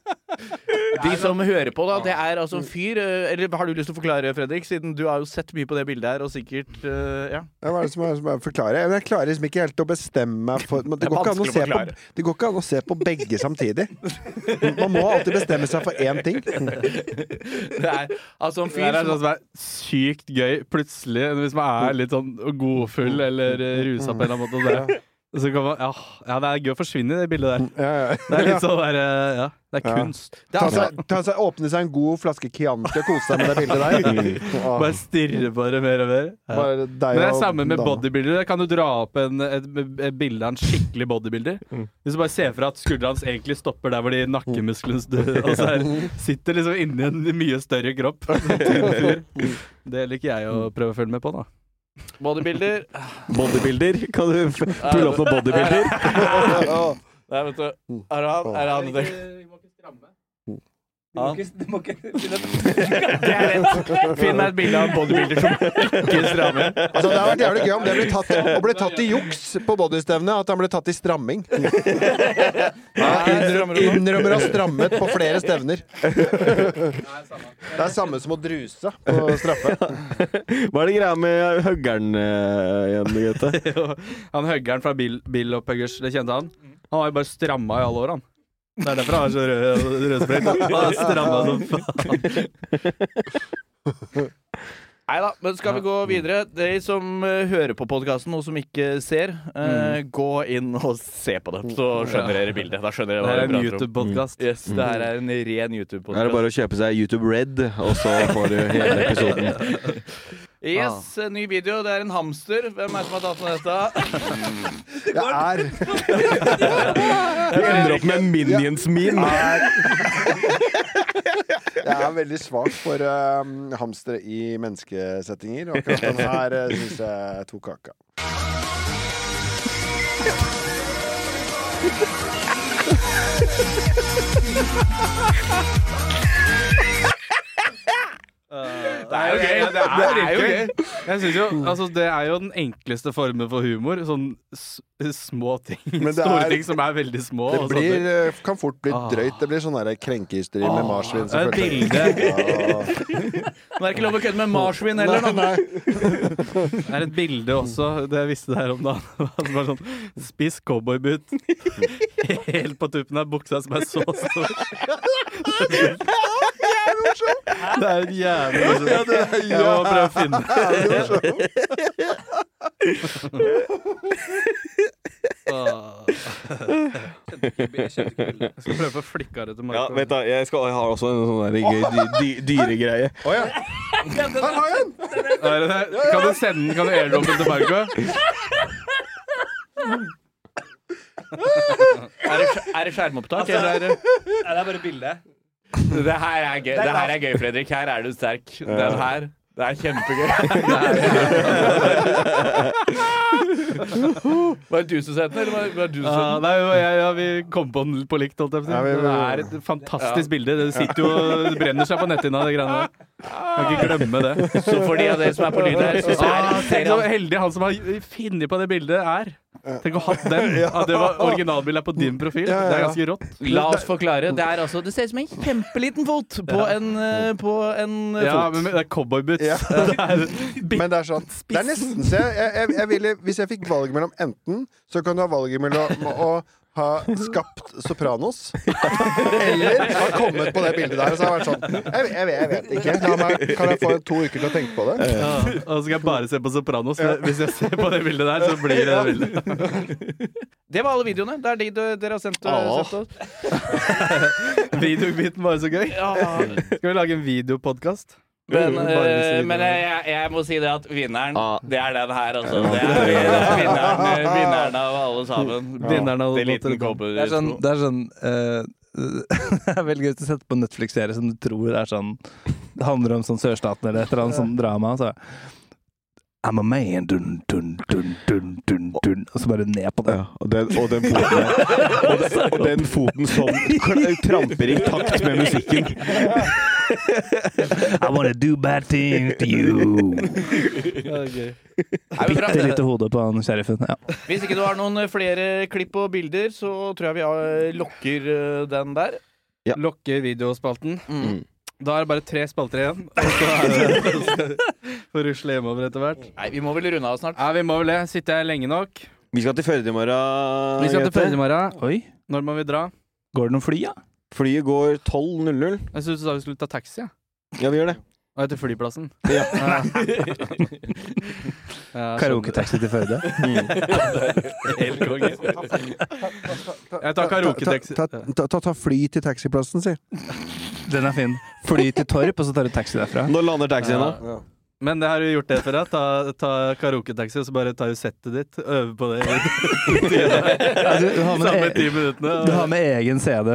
De som hører på, da. Det er altså en fyr eh, Eller har du lyst til å forklare, Fredrik? Siden du har jo sett mye på det bildet her, og sikkert eh, Ja.
Ja, Hva er det som er som er å forklare? Jeg klarer liksom ikke helt å bestemme meg for men det,
Det er
går ikke an å
vanskelig å
se på,
forklare.
det går ikke an å se på begge samtidig. Man må alltid bestemme seg for én ting.
Det er altså en
Det
fyr
er sånn
som
som er sykt gøy plutselig, hvis man er litt sånn godfull eller eh, rusa på en eller annen måte. og det- Så kan man, ja, ja, det er gøy å forsvinne i det bildet der.
Ja, ja.
Det er litt sånn der eh, Ja, det er
Ja.
kunst.
det
Ta
er, altså,
seg, ta seg, åpne seg en god flaske Chianti og kose seg med det bildet der. Åh,
Bare stirre på det mer og mer. Ja.
bare deg
Men det er
og
samme med
dama.
bodybuildere. Kan du dra opp en, et, et bilde av en skikkelig bodybuilder?
Mm.
Hvis du bare ser for deg at skuldra hans egentlig stopper der hvor de nakkemusklene
Mm.
stø- og så er- sitter liksom inni en mye større kropp.
Mm.
Det liker jeg å prøve å følge med på, da.
bodybuilder
Bodybuilder? Kan du f- pulle opp noen bodybuilder?
Nei, vet du. Er det han? Er det han det?
Mm.
Han? Finn meg et bilde av en bodybuilder som ikke strammer.
Altså, det hadde vært jævlig gøy om det ble tatt, og ble tatt i juks på bodystevnet. At han ble tatt i stramming. Innrømmer, innrømmer å ha strammet på flere stevner. Det er samme som å druse på straffe.
Hva er det greia med huggeren eh, igjen, Gaute?
Han høggeren fra Bill, Bill Opphuggers, det kjente han.
Mm.
Han har jo bare stramma i alle år, han. Det er derfor han er så rød- rødsprekt. Han har stramma som faen.
Nei da, men skal vi gå videre? De som eh, hører på podkasten og som ikke ser, eh, gå inn og se på det. Så skjønner dere bildet. Da skjønner dere
Det
hva
er
vi
en
prater om. Mm.
YouTube-podkast.
Yes, det her er en
Da
ren
er det
YouTube-podkast.
bare å kjøpe seg YouTube Red, og så får du hele episoden.
Yes, en ny video. Det er en hamster. Hvem er det som har tatt med dette?
Det er,
Vi ender opp med Minions-min.
jeg er veldig svak for um, hamstere i menneskesettinger. Og akkurat den her uh, syns jeg tok kaka.
Det er jo gøy. Det er jo gøy.
Jeg synes jo, altså Det er jo den enkleste formen for humor. Sånn s små ting.
Men det
Store
er-
ting som er veldig små.
Det
og
blir,
sånne.
eh, kan fort bli drøyt. Det blir sånn der krenkehysteri med
Ah.
marsvin.
Det er et
bilde.
Nå er det ikke lov å kødde med marsvin heller, da.
Det er et bilde også, det jeg visste der om dagen. Det var sånn Spiss cowboyboot. Helt på tuppen av buksa som er så stor. Det er en jævlig morsom
Ja, det er
Jeg må prøve å finne
Jeg skjønte ikke bildet.
Jeg skal prøve å få flikka det til
Ja,
Marco.
vent da, jeg, skal, jeg har også en sånn der gøy dy, dy, dyregreie.
Her har jeg den!
Er det det? Kan du sende den? Kan du airdroppe den til Marco?
Er det, skj- er det skjermopptak,
Altså-
eller er det
Ja, det er bare bildet.
Det her er gøy, det her er gøy Fredrik. Her er du sterk. Den her. Eh. Det er kjempegøy. Var det du som sendte den, eller var- var det du som
Ja,
sendte den?
nei, jo, jeg, ja, vi kom på den på likt, holdt jeg på å
Ja, vi-
si.
vi-
Det er et fantastisk
Ja.
bilde. Det sitter jo det brenner seg på netthinna, det greiene der. Kan ikke glemme det.
Så for de av dere som er på lyd her, så er-
ah, Tenk så heldig han som har funnet på det bildet, er. Tenk å ha hatt den. Ja, det var Originalbildet er på din profil. Det er ganske rått.
La oss forklare. Det er altså Det ser ut som en kjempeliten fot på
Ja.
en, eh, på en eh,
Ja,
fot.
men det er cowboyboots.
Ja.
Det
Men det er sånn Det er nesten så jeg, jeg, jeg, jeg ville, Hvis jeg fikk valget mellom enten, så kan du ha valget mellom å ha skapt Sopranos eller ha kommet på det bildet der. Og så har jeg vært sånn Jeg, jeg, jeg vet ikke. La meg, kan jeg få to uker til å tenke på det?
Ja, og så skal jeg bare se på Sopranos. Hvis jeg ser på det bildet der, så blir det det bildet.
Det var alle videoene. Det er de du- dere har sendt,
Ja.
sendt oss.
Videobiten var jo så gøy.
Ja.
Skal vi lage en videopodkast?
Men,
Bare disse
eh,
videoene.
men jeg, jeg- jeg må si det at vinneren, det er den her, altså.
Ja.
Det er, det er vinneren, eh, vinneren av alle sammen.
Ja. Vinneren av
Det er
alle
liten kobber.
Det er sånn, det er sånn eh, Det er veldig gøy å sette på Netflix-serie som du tror er sånn Det handler om sånn sørstaten eller et eller annet sånn drama. Så. I'm a man, dun, dun, dun, dun, dun, dun. Og så bare ned på det.
og, den, og den foten der. Og den, og den foten som kl- tramper i takt med musikken.
I wanna do bad things to you. Bitte lite hode på han sheriffen. Ja.
Hvis ikke du har noen eh, flere klipp og bilder, så tror jeg vi eh, lokker eh, den der.
Lokke videospalten.
Mm.
Da er det bare tre spalter igjen. Og så er det Får rusle hjemover etter hvert.
Nei, vi må vel runde av snart.
Ja, vi må vel det. Sitter jeg lenge nok?
Vi skal til Førde i morgen.
Vi skal til
Gaute.
Førde i morgen. Når må vi dra?
Går det noen fly, da?
Flyet går 12.00.
Jeg syntes du sa vi skulle ta taxi. Ja.
Ja, vi gjør det.
Og jeg til flyplassen. sånn.
Ja.
Ja, sånn.
Karaoketaxi til Førde.
Helt konge. Jeg tar karaoketaxi.
Ta, ta, ta, ta, ta fly til taxiplassen, si.
Den er fin. Fly til Torp, og så tar du taxi derfra.
Når lander taxien, da?
Ja. Men det har du gjort det før, ja. Ta, ta karaoketaxi, og så bare tar du settet ditt. Øver på det.
Ja, du- du har med- e-
Samme ti minuttene.
Du har med egen CD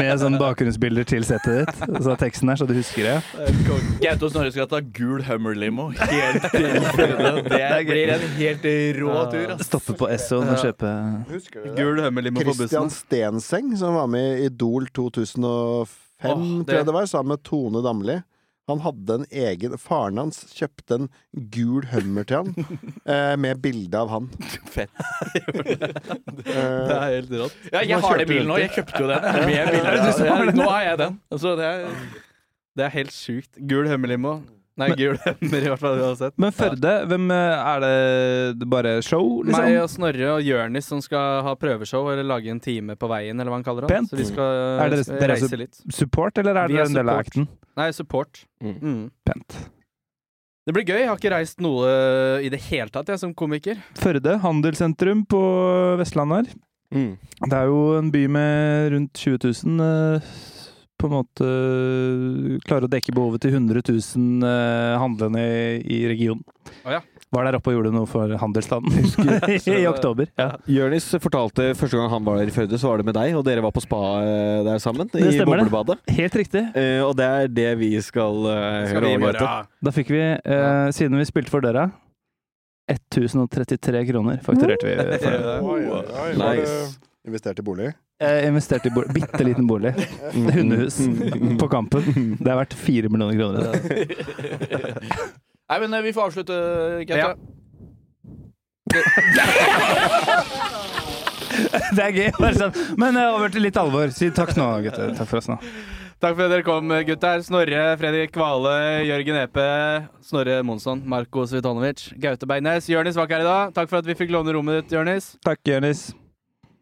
med sånn bakgrunnsbilder til settet ditt. Og så er teksten her, så du husker det.
Gaute og Snorre skal ta gul Hummer-limo helt til Førde. Det blir en helt rå tur. ass.
Stoppe på Esso og
Ja.
kjøpe
Gul hømmelimo på
Christian
bussen.
Stenseng, som var med i Idol 2005,
Åh, det-
tror jeg det var, sammen med Tone Damli. Han hadde en egen Faren hans kjøpte en gul hummer til han, eh, med bilde av han. Eh,
Fett.
Det er helt rått.
Ja, jeg har det i bilen nå. Jeg kjøpte jo den. Jeg er med i bilen. Så jeg- Nå har jeg den. Altså, det er
Det er helt sjukt. Gul hømmelimo. Nei, gul hømmer, i hvert fall uansett.
Men Førde, hvem eh, er det- det bare show, liksom?
Meg og Snorre og Jørnis som skal ha prøveshow eller lage en time på veien, eller hva han kaller det.
Pent.
Så vi skal
er dere,
skal
dere er
reise litt.
su support, eller er
Vi er
dere en del av
support.
acten?
Nei, support. Mm.
Pent.
Det blir gøy. Jeg har ikke reist noe i det hele tatt, jeg, som komiker.
Førde handelssentrum på Vestlandet her.
Mm.
Det er jo en by med rundt 20 000 eh, på en måte eh, klarer å dekke behovet til 100 000 eh, handlende i- i regionen.
Å ja.
Var der oppe og gjorde noe for handelsstanden i oktober. Ja.
Jørnis fortalte første gang han var der i Førde, så var det med deg, og dere var på spa eh, der sammen.
Det
I
stemmer det.
boblebadet.
Helt riktig.
Eh, og det er det vi skal eh,
Skal
høre
vi i
om,
morgen.
Gaute.
Da fikk vi, eh, siden vi spilte for døra, 1033 kroner fakturerte vi for det.
Nice.
Investert i bolig.
Jeg investerte i en bitte liten bolig. Hundehus på Kampen. Det er verdt fire millioner kroner.
Nei, men eh, vi får avslutte, Gaute.
Det er gøy. Bare sånn. Men eh, over til litt alvor. Si takk nå, gutter. Takk for oss nå.
Takk for at dere kom, gutter. Snorre, Fredrik Kvale, Jørgen Epe, Snorre Monsson, Marko Svitanovic, Gaute Beines. Jørnis var ikke her i dag. Takk for at vi fikk låne rommet ditt, Jørnis.
Takk, Jonis.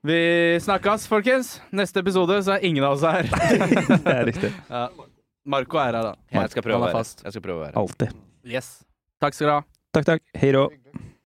Vi snakkes, folkens. Neste episode så er ingen av oss her. det
er riktig.
Ja. Marko er her, da.
Jeg skal prøve
Han er
å være
fast.
Jeg skal prøve å være
Alltid.
Yes. Takk skal du ha.
Takk, takk. Hei rå.